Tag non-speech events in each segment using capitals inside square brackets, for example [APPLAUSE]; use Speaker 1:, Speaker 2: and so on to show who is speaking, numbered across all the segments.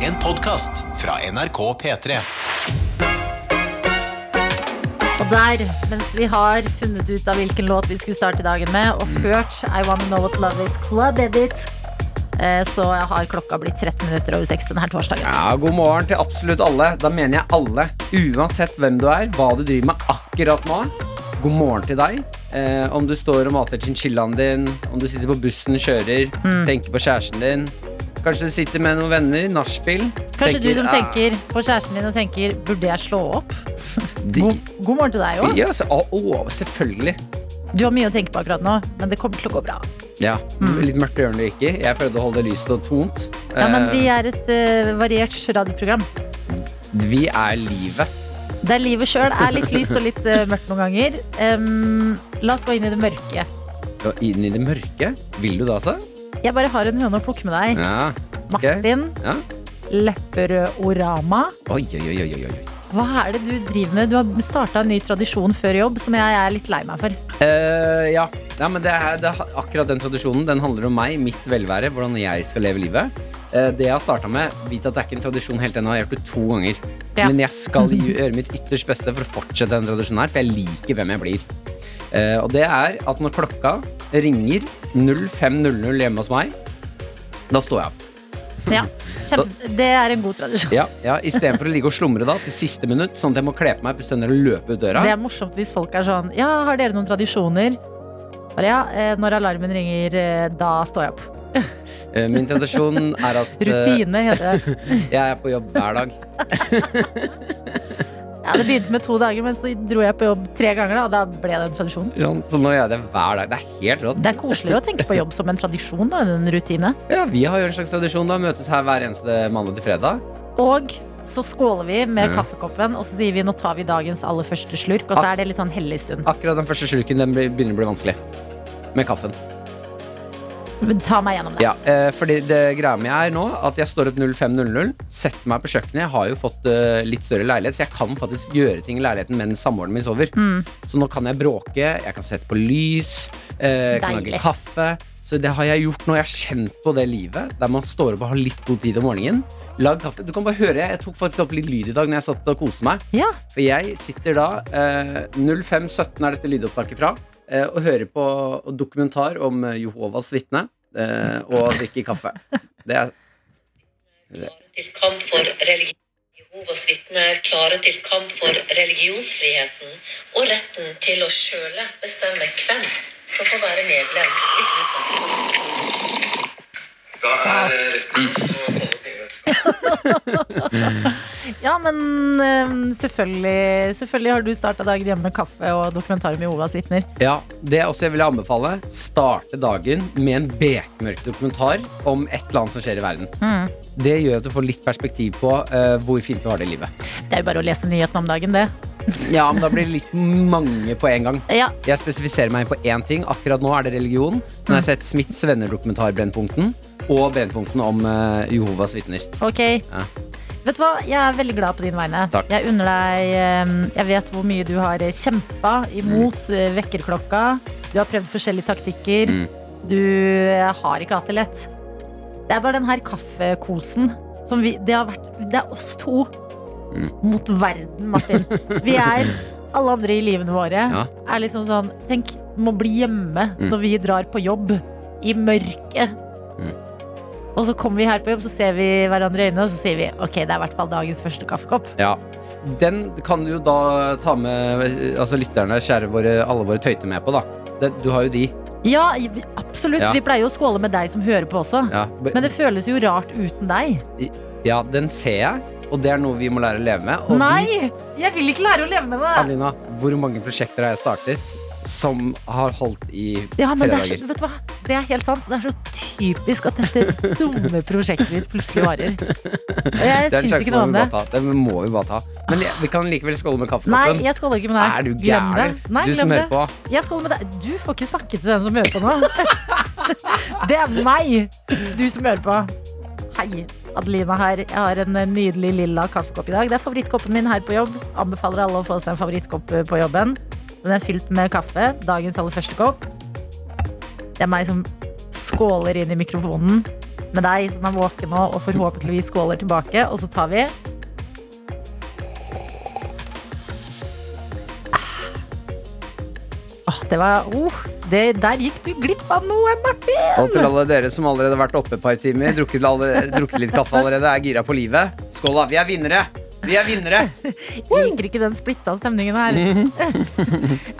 Speaker 1: En podkast fra NRK P3.
Speaker 2: Og der, mens vi har funnet ut av hvilken låt vi skulle starte dagen med, og hørt I Wanna Know What Love Is Club Edit, eh, så har klokka blitt 13 minutter over 6 denne torsdagen.
Speaker 3: Ja, God morgen til absolutt alle. Da mener jeg alle. Uansett hvem du er, hva du driver med akkurat nå. God morgen til deg. Eh, om du står og mater chinchillaen din, om du sitter på bussen, kjører,
Speaker 2: Mm.
Speaker 3: tenker på kjæresten din. Kanskje du sitter med noen venner, nachspiel.
Speaker 2: Kanskje du som
Speaker 3: «Ah,
Speaker 2: tenker på kjæresten din og tenker 'burde jeg slå opp'?
Speaker 3: de-
Speaker 2: God, god morgen til deg òg.
Speaker 3: Ja, så, å, å, selvfølgelig.
Speaker 2: Du har mye å tenke på akkurat nå, men det kommer til å gå bra.
Speaker 3: Ja, Litt mørkt gjør det ikke. Jeg prøvde å holde det lyst og tont.
Speaker 2: Mm. Ja, men
Speaker 3: Eh,
Speaker 2: vi er et eh, variert radioprogram.
Speaker 3: vi er livet.
Speaker 2: Der livet sjøl er litt lyst og litt eh, mørkt noen ganger. Em, la oss gå inn i det mørke.
Speaker 3: Og inn i det mørke. Vil du det, altså?
Speaker 2: Jeg bare har en høne å plukke med deg.
Speaker 3: Ja. ok.
Speaker 2: Martin
Speaker 3: Ja.
Speaker 2: Lepperød-orama.
Speaker 3: Oi, oi, oi, oi, oi. oi.
Speaker 2: Hva er det du driver med? Du har starta en ny tradisjon før jobb som jeg er litt lei meg for.
Speaker 3: Eh, ja. ja, men det er, det er akkurat den tradisjonen. Den handler om meg, mitt velvære, hvordan jeg skal leve livet. Eh, det jeg har starta med, vit at det er ikke en tradisjon helt ennå. Jeg har gjort det to ganger.
Speaker 2: Ja.
Speaker 3: Men jeg skal gjøre mitt ytterst beste for å fortsette den tradisjonen her, for jeg liker hvem jeg blir. Eh, og det er at når klokka ringer 05.00 hjemme hos meg, da står jeg opp.
Speaker 2: Ja, kjempe, det er en god tradisjon.
Speaker 3: Ja, ja, Istedenfor å ligge og slumre da til siste minutt, sånn at jeg må kle på meg, pusse tenner og løpe ut døra.
Speaker 2: Det er morsomt hvis folk er sånn Ja, har dere noen tradisjoner? Bare ja, eh, når alarmen ringer, eh, da står jeg opp.
Speaker 3: Eh, min tradisjon er
Speaker 2: [LAUGHS]
Speaker 3: at eh,
Speaker 2: Rutine heter
Speaker 3: [LAUGHS]
Speaker 2: det.
Speaker 3: jeg er på jobb hver dag.
Speaker 2: Ja, det begynte med to dager, men så dro jeg på jobb tre ganger, da, og da ble det en tradisjon.
Speaker 3: Ja, så nå gjør jeg det hver dag. Det er helt rått.
Speaker 2: Det er koseligere å tenke på jobb som en tradisjon da, enn en rutine.
Speaker 3: [LAUGHS] Ja, Vi har jo en slags tradisjon. da Møtes her hver eneste mandag til fredag.
Speaker 2: Og så skåler vi med
Speaker 3: Ja. Ah.
Speaker 2: kaffekoppen, og så sier vi nå tar vi dagens aller første slurk, og så er det litt sånn hellig stund.
Speaker 3: Akkurat den første slurken den blir- begynner å bli vanskelig. Med kaffen.
Speaker 2: Ta meg gjennom det.
Speaker 3: Ja, eh, fordi det greia mi er nå at jeg står opp 05.00, setter meg på kjøkkenet. Jeg har jo fått eh, litt større leilighet, så jeg kan faktisk gjøre ting i leiligheten mens samboeren min sover. Så nå kan jeg bråke, jeg kan sette på lys, eh, jeg kan
Speaker 2: Deilig.
Speaker 3: lage kaffe. Så det har jeg gjort nå. Jeg har kjent på det livet der man står opp og har litt god tid om morgenen. Lag kaffe. Du kan bare høre, jeg tok faktisk opp litt lyd i dag når jeg satt og koste meg.
Speaker 2: Ja.
Speaker 3: For jeg sitter da eh, 05.17 er dette lydopptaket fra eh, Og hører på dokumentar om eh, Jehovas vittne eh, Og drikker kaffe Det er
Speaker 4: til kamp for religion. Jehovas vitner er klare til kamp for religionsfriheten og retten til å sjøle bestemme hvem som får være medlem i trossamfunnet.
Speaker 5: Da er eh, retten å holde tingretten.
Speaker 2: Ja, men eh, selvfølgelig, selvfølgelig har du starta dagen hjemme med kaffe og dokumentar om Jehovas vitner.
Speaker 3: ja, det er også jeg vil anbefale Starte dagen med en bekmørk dokumentar Om et eller annet som skjer i verden Det gjør at du får litt perspektiv på eh, Hvor fint du har det i livet
Speaker 2: Det er jo bare å lese nyhetene om dagen, det.
Speaker 3: Ja, men da blir det litt mange på en gang
Speaker 2: Ja,
Speaker 3: Jeg spesifiserer meg på én ting. Akkurat nå er det religion. Men jeg har sett Smiths venner-dokumentar Brennpunkten og Brennpunkten om eh, Jehovas vitner.
Speaker 2: ok.
Speaker 3: Ja.
Speaker 2: Vet du hva, jeg er veldig glad på din vegne.
Speaker 3: Takk.
Speaker 2: Jeg unner deg eh, Jeg vet hvor mye du har kjempa
Speaker 3: Mm.
Speaker 2: imot eh, vekkerklokka. Du har prøvd forskjellige taktikker.
Speaker 3: Mm.
Speaker 2: Du eh, har ikke hatt det lett. Det er bare den her kaffekosen som vi Det, har vært, det er oss to
Speaker 3: Mm.
Speaker 2: mot verden, Martin. Vi
Speaker 3: [LAUGHS]
Speaker 2: er alle andre i livene våre.
Speaker 3: Ja.
Speaker 2: er liksom sånn Tenk, må bli hjemme
Speaker 3: Mm.
Speaker 2: når vi drar på jobb. I mørket.
Speaker 3: Mm.
Speaker 2: Og så kommer vi her på jobb, så ser vi hverandre i øynene, og så sier vi ok, det er i hvert fall dagens første kaffekopp.
Speaker 3: Ja. Den kan du jo da ta med eh, altså lytterne, kjære våre, alle våre tøyter med på, da. Det, du har jo de.
Speaker 2: Ja, vi- absolutt.
Speaker 3: Ja.
Speaker 2: Vi pleier jo å skåle med deg som hører på også.
Speaker 3: Ja. b-
Speaker 2: Men det føles jo rart uten deg.
Speaker 3: ja, den ser jeg, og det er noe vi må lære å leve med. Og
Speaker 2: Nei!
Speaker 3: vit,
Speaker 2: Jeg vil ikke lære å leve med det.
Speaker 3: Adelina, hvor mange prosjekter har jeg startet som har holdt i
Speaker 2: Ja, men det
Speaker 3: tre
Speaker 2: er, så,
Speaker 3: dager?
Speaker 2: vet du hva? det er helt sant. Det er så typisk at dette dumme prosjektet ditt plutselig
Speaker 3: [LAUGHS]
Speaker 2: varer. Og jeg
Speaker 3: Det er en
Speaker 2: syns
Speaker 3: sjanse
Speaker 2: ikke noe
Speaker 3: må
Speaker 2: om
Speaker 3: vi
Speaker 2: det.
Speaker 3: bare ta. Den må vi bare ta. Men jeg- vi kan likevel skåle med kaffekoppen.
Speaker 2: Nei, jeg skåler ikke med deg.
Speaker 3: Er du
Speaker 2: Glem det.
Speaker 3: gæren?
Speaker 2: Nei,
Speaker 3: Du som
Speaker 2: glem det.
Speaker 3: hører på.
Speaker 2: Jeg skal med deg Du får ikke snakke til den som hører på nå. [LAUGHS] Det er meg, du som hører på. Hei, Adelina her. Jeg har en eh, nydelig lilla kaffekopp i dag. Det er favorittkoppen min her på jobb. Anbefaler alle å få seg en favorittkopp eh, på jobben. Den er fylt med kaffe. Dagens aller første kopp. Det er meg som skåler inn i mikrofonen. med deg som er våken nå og forhåpentligvis skåler tilbake. Og så tar vi Åh, det var oh, det, Der gikk du glipp av noe, Martin!
Speaker 3: Og til alle dere som allerede har vært oppe et par timer, drukket, alle, drukket litt kaffe allerede, er gira på livet. Skål, da. Vi er vinnere! Vi er vinnere!
Speaker 2: Jeg liker ikke den splitta stemningen her.
Speaker 3: [LAUGHS]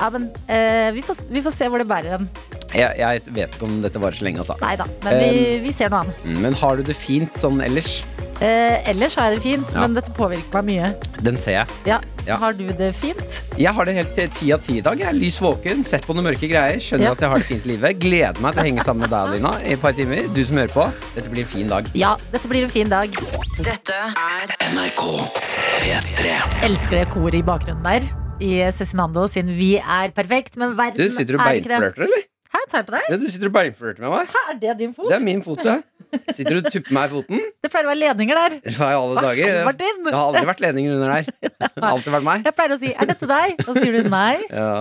Speaker 2: ja, men eh, vi, får, vi får se hvor det bærer hen.
Speaker 3: Jeg, jeg vet ikke om dette varer så lenge, altså.
Speaker 2: Nei da, men vi, vi ser noe annet.
Speaker 3: Men har du det fint sånn ellers?
Speaker 2: Eh, ellers har jeg det fint,
Speaker 3: Ja.
Speaker 2: men dette påvirker meg mye.
Speaker 3: Den ser jeg.
Speaker 2: Ja.
Speaker 3: Ja.
Speaker 2: Har du det fint?
Speaker 3: Jeg har det helt eh, ti av ti i dag. Jeg er lys våken, sett på noen mørke greier. Skjønner
Speaker 2: Ja.
Speaker 3: at jeg har det fint i livet. Gleder meg til å henge sammen med deg, Adelina, i et par timer. Du som hører på. Dette blir en fin dag.
Speaker 2: Ja, dette blir en fin dag.
Speaker 6: Dette er
Speaker 2: Elsker det koret i bakgrunnen der. I Cezinando sin 'Vi er perfekt', men verden
Speaker 3: Du sitter og
Speaker 2: er ikke det.
Speaker 3: beinflørter, eller?
Speaker 2: Hæ, tar jeg på deg?
Speaker 3: Ja, du sitter og beinflørter med meg.
Speaker 2: Hæ, er det din fot?
Speaker 3: Det er min fot, det. Sitter du og tupper meg i foten?
Speaker 2: Det pleier å være ledninger der.
Speaker 3: Hva i alle
Speaker 2: Hva
Speaker 3: dager?
Speaker 2: er Martin?
Speaker 3: Det har aldri vært ledninger under
Speaker 2: [LAUGHS]
Speaker 3: der. Det har alltid vært meg.
Speaker 2: Jeg pleier å si 'er dette deg?' Og så sier du nei.
Speaker 3: Ja.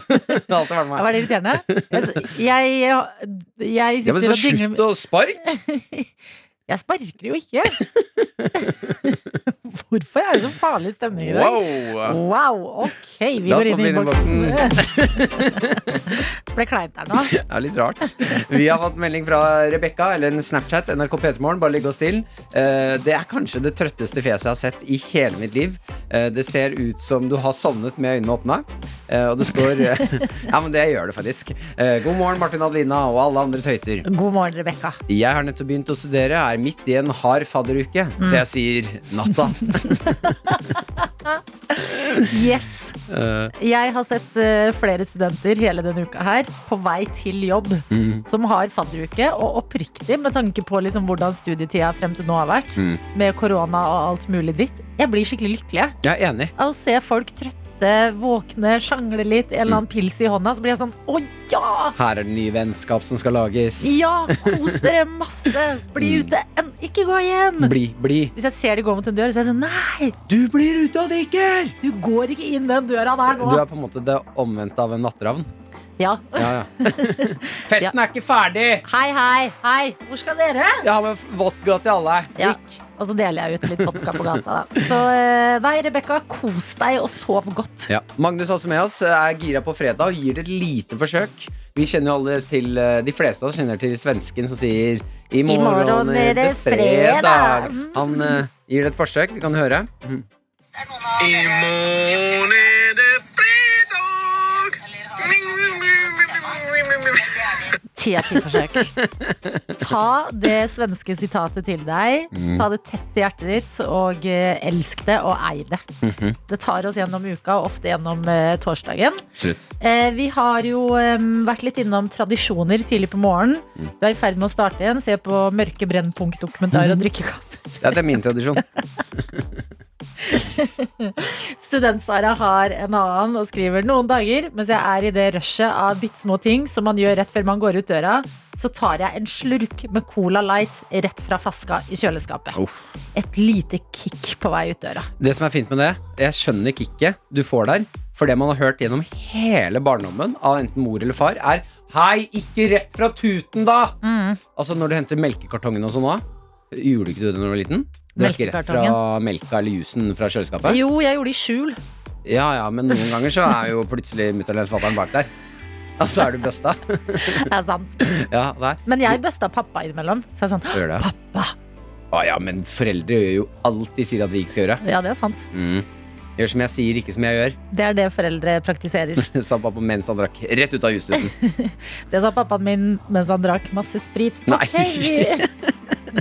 Speaker 3: [LAUGHS] Det har alltid vært
Speaker 2: Ja,
Speaker 3: meg.
Speaker 2: Var det irriterende? Jeg, jeg, jeg
Speaker 3: Ja, men
Speaker 2: sitter
Speaker 3: så
Speaker 2: og dingler
Speaker 3: slutt å sparke!
Speaker 2: Jeg sparker jo ikke! [LAUGHS] Hvorfor er det så farlig stemning [LAUGHS] i dag?
Speaker 3: Wow!
Speaker 2: Wow, ok, vi
Speaker 3: La
Speaker 2: går inn
Speaker 3: oss
Speaker 2: i
Speaker 3: hoppe inn
Speaker 2: innboksen.
Speaker 3: i
Speaker 2: [LAUGHS] Ble kleint der nå.
Speaker 3: Det er litt rart. Vi har fått melding fra Rebekka, eller en Snapchat, NRK P3morgen, bare ligge oss til. Eh, Det er kanskje det trøtteste fjeset jeg har sett i hele mitt liv. Eh, Det ser ut som du har sovnet med øynene åpne. Eh, Og det står [LAUGHS] Ja, men det gjør det faktisk. Eh, God morgen, Martin Adelina og alle andre tøyter.
Speaker 2: God morgen, Rebekka.
Speaker 3: Jeg har nettopp begynt å studere, er midt i en hard fadderuke, så jeg sier natta.
Speaker 2: Yes. Jeg har sett eh, flere studenter hele denne uka her på vei til jobb
Speaker 3: Mm.
Speaker 2: som har fadderuke. Og oppriktig, med tanke på liksom hvordan studietida frem til nå har vært,
Speaker 3: Mm.
Speaker 2: med korona og alt mulig dritt, jeg blir skikkelig lykkelig jeg,
Speaker 3: Jeg er enig.
Speaker 2: av å se folk trøtte, våkne, sjangle litt, en
Speaker 3: Mm.
Speaker 2: eller annen pils i hånda. Så blir jeg sånn å ja!
Speaker 3: Her er det nye vennskap som skal lages.
Speaker 2: Ja, kos dere masse! Bli
Speaker 3: Mm.
Speaker 2: ute, en, ikke gå hjem!
Speaker 3: Bli, bli.
Speaker 2: Hvis jeg ser de går mot en dør, så er jeg sånn Nei,
Speaker 3: Du blir ute og drikker!
Speaker 2: du går ikke inn den døra der nå!
Speaker 3: Du er på en måte det omvendte av en natteravn.
Speaker 2: Ja.
Speaker 3: Ja, ja. [LAUGHS] Festen er ikke ferdig!
Speaker 2: Hei, hei, hei! Hvor skal dere?
Speaker 3: Jeg har med vodka til alle.
Speaker 2: Ja. Og så deler jeg ut litt vodka på gata. Da. Så eh, nei, Rebekka, kos deg og sov godt.
Speaker 3: Ja. Magnus er også med oss, er gira på fredag og gir det et lite forsøk. Vi kjenner jo alle til, eh, De fleste av oss kjenner til svensken som sier I morgen, er det fredag.
Speaker 2: fredag.
Speaker 3: Han eh, gir det et forsøk. Vi kan høre. Mm.
Speaker 5: I morgen er det fredag!
Speaker 2: Ti av ti forsøk. Ta det svenske sitatet til deg. Ta det tett til hjertet ditt, og eh, elsk det og ei det. Det tar oss gjennom uka, og ofte gjennom eh, torsdagen.
Speaker 3: Slutt.
Speaker 2: Eh, vi har jo em, vært litt innom tradisjoner tidlig på morgenen. Du er i ferd med å starte igjen. Se på Mørke Brennpunkt-dokumentar og drikke kaffe.
Speaker 3: Ja, det er min tradisjon.
Speaker 2: Student-Sara har en annen og skriver noen dager mens jeg er i det rushet av bitte små ting som man gjør rett før man går ut døra, så tar jeg en slurk med Cola Light rett fra flaska i kjøleskapet.
Speaker 3: Uff.
Speaker 2: Et lite kick på vei ut døra.
Speaker 3: Det som er fint med det, jeg skjønner kicket du får der, for det man har hørt gjennom hele barndommen av enten mor eller far, er Hei, ikke rett fra tuten, da!
Speaker 2: Mm.
Speaker 3: Altså når du henter melkekartongen og sånn òg. Gjorde ikke du det når du var liten? Du drakk ikke rett fra
Speaker 2: Melkekartongen.
Speaker 3: melka eller jusen fra kjøleskapet?
Speaker 2: Jo, jeg gjorde det i skjul. [LAUGHS]
Speaker 3: Ja ja, men noen ganger så er jo plutselig mutter'n eller fatter'n bak der. Og så er du bøsta.
Speaker 2: Det er sant.
Speaker 3: [LAUGHS] Ja, der.
Speaker 2: Men jeg busta pappa innimellom. Så jeg er sånn
Speaker 3: Gjør det.
Speaker 2: Pappa!
Speaker 3: Å ja, men foreldre gjør jo alt de sier at vi ikke skal gjøre.
Speaker 2: Ja, det er sant.
Speaker 3: Mm. Gjør som jeg sier, ikke som jeg gjør, [LAUGHS]
Speaker 2: Det er det foreldre praktiserer.
Speaker 3: sa pappa mens han drakk rett ut av justuten.
Speaker 2: Det sa pappaen min mens han drakk masse sprit.
Speaker 3: Nei.
Speaker 2: Ok, vi...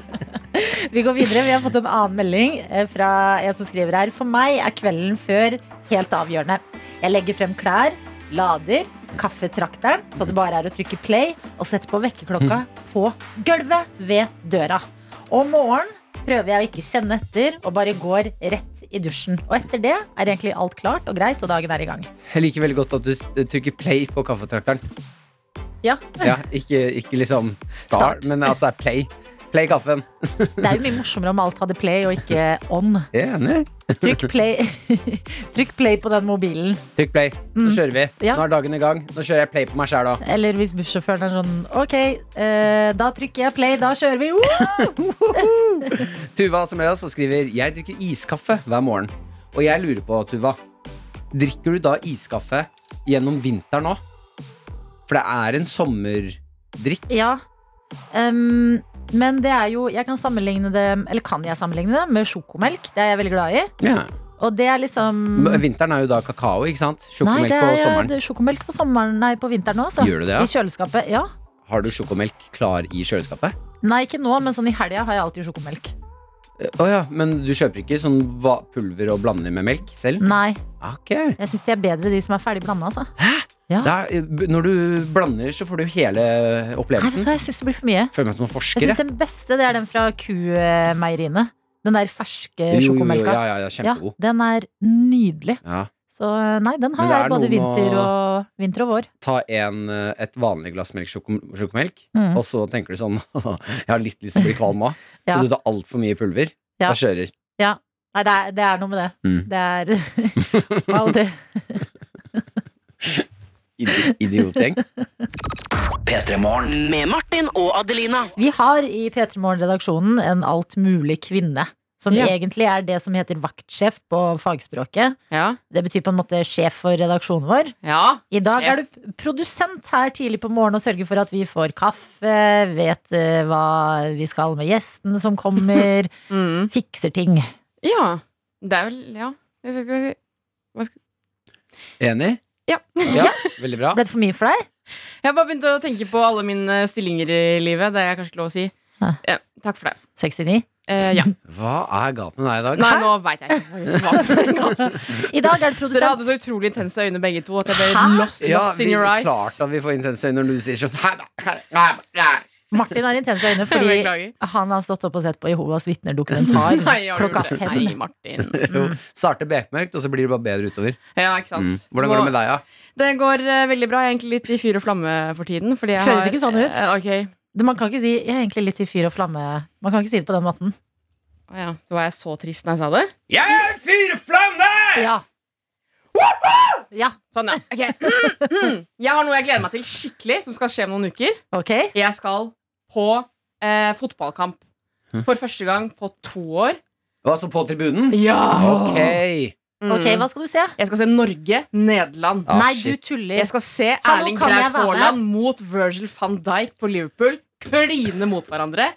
Speaker 2: [LAUGHS] vi går videre. Vi har fått en annen melding eh, fra en som skriver her. For meg er kvelden før helt avgjørende. Jeg legger frem klær, lader, kaffetrakteren, så det bare er å trykke play, og setter på vekkerklokka på gulvet ved døra. Om morgenen prøver jeg å ikke kjenne etter, og bare går rett i dusjen. Og etter det er egentlig alt klart og greit, og dagen er i gang.
Speaker 3: Jeg liker veldig godt at du s- eh, trykker play på kaffetrakteren.
Speaker 2: Ja,
Speaker 3: Ja, ikke, ikke liksom start,
Speaker 2: Start.
Speaker 3: men at det er play. Play kaffen.
Speaker 2: Det er jo mye morsommere om alt hadde play og ikke on.
Speaker 3: Jeg er enig.
Speaker 2: Trykk [LAUGHS] play, Trykk play på den mobilen.
Speaker 3: Trykk play. Så kjører vi.
Speaker 2: Mm. Ja.
Speaker 3: Nå er dagen i gang. Nå kjører jeg play på meg sjæl òg.
Speaker 2: Eller hvis bussjåføren er sånn OK, eh, da trykker jeg play, da kjører vi. Woo!
Speaker 3: Tuva som er oss og skriver Jeg drikker iskaffe hver morgen. Og jeg lurer på, Tuva, drikker du da iskaffe gjennom vinteren òg? For det er en sommerdrikk.
Speaker 2: [LAUGHS] Ja. Ehm, men det er jo Jeg kan sammenligne det Eller kan jeg sammenligne det med sjokomelk? Det er jeg veldig glad i. Og det er liksom
Speaker 3: Men Vinteren er jo da kakao, ikke sant? Sjokomelk
Speaker 2: nei,
Speaker 3: på
Speaker 2: det er
Speaker 3: sommeren.
Speaker 2: det er sjokomelk på sommeren Nei, på vinteren også.
Speaker 3: Gjør du det, ja?
Speaker 2: I kjøleskapet. Ja.
Speaker 3: Har du sjokomelk klar i kjøleskapet?
Speaker 2: Nei, ikke nå, men sånn i helga har jeg alltid sjokomelk.
Speaker 3: Å ja, men du kjøper ikke sånn va- pulver og blander med melk selv? Ah,
Speaker 2: Nei,
Speaker 3: Ok.
Speaker 2: jeg syns de er bedre, de som er ferdig blanda, altså.
Speaker 3: Da, eh, når du blander, så får du hele
Speaker 2: Nei, vet du
Speaker 3: opplevelsen.
Speaker 2: hva, jeg syns det blir for mye.
Speaker 3: Føler meg som en
Speaker 2: Jeg
Speaker 3: forsker.
Speaker 2: syns den beste det er den fra kumeieriene. Den der ferske
Speaker 3: jeg. Jo, jo, jo,
Speaker 2: sjokomelka.
Speaker 3: ja, ja, ja, kjempegod.
Speaker 2: den er nydelig.
Speaker 3: Ja.
Speaker 2: Så nei, den
Speaker 3: Men
Speaker 2: har
Speaker 3: det er
Speaker 2: jeg både
Speaker 3: noe med
Speaker 2: vinter
Speaker 3: å-
Speaker 2: og, vinter og vår.
Speaker 3: Ta en, eh, et vanlig glass melk, sjoko- sjokomelk,
Speaker 2: Mm.
Speaker 3: og så tenker du sånn [LAUGHS] Jeg har litt lyst til å bli kvalm òg,
Speaker 2: Ja.
Speaker 3: så du tar altfor mye pulver
Speaker 2: Ja.
Speaker 3: og kjører.
Speaker 2: Nei, det er, det er noe med det.
Speaker 3: Mm.
Speaker 2: Det er
Speaker 3: [LAUGHS]
Speaker 2: Wow, det
Speaker 3: Idi Idiotgjeng.
Speaker 6: Med Martin og Adelina.
Speaker 2: Vi har i P3 Morgen-redaksjonen en alt mulig kvinne. Som
Speaker 7: Ja.
Speaker 2: egentlig er det som heter vaktsjef på fagspråket.
Speaker 7: Ja.
Speaker 2: Det betyr på en måte sjef for redaksjonen vår.
Speaker 7: ja.
Speaker 2: I dag
Speaker 7: Sjef.
Speaker 2: er du produsent her tidlig på morgenen og sørger for at vi får kaffe, vet eh, hva vi skal med gjestene som kommer,
Speaker 7: [LAUGHS] Mm.
Speaker 2: fikser ting.
Speaker 7: Ja. Det er vel Ja. Jeg vet ikke hva jeg skal si.
Speaker 3: Enig?
Speaker 7: Ja.
Speaker 3: ja. Veldig bra.
Speaker 2: Ble det for mye for deg?
Speaker 7: [LAUGHS] Jeg har bare begynt å tenke på alle mine eh, stillinger i livet. Det er kanskje ikke lov å si.
Speaker 2: Hæ.
Speaker 7: Eh, takk for det.
Speaker 2: 69.
Speaker 7: Eh,
Speaker 2: [LAUGHS]
Speaker 7: ja.
Speaker 3: Hva er galt med deg i dag?
Speaker 7: Nei, nå veit jeg ikke. faktisk hva som
Speaker 2: [LAUGHS]
Speaker 7: er galt.
Speaker 2: I dag er det
Speaker 7: [LAUGHS] Dere hadde [LAUGHS]
Speaker 2: produsent.
Speaker 7: så utrolig intense øyne begge to at jeg ble
Speaker 2: Hæ?
Speaker 7: lost,
Speaker 3: Ja,
Speaker 7: lost
Speaker 3: vi,
Speaker 7: in your eyes. [LAUGHS]
Speaker 3: klart at vi får intense øyne når du sier sånn «Hæ, hæ, hæ, hæ».
Speaker 2: Martin har intense øyne fordi
Speaker 7: Beklager.
Speaker 2: han har stått opp og sett på Jehovas vitner-dokumentar
Speaker 7: [LAUGHS] Nei, har du
Speaker 2: klokka
Speaker 7: gjort det?
Speaker 2: fem.
Speaker 7: Nei, Martin.
Speaker 2: [LAUGHS]
Speaker 3: Jo, Starte bekmørkt, og så blir det bare bedre utover.
Speaker 7: Ja, ikke sant.
Speaker 3: Mm. Hvordan går det med deg, da?
Speaker 7: Det går eh, veldig bra. Jeg er egentlig litt i fyr og flamme for tiden. Fordi jeg
Speaker 2: Føles
Speaker 7: har,
Speaker 2: ikke sånn ut.
Speaker 7: Eh, ok.
Speaker 2: Man kan ikke si jeg er egentlig litt i fyr og flamme. Man kan ikke si det på den måten.
Speaker 7: Å ja. Da var jeg så trist når jeg sa det.
Speaker 3: Jeg er en fyr og flamme!
Speaker 2: Ja. Ja,
Speaker 7: Sånn, ja.
Speaker 2: [LAUGHS]
Speaker 7: Ok. Mm, mm. Jeg har noe jeg gleder meg til skikkelig, som skal skje om noen uker.
Speaker 2: ok.
Speaker 7: Jeg skal på eh, fotballkamp. For første gang på to år.
Speaker 3: Altså på tribunen?
Speaker 7: Ja!
Speaker 3: Ok.
Speaker 7: Mm.
Speaker 2: Ok, Hva skal du se?
Speaker 7: Jeg skal se Norge-Nederland.
Speaker 3: Ah,
Speaker 2: Nei, du
Speaker 3: shit.
Speaker 2: tuller.
Speaker 7: Jeg skal se
Speaker 2: Hallo,
Speaker 7: Erling
Speaker 2: kan jeg
Speaker 7: Braut
Speaker 2: være med?
Speaker 7: Haaland mot Virgil van Dijk på Liverpool. Kline mot hverandre.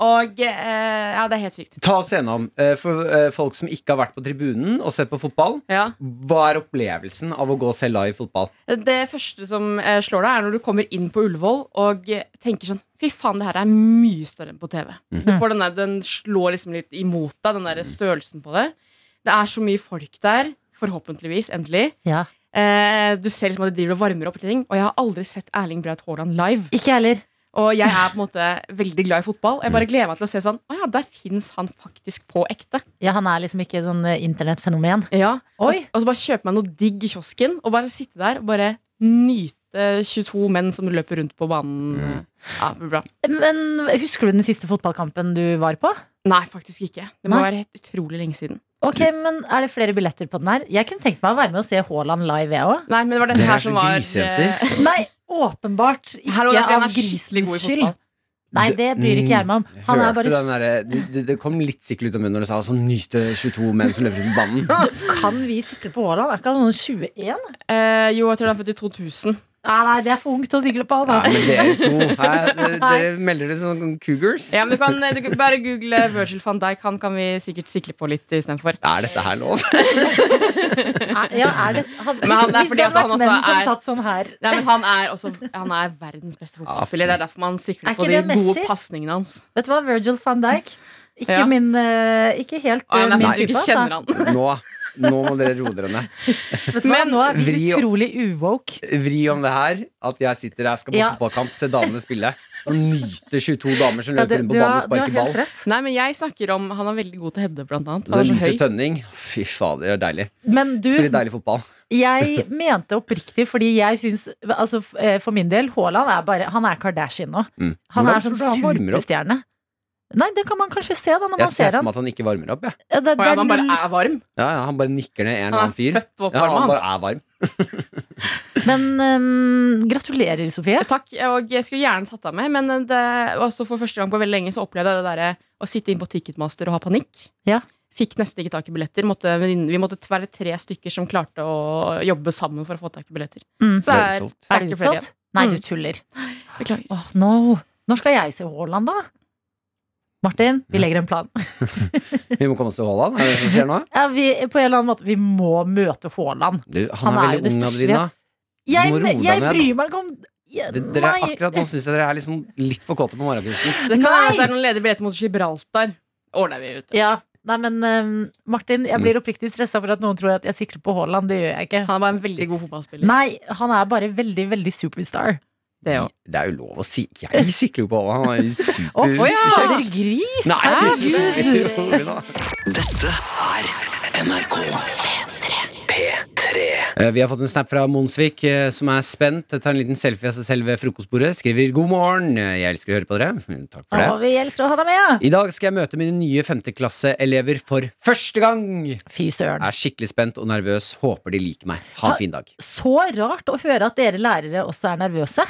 Speaker 7: Og eh, Ja, det er helt sykt.
Speaker 3: Ta oss gjennom. eh, For eh, folk som ikke har vært på tribunen og sett på fotball,
Speaker 7: Ja.
Speaker 3: hva er opplevelsen av å gå og se live fotball?
Speaker 7: Det første som eh, slår deg, er når du kommer inn på Ullevål og eh, tenker sånn Fy faen, det her er mye større enn på TV. Du får den, der, den slår liksom litt imot deg, den der størrelsen på det. Det er så mye folk der. Forhåpentligvis. Endelig.
Speaker 2: Ja.
Speaker 7: Eh, du ser liksom at de driver og varmer opp litt ting. Og jeg har aldri sett Erling Braut Haaland live.
Speaker 2: Ikke jeg heller.
Speaker 7: Og jeg er på en måte veldig glad i fotball. Jeg bare gleder meg til å se sånn Å ja, der fins han faktisk på ekte.
Speaker 2: Ja, han er liksom ikke sånn eh, internettfenomen.
Speaker 7: Ja. Og,
Speaker 2: Oi.
Speaker 7: og så bare kjøpe meg noe digg i kiosken og bare sitte der og bare nyte 22 menn som løper rundt på banen.
Speaker 3: Mm.
Speaker 7: Ja, det blir bra.
Speaker 2: Men husker du den siste fotballkampen du var på?
Speaker 7: Nei, faktisk ikke. Det må
Speaker 2: Nei.
Speaker 7: være helt utrolig lenge siden.
Speaker 2: Ok, men Er det flere billetter på den her? Jeg kunne tenkt meg å være med og se Haaland live, jeg òg.
Speaker 7: Nei, men det var dette
Speaker 3: Dere er
Speaker 7: her som
Speaker 3: så
Speaker 7: var
Speaker 3: grisejenter.
Speaker 7: eh,
Speaker 2: Nei, åpenbart
Speaker 7: Hallo,
Speaker 2: ikke
Speaker 7: derfor han
Speaker 2: av
Speaker 7: er skikkelig
Speaker 2: grisens
Speaker 7: god i
Speaker 2: skyld.
Speaker 7: fotball.
Speaker 2: Nei, det bryr ikke jeg meg om.
Speaker 3: Jeg
Speaker 2: Han er
Speaker 3: Mm, hørte
Speaker 2: bare
Speaker 3: den derre- du- du- Det kom litt sikkert ut av munnen når du sa sånn nyte 22 menn som løper rundt på [LAUGHS] banen.
Speaker 2: Kan vi sikle på Haaland? Er ikke han sånn 21?
Speaker 7: eh, Jo, jeg tror det er født i 2000.
Speaker 2: Nei, nei, det er for ungt å sikle på,
Speaker 3: Nei,
Speaker 2: altså.
Speaker 3: men dere to [LAUGHS] hæ? Dere- Dere melder dere som cougars.
Speaker 7: Ja, men du kan, eh, du kan Bare google Virgil van Dijk. Han kan vi sikkert sikle på litt istedenfor.
Speaker 3: Er dette her lov?
Speaker 2: Er- Ja, er det, han,
Speaker 7: Men han- det er
Speaker 2: hvis
Speaker 7: fordi
Speaker 2: det
Speaker 7: at han
Speaker 2: hadde vært menn
Speaker 7: også
Speaker 2: som
Speaker 7: er-
Speaker 2: satt sånn her
Speaker 7: Nei, men han er også Han er verdens beste fotballspiller. Det er derfor man
Speaker 2: Er
Speaker 7: sikler
Speaker 2: ikke
Speaker 7: på de
Speaker 2: det Messi?
Speaker 7: gode pasningene hans.
Speaker 2: Vet du hva, Virgil van Dijk Ikke
Speaker 7: Ja.
Speaker 2: min eh, Ikke helt
Speaker 7: Å, ja,
Speaker 2: eh,
Speaker 7: det er
Speaker 2: min
Speaker 7: fordi du
Speaker 2: type
Speaker 7: ikke
Speaker 2: altså.
Speaker 7: kjenner han.
Speaker 3: Nå, nå må dere roe dere ned.
Speaker 2: Vet du hva,
Speaker 7: Men-
Speaker 2: nå er vi
Speaker 3: Vri-
Speaker 2: utrolig uwoke
Speaker 3: Vri om det her at jeg sitter her, skal på
Speaker 2: Ja.
Speaker 3: fotballkamp, se damene spille. Og nyte 22 damer som
Speaker 2: Ja,
Speaker 3: løper
Speaker 2: det-
Speaker 3: rundt
Speaker 2: du
Speaker 3: på banen
Speaker 2: har-
Speaker 3: og
Speaker 2: du har
Speaker 3: sparker ball.
Speaker 2: helt rett.
Speaker 7: Nei, men jeg snakker om Han er veldig god til å heade, blant annet.
Speaker 3: Det er
Speaker 7: Han er så
Speaker 3: Lise
Speaker 7: høy.
Speaker 3: Tønning. Fy fader, det er deilig.
Speaker 2: Men du,
Speaker 3: Spiller deilig fotball.
Speaker 2: jeg mente oppriktig Fordi jeg synes, altså f- eh, for min del Haaland er bare, han er Kardashian nå
Speaker 3: Mm.
Speaker 2: Han
Speaker 3: Hvordan
Speaker 2: er sånn
Speaker 3: tror du han varmer opp?
Speaker 2: superstjerne Nei, det kan man kanskje se da når man
Speaker 3: Jeg ser
Speaker 2: ser
Speaker 3: for
Speaker 2: han.
Speaker 3: meg at han ikke varmer opp. Ja.
Speaker 2: Ja, det-
Speaker 7: Og ja,
Speaker 2: det er
Speaker 7: man bare
Speaker 2: null-
Speaker 7: er varm.
Speaker 3: Ja, ja, han bare nikker ned en eller annen
Speaker 7: Han er
Speaker 3: fyr.
Speaker 7: født
Speaker 3: Ja, han
Speaker 7: oppvarma.
Speaker 3: bare er varm.
Speaker 2: Men øhm, gratulerer, Sofie.
Speaker 7: Takk, og jeg skulle gjerne tatt deg med, men det, altså for første gang på veldig lenge så opplevde jeg det derre å sitte inn på Ticketmaster og ha panikk.
Speaker 2: Ja.
Speaker 7: Fikk nesten ikke tak i billetter. Måtte, venninne- vi måtte være tre stykker som klarte å jobbe sammen for å få tak i billetter.
Speaker 2: Mm.
Speaker 7: Så er,
Speaker 3: Dødsholdt.
Speaker 7: er
Speaker 2: Er
Speaker 7: det
Speaker 2: det
Speaker 7: ikke flere
Speaker 2: utsolgt? Nei,
Speaker 7: Mm.
Speaker 2: du tuller.
Speaker 7: igjen. Beklager.
Speaker 2: Åh, no. Når skal jeg se Haaland, da? Martin, vi legger en plan.
Speaker 3: Vi må komme oss til Haaland. Er det det som skjer nå?
Speaker 2: Ja, vi, på en eller annen måte, vi må møte Haaland.
Speaker 3: Du, han,
Speaker 2: Han
Speaker 3: er,
Speaker 2: er jo det
Speaker 3: veldig ung,
Speaker 2: største vi
Speaker 3: Adelina.
Speaker 2: Jeg,
Speaker 3: må roe deg
Speaker 2: jeg
Speaker 3: ned.
Speaker 2: bryr meg ikke om ja,
Speaker 3: Det, dere,
Speaker 2: nei.
Speaker 3: akkurat nå syns jeg dere er liksom litt for kåte på morgenkvisten.
Speaker 7: Det kan
Speaker 2: Nei!
Speaker 7: være at det er noen ledige billetter mot Gibraltar. Ordner vi ut.
Speaker 2: Ja, nei, men øhm, Martin, jeg blir oppriktig stressa for at noen tror at jeg sikter på Haaland. Det gjør jeg ikke.
Speaker 7: Han er bare en veldig god fotballspiller.
Speaker 2: Nei, han er bare veldig, veldig superstar.
Speaker 7: Det òg.
Speaker 3: Det er jo lov å si. Jeg sikler jo på Haaland. Han er jo
Speaker 2: Å,
Speaker 3: super
Speaker 2: ja. kjører gris!
Speaker 3: Nei, herregud! Eh, Vi har fått en snap fra Monsvik eh, som er spent. Tar en liten selfie av seg selv ved frokostbordet. Skriver 'God morgen'. Jeg elsker å høre på dere. Mm, Takk for
Speaker 2: Å,
Speaker 3: det.
Speaker 2: vi elsker å ha deg med!
Speaker 3: I dag skal jeg møte mine nye femteklasseelever for første gang. Jeg
Speaker 2: Fy søren.
Speaker 3: er skikkelig spent og nervøs. Håper de liker meg. Ha en fin dag.
Speaker 2: Så rart å høre at dere lærere også er nervøse.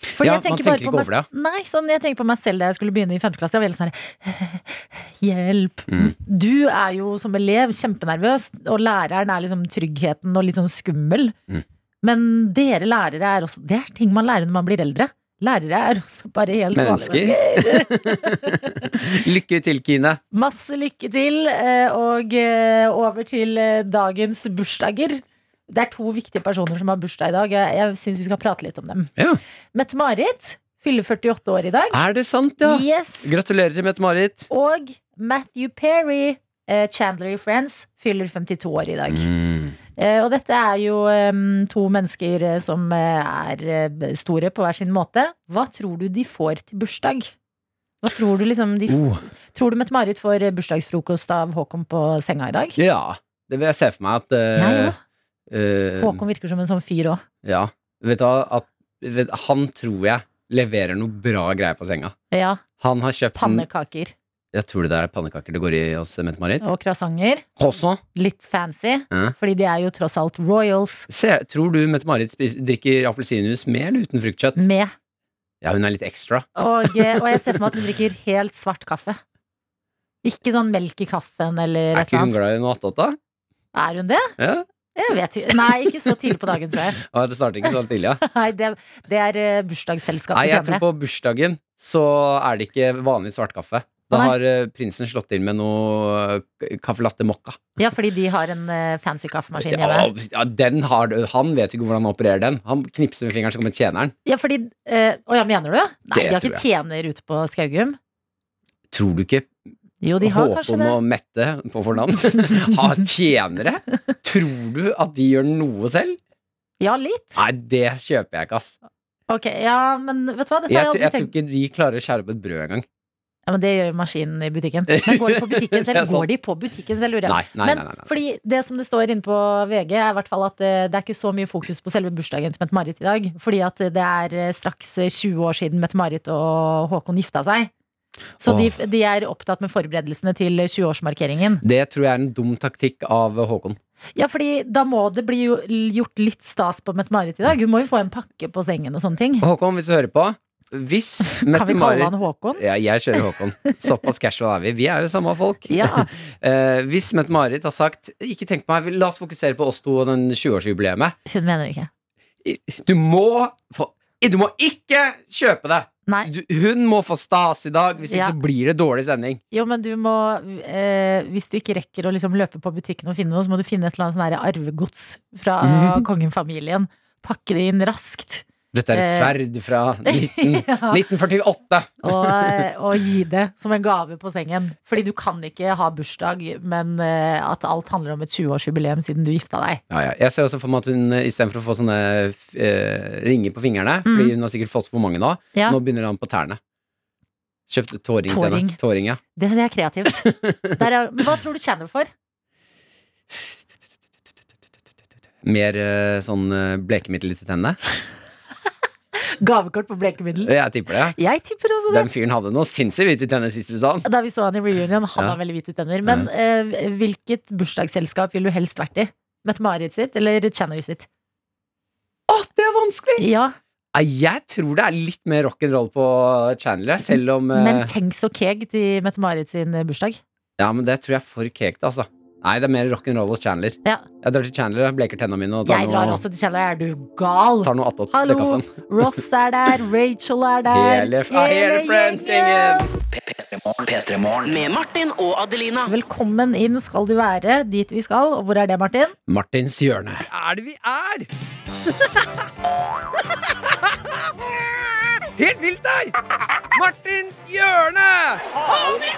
Speaker 2: Fordi
Speaker 3: Ja,
Speaker 2: jeg tenker
Speaker 3: man
Speaker 2: bare
Speaker 3: tenker
Speaker 2: på
Speaker 3: ikke over
Speaker 2: meg, Nei, sånn, jeg tenker på meg selv da jeg skulle begynne i 5. klasse. Jeg var helt sånn her [LAUGHS] Hjelp!
Speaker 3: Mm.
Speaker 2: Du er jo som elev kjempenervøs, og læreren er liksom tryggheten og litt sånn skummel.
Speaker 3: Mm.
Speaker 2: Men dere lærere er også Det er ting man lærer når man blir eldre. Lærere er også bare helt vanlige
Speaker 3: Mennesker. Lykke til, Kine.
Speaker 2: Masse lykke til, eh, og eh, over til eh, dagens bursdager. Det er to viktige personer som har bursdag i dag. Jeg, jeg syns vi skal prate litt om dem.
Speaker 3: Ja.
Speaker 2: Mette-Marit fyller 48 år i dag.
Speaker 3: Er det sant, ja?
Speaker 2: Yes.
Speaker 3: Gratulerer til Mette-Marit.
Speaker 2: Og Matthew Perry, eh, Chandler i Friends, fyller 52 år i dag.
Speaker 3: Mm.
Speaker 2: Eh, og dette er jo em, to mennesker eh, som eh, er eh, store på hver sin måte. Hva tror du de får til bursdag? Hva tror du liksom de
Speaker 3: Oh,
Speaker 2: Tror du Mette-Marit får eh, bursdagsfrokost av Håkon på senga i dag?
Speaker 3: ja. Det vil jeg se for meg at eh,
Speaker 2: Jeg òg.
Speaker 3: eh,
Speaker 2: Håkon virker som en sånn fyr òg.
Speaker 3: Ja. Vet du hva? At, vet, han tror jeg leverer noe bra greier på senga.
Speaker 2: Ja.
Speaker 3: Han har kjøpt en-
Speaker 2: Pannekaker
Speaker 3: Jeg tror det der er pannekaker det går i hos Mette-Marit.
Speaker 2: og croissanter.
Speaker 3: Også.
Speaker 2: Litt fancy,
Speaker 3: Ja.
Speaker 2: fordi de er jo tross alt royals
Speaker 3: Se, tror du Mette-Marit spis- drikker appelsinjuice med eller uten fruktkjøtt?
Speaker 2: med.
Speaker 3: Ja, hun er litt ekstra.
Speaker 2: Og, eh, og jeg ser for meg at hun drikker helt svart kaffe. Ikke sånn melk i kaffen eller
Speaker 3: Er
Speaker 2: et
Speaker 3: ikke
Speaker 2: eller
Speaker 3: hun
Speaker 2: annet.
Speaker 3: glad i noe attåt, da?
Speaker 2: Er hun det?
Speaker 3: Ja.
Speaker 2: Jeg vet ikke. Nei, ikke så tidlig på dagen, tror jeg. [LAUGHS]
Speaker 3: Å, Det starter ikke sånn tidlig, ja.
Speaker 2: Nei, det, det er eh,
Speaker 3: Nei,
Speaker 2: bursdagsselskapet
Speaker 3: jeg tror
Speaker 2: senere.
Speaker 3: på bursdagen så er det ikke vanlig svart kaffe. Da
Speaker 2: Nei.
Speaker 3: har eh, prinsen slått til med noe caffè latte mocca.
Speaker 2: Ja, fordi de har en eh, fancy kaffemaskin hjemme.
Speaker 3: Ja, ja, den har, han vet jo ikke hvordan han opererer den. Han knipser med fingeren, så kommer tjeneren.
Speaker 2: Ja, fordi eh, Å ja, mener du? Nei, de
Speaker 3: Det
Speaker 2: har
Speaker 3: tror
Speaker 2: ikke tjener ute på Skaugum.
Speaker 3: Tror du ikke
Speaker 2: Jo, de har kanskje
Speaker 3: Håkon
Speaker 2: det.
Speaker 3: og Mette på fornavn [LAUGHS] har tjenere? Tror du at de gjør noe selv?
Speaker 2: Ja, litt.
Speaker 3: Nei, det kjøper jeg ikke, ass.
Speaker 2: Ok, ja, men vet du hva? Dette har jeg
Speaker 3: Jeg, jeg,
Speaker 2: aldri
Speaker 3: tror
Speaker 2: tenkt
Speaker 3: ikke de klarer å skjære opp et brød engang.
Speaker 2: ja, men Det gjør jo maskinen i
Speaker 3: [LAUGHS]
Speaker 2: butikken. Men går de på butikken
Speaker 3: Det er
Speaker 2: selv?
Speaker 3: sant.
Speaker 2: Går de på butikken selv, lurer jeg.
Speaker 3: Nei, nei,
Speaker 2: men
Speaker 3: nei, nei, nei.
Speaker 2: fordi det som det står inne på VG, er i hvert fall at eh, det er ikke så mye fokus på selve bursdagen til Mette-Marit i dag. Fordi at det er eh, straks eh, 20 år siden Mette-Marit og Håkon gifta seg. Så de, de er opptatt med forberedelsene til eh, 20-årsmarkeringen.
Speaker 3: Det tror jeg er en dum taktikk av Håkon.
Speaker 2: Ja, fordi da må det bli jo gjort litt stas på Mette-Marit i dag. Hun må jo få en pakke på sengen og sånne ting.
Speaker 3: Håkon, hvis du hører på. Hvis
Speaker 2: [LAUGHS] Kan vi kalle
Speaker 3: Mette-Marit
Speaker 2: han Håkon?
Speaker 3: Ja, jeg kjører Håkon. Såpass casual er vi. Vi er jo samme folk.
Speaker 2: Ja.
Speaker 3: Eh, hvis Mette-Marit har sagt 'ikke tenk på meg, vi- la oss fokusere på oss to og den 20-årsjubileet',
Speaker 2: Hun mener det ikke.
Speaker 3: du må få du må ikke kjøpe det!
Speaker 2: Nei.
Speaker 3: Du, hun må få stas i dag, hvis ikke
Speaker 2: Ja.
Speaker 3: så blir det dårlig sending.
Speaker 2: Jo, men du må eh, Hvis du ikke rekker å liksom løpe på butikken og finne noe, så må du finne et eller annet sånn her arvegods fra kongenfamilien. Pakke det inn raskt.
Speaker 3: Dette er et
Speaker 2: Eh.
Speaker 3: sverd
Speaker 2: [LAUGHS]
Speaker 3: fra 19, 1948.
Speaker 2: Og, og gi det som en gave på sengen. Fordi du kan ikke ha bursdag, men eh, at alt handler om et 20-årsjubileum siden du gifta deg.
Speaker 3: Ja, ja. Jeg ser også for meg at hun eh, istedenfor å få sånne eh, ringer på fingrene, fordi hun har sikkert fått for mange nå,
Speaker 2: Mm. Ja.
Speaker 3: nå begynner han på tærne. Kjøpt tåring, til henne.
Speaker 2: Tåring.
Speaker 3: Tåring, ja.
Speaker 2: Det syns jeg er kreativt. [LAUGHS] Der er, men hva tror du Chandler får?
Speaker 3: Mer eh, sånn eh, blekemiddel til tennene.
Speaker 2: Gavekort på blekemiddel.
Speaker 3: Jeg tipper det.
Speaker 2: Jeg tipper også det.
Speaker 3: Den fyren hadde noe sinnssykt hvite tenner sist vi så han.
Speaker 2: Da vi så han i reunion, han
Speaker 3: Ja.
Speaker 2: har veldig hvite tenner. Men eh, hvilket bursdagsselskap ville du helst vært i? Mette-Marit sitt eller Channery sitt?
Speaker 3: Å, det er vanskelig!
Speaker 2: Ja,
Speaker 3: Nei, Jeg tror det er litt mer rock'n'roll på Chandler, jeg, selv om eh,
Speaker 2: men tenk så keg til Mette-Marit sin bursdag.
Speaker 3: Ja, men det tror jeg er for kekt, altså. Nei, det er mer rock'n'roll hos Chandler.
Speaker 2: Ja.
Speaker 3: Jeg drar til Chandler, jeg bleker tenna mine og tar
Speaker 2: Jeg drar
Speaker 3: noe,
Speaker 2: også til Channery, er du gal?
Speaker 3: tar noe attåt til
Speaker 2: Hallo,
Speaker 3: kaffen.
Speaker 2: Ross er der, Rachel er der.
Speaker 3: Hele, f- ah, hele
Speaker 2: gjengen.
Speaker 3: friendsingen!
Speaker 6: Med Martin og Adelina.
Speaker 2: Velkommen inn skal du være, dit vi skal. Og hvor er det, Martin?
Speaker 3: Martins hjørne. Hvor er det vi er? Helt vilt her! Martins hjørne!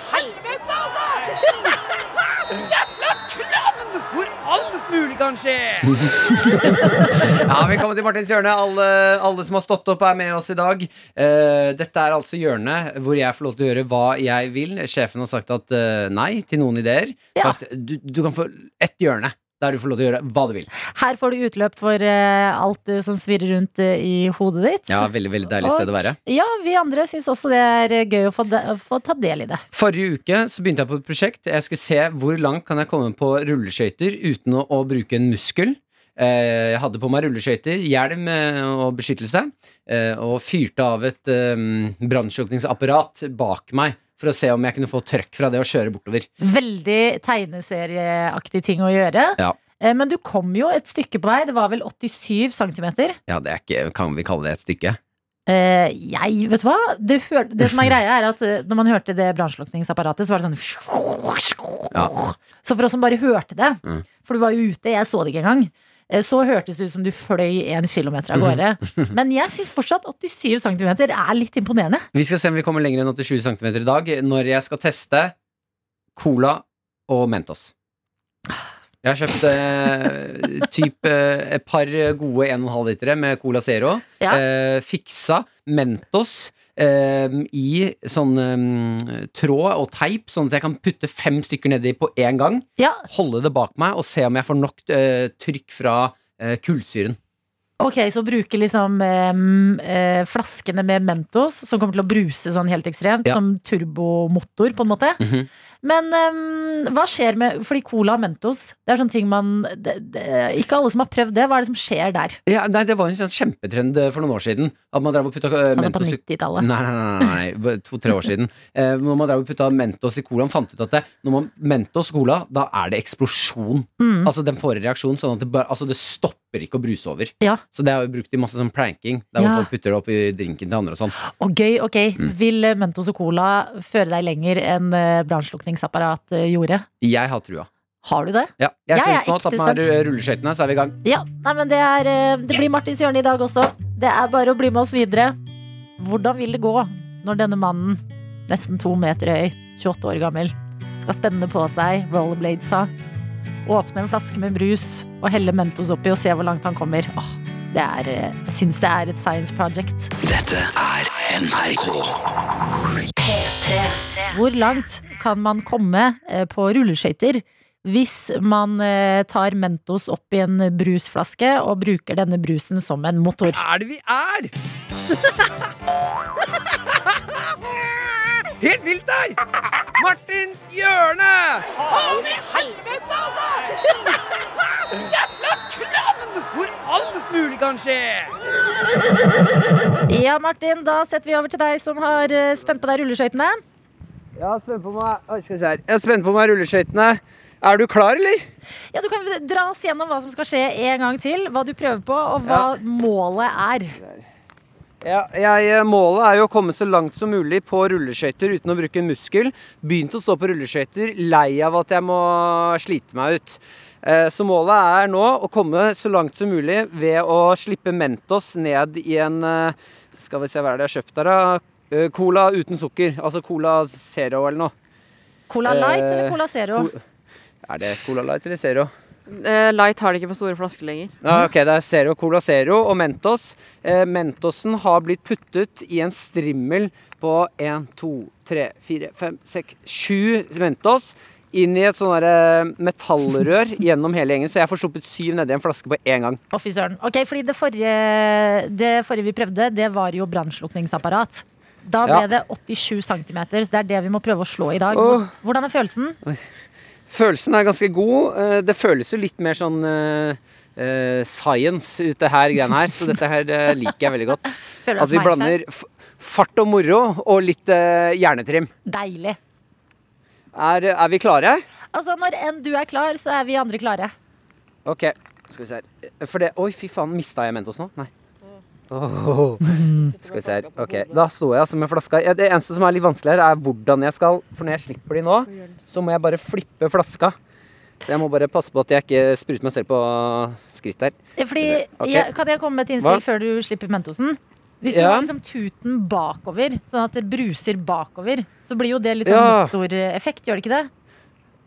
Speaker 3: [LAUGHS] Faen i helvete, altså! Jævla klovn! Hvor alt mulig kan skje! [LAUGHS] ja, Velkommen til Martins hjørne. Alle, alle som har stått opp, er med oss i dag. Eh, dette er altså hjørnet hvor jeg får lov til å gjøre hva jeg vil. Sjefen har sagt at eh, nei til noen ideer.
Speaker 2: Ja.
Speaker 3: Sagt, du, du kan få ett hjørne der du får lov til å gjøre hva du vil.
Speaker 2: Her får du utløp for eh, alt eh, som svirrer rundt eh, i hodet ditt.
Speaker 3: Ja, veldig, veldig deilig sted å være.
Speaker 2: Ja, vi andre syns også det er eh, gøy å få, de, få ta del i det.
Speaker 3: Forrige uke så begynte jeg på et prosjekt. Jeg skulle se hvor langt kan jeg komme på rulleskøyter uten å, å bruke en muskel. Eh, Jeg hadde på meg rulleskøyter, hjelm eh, og beskyttelse, eh, og fyrte av et eh, brannslukningsapparat bak meg for å se om jeg kunne få trøkk fra det og kjøre bortover.
Speaker 2: Veldig tegneserieaktig ting å gjøre.
Speaker 3: Ja.
Speaker 2: Eh, Men du kom jo et stykke på vei. Det var vel 87 cm.
Speaker 3: Ja, det er ikke, Kan vi kalle det et stykke?
Speaker 2: Eh, jeg, vet du hva? Det, hør, det
Speaker 3: [LAUGHS]
Speaker 2: som er greia er at eh, når man hørte det brannslukningsapparatet, så var det sånn
Speaker 3: Ja.
Speaker 2: Så for oss som bare hørte det,
Speaker 3: Mm.
Speaker 2: for du var jo ute, jeg så det ikke engang, eh, så hørtes det ut som du fløy en kilometer av gårde.
Speaker 3: [LAUGHS]
Speaker 2: Men jeg syns fortsatt 87 cm er litt imponerende.
Speaker 3: Vi skal se om vi kommer lenger enn 87 cm i dag når jeg skal teste cola og Mentos. Jeg har kjøpt eh, typ eh, et par gode 1,5 litere med Cola Zero.
Speaker 2: Ja.
Speaker 3: Eh, fiksa Mentos eh, i sånn eh, tråd og teip, sånn at jeg kan putte fem stykker nedi på én gang.
Speaker 2: Ja,
Speaker 3: Holde det bak meg og se om jeg får nok eh, trykk fra eh, kullsyren.
Speaker 2: ok, så bruke liksom em, eh, flaskene med Mentos, som kommer til å bruse sånn helt ekstremt,
Speaker 3: Ja.
Speaker 2: som turbomotor, på en måte.
Speaker 3: Mhm.
Speaker 2: Men ehm, hva skjer med Fordi cola og Mentos, det er sånne ting man det, det, Ikke alle som har prøvd det. Hva er det som skjer der?
Speaker 3: Ja, nei, det var en sånn kjempetrend eh, for noen år siden. At man drev og putta eh,
Speaker 2: Altså på
Speaker 3: Mentos i
Speaker 2: 90-tallet.
Speaker 3: Nei, nei, nei, nei, nei. to-tre år siden. Eh, når man drev og putta Mentos i colaen, fant ut at det, når man Mentos cola, da er det eksplosjon.
Speaker 2: Mm.
Speaker 3: Altså Den får en reaksjon sånn at det, bare, altså, det stopper ikke å bruse over.
Speaker 2: Ja.
Speaker 3: Så det har vi brukt i masse sånn pranking. Der
Speaker 2: Ja.
Speaker 3: hvor folk putter det opp i drinken til andre og sånn.
Speaker 2: Og gøy, ok.
Speaker 3: Mm.
Speaker 2: Vil eh, Mentos og cola føre deg lenger enn eh, brannslukningsapparat eh, gjorde?
Speaker 3: Jeg har trua.
Speaker 2: Har du det?
Speaker 3: Ja, jeg er
Speaker 2: Jeg er
Speaker 3: sulten nå. Ta på
Speaker 2: ekte
Speaker 3: meg rulleskøytene, så er vi i gang.
Speaker 2: Ja. Nei, men det, er, eh, det blir Martins hjørne i dag også. Det er bare å bli med oss videre. Hvordan vil det gå når denne mannen, nesten to meter høy, 28 år gammel, skal spenne på seg rollerblades-a, åpne en flaske med brus og helle Mentos oppi og se hvor langt han kommer? Åh, det er, eh, jeg syns det er et science project. Hvor langt kan man komme eh, på rulleskøyter hvis man eh, tar Mentos opp i en brusflaske og bruker denne brusen som en motor?
Speaker 3: er det vi er? Helt vilt her! Martins hjørne! Faen i helvete, altså! Jævla klovn! Hvor alt mulig kan skje!
Speaker 2: Ja, Martin, da setter vi over til deg som har eh, spent på deg rulleskøytene.
Speaker 3: Jeg har spent på meg, Oi, skal vi se her. Jeg har spent på meg rulleskøytene. Er du klar, eller?
Speaker 2: Ja, Du kan dra oss gjennom hva som skal skje en gang til, hva du prøver på, og hva målet er.
Speaker 3: Ja, jeg, eh, målet er jo å komme så langt som mulig på rulleskøyter uten å bruke en muskel. Begynt å stå på rulleskøyter, lei av at jeg må slite meg ut. Eh, Så målet er nå å komme så langt som mulig ved å slippe Mentos ned i en eh, Skal vi se hva er det jeg har kjøpt der, da? Eh, Cola uten sukker. Altså Cola Zero eller noe.
Speaker 2: Cola Light
Speaker 3: Eh,
Speaker 2: eller Cola Zero?
Speaker 3: Col- Er det Cola Light eller Zero?
Speaker 7: Eh, Light har de ikke på store flasker lenger.
Speaker 3: Ja, ok, det er Zero Cola Zero og Mentos. Eh, Mentosen har blitt puttet i en strimmel på 1, 2, 3, 4, 5, 6, 7 Mentos inn i et sånn derre metallrør gjennom hele gjengen, så jeg får sluppet syv nedi en flaske på én gang.
Speaker 2: Å, fy søren. Ok, fordi det forrige, det forrige vi prøvde, det var jo brannslukningsapparat. Da ble
Speaker 3: Ja.
Speaker 2: det 87 cm, så det er det vi må prøve å slå i dag.
Speaker 3: Åh.
Speaker 2: Hvordan er følelsen?
Speaker 3: Følelsen er ganske god. Eh, Det føles jo litt mer sånn eh, eh, science ute her, greiene her, så dette her eh, liker jeg veldig godt.
Speaker 2: Føler du
Speaker 3: At
Speaker 2: deg
Speaker 3: vi
Speaker 2: som Einstein?
Speaker 3: blander f fart og moro og litt eh, hjernetrim.
Speaker 2: Deilig.
Speaker 3: Er, er vi klare?
Speaker 2: Altså, når enn du er klar, så er vi andre klare.
Speaker 3: Ok, skal vi se her. For det Oi, fy faen, mista jeg Mentos nå? Nei.
Speaker 2: Mm.
Speaker 3: Åh. Skal vi se her. Ok, Da står jeg altså med flaska. Ja, Det eneste som er litt vanskelig her, er hvordan jeg skal For når jeg slipper de nå, så må jeg bare flippe flaska. Så jeg må bare passe på at jeg ikke spruter meg selv på skritt her.
Speaker 2: Fordi,
Speaker 3: Ok.
Speaker 2: jeg, kan jeg komme med et innspill
Speaker 3: Hva?
Speaker 2: før du slipper Mentosen? Hvis du
Speaker 3: Ja.
Speaker 2: har liksom tuten bakover, sånn at det bruser bakover, så blir jo det litt sånn
Speaker 3: Ja.
Speaker 2: motoreffekt, gjør det ikke det?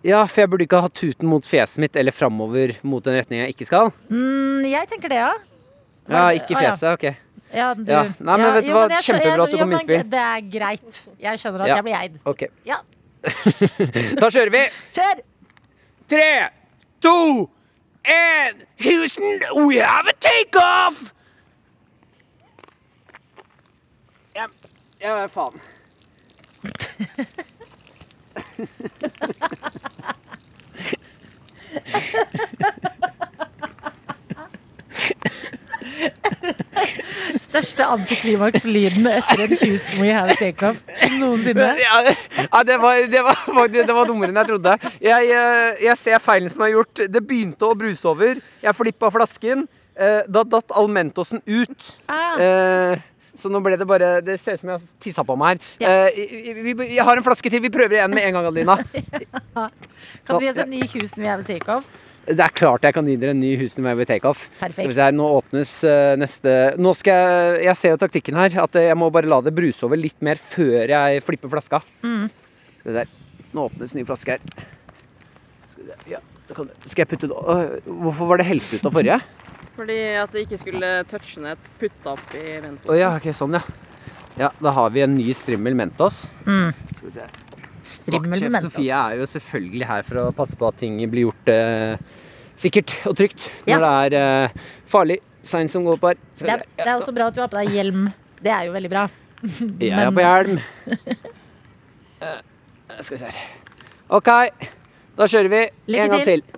Speaker 3: Ja, for jeg burde ikke ha tuten mot fjeset mitt eller framover mot den retningen jeg ikke skal.
Speaker 2: Mm, jeg tenker det, ja.
Speaker 3: Ja,
Speaker 2: det-
Speaker 3: ikke
Speaker 2: ah, ja.
Speaker 3: fjeset. Ok.
Speaker 2: Ja, du.
Speaker 3: Ja. Nei, men vet du
Speaker 2: jo,
Speaker 3: hva?
Speaker 2: men jeg skjø-
Speaker 3: Kjempebra
Speaker 2: jeg-
Speaker 3: at du kom
Speaker 2: ja,
Speaker 3: med
Speaker 2: men
Speaker 3: innspill.
Speaker 2: Det er greit. Jeg skjønner at
Speaker 3: Ja.
Speaker 2: jeg blir eid.
Speaker 3: ok.
Speaker 2: Ja,
Speaker 3: [LAUGHS] Da kjører vi!
Speaker 2: kjør!
Speaker 3: Tre, to, én Houston, we have a takeoff! Ja, ja, hva faen.
Speaker 2: Største antiklimakslyden etter en Houston We Have Takeoff noensinne.
Speaker 3: Ja, ja, det, var, det, var, faktisk- det var dummere enn jeg trodde. Jeg, eh, jeg ser feilen som er gjort. Det begynte å bruse over. Jeg flippa flasken. Eh, Da datt all Mentosen ut.
Speaker 2: Ah.
Speaker 3: Eh, Så nå ble det bare Det ser ut som jeg har tissa på meg her.
Speaker 2: Ja.
Speaker 3: Eh, vi- vi- Jeg har en flaske til. Vi prøver igjen med en gang, Adelina.
Speaker 2: Kan du gi oss en ny Houston We Have Takeoff?
Speaker 3: Det er klart jeg kan gi dere en ny Houston Wave Takeoff.
Speaker 2: Perfekt.
Speaker 3: Skal vi se her, nå åpnes eh, neste Nå skal jeg Jeg ser jo taktikken her. At eh, jeg må bare la det bruse over litt mer før jeg flipper flaska.
Speaker 2: Mm.
Speaker 3: Skal vi se her. Nå åpnes ny flaske her. Skal, vi se. Ja, da kan, du- skal jeg putte det Åh, Hvorfor var det helt ut av forrige?
Speaker 7: Fordi at det ikke skulle touche ned putta opp i
Speaker 3: Å ja, ok, sånn, ja. Ja, da har vi en ny strimmel Mentos. Skal vi se.
Speaker 2: Strimmel
Speaker 3: Sjef
Speaker 2: med Mentos.
Speaker 3: Sofie er jo selvfølgelig her for å passe på at ting blir gjort eh, sikkert og trygt
Speaker 2: Ja.
Speaker 3: når det er eh, farlig. Sein som går på her. Skal
Speaker 2: Det er,
Speaker 3: vi-
Speaker 2: det er også bra at du har på deg hjelm. Det er jo veldig bra.
Speaker 3: Jeg er på [LAUGHS] hjelm. Eh, skal vi se her. OK, da kjører vi
Speaker 2: Lykke
Speaker 3: en gang
Speaker 2: til.
Speaker 3: til.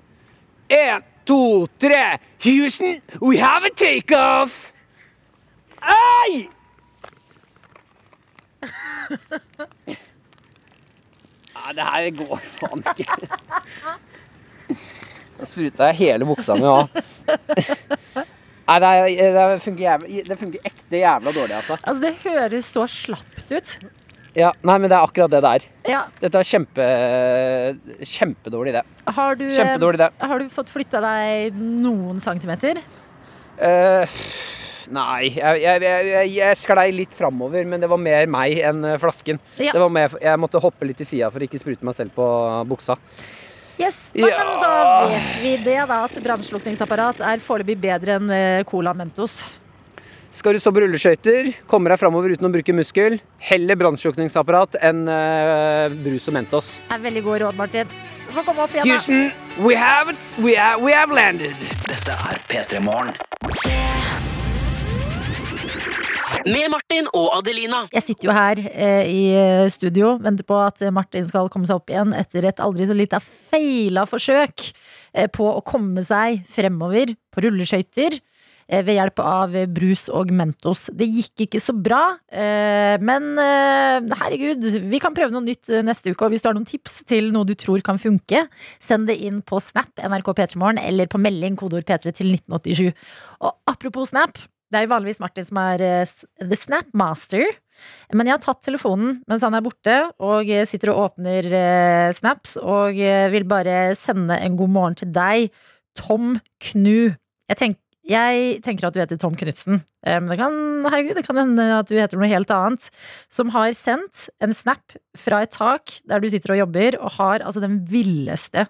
Speaker 3: Én, to, tre. Houston, we have a takeoff!
Speaker 2: [LAUGHS]
Speaker 3: Ei! Nei, det her går faen ikke. Da spruta jeg hele buksa mi
Speaker 2: [LAUGHS]
Speaker 3: òg. Nei, det, er- det funker jævla, det funker ekte jævla dårlig, altså.
Speaker 2: Altså, det høres så slapt ut.
Speaker 3: Ja, nei, men det er akkurat det det er.
Speaker 2: Ja,
Speaker 3: Dette er kjempe, kjempedårlig idé.
Speaker 2: har du, eh,
Speaker 3: Kjempedårlig idé.
Speaker 2: Har du fått flytta deg noen centimeter?
Speaker 3: Eh, nei, jeg, jeg, jeg, jeg- jeg sklei litt framover, men det var mer meg enn eh, flasken.
Speaker 2: Ja.
Speaker 3: Det var mer, jeg måtte hoppe litt til sida for å ikke sprute meg selv på buksa.
Speaker 2: Yes, men
Speaker 3: Ja.
Speaker 2: men da vet vi det, da. At brannslukningsapparat er foreløpig bedre enn eh, Cola Mentos.
Speaker 3: Skal du stå på rulleskøyter, komme deg framover uten å bruke muskel, heller brannslukningsapparat enn eh, brus og Mentos.
Speaker 2: Det er veldig gode råd, Martin. Du får komme opp igjen, da.
Speaker 3: Houston, we have, we have, we have landed!
Speaker 6: Dette er P3 Morgen. Med Martin og Adelina.
Speaker 2: Jeg sitter jo her eh, i eh, studio, venter på at eh, Martin skal komme seg opp igjen etter et aldri så lite feila forsøk eh, på å komme seg fremover på rulleskøyter eh, ved hjelp av eh, brus og Mentos. Det gikk ikke så bra, eh, men eh, herregud, vi kan prøve noe nytt eh, neste uke. Og hvis du har noen tips til noe du tror kan funke, send det inn på Snap NRK P3morgen eller på melding kodeord P3 til 1987. Og apropos Snap. Det er jo vanligvis Martin som er eh, s- the snap master. Men jeg har tatt telefonen mens han er borte, og sitter og åpner eh, snaps, og eh, vil bare sende en god morgen til deg, Tom Knu. Jeg, tenk, jeg tenker at du heter Tom Knutsen, eh, men det kan, herregud, det kan hende at du heter noe helt annet. Som har sendt en snap fra et tak der du sitter og jobber, og har altså den villeste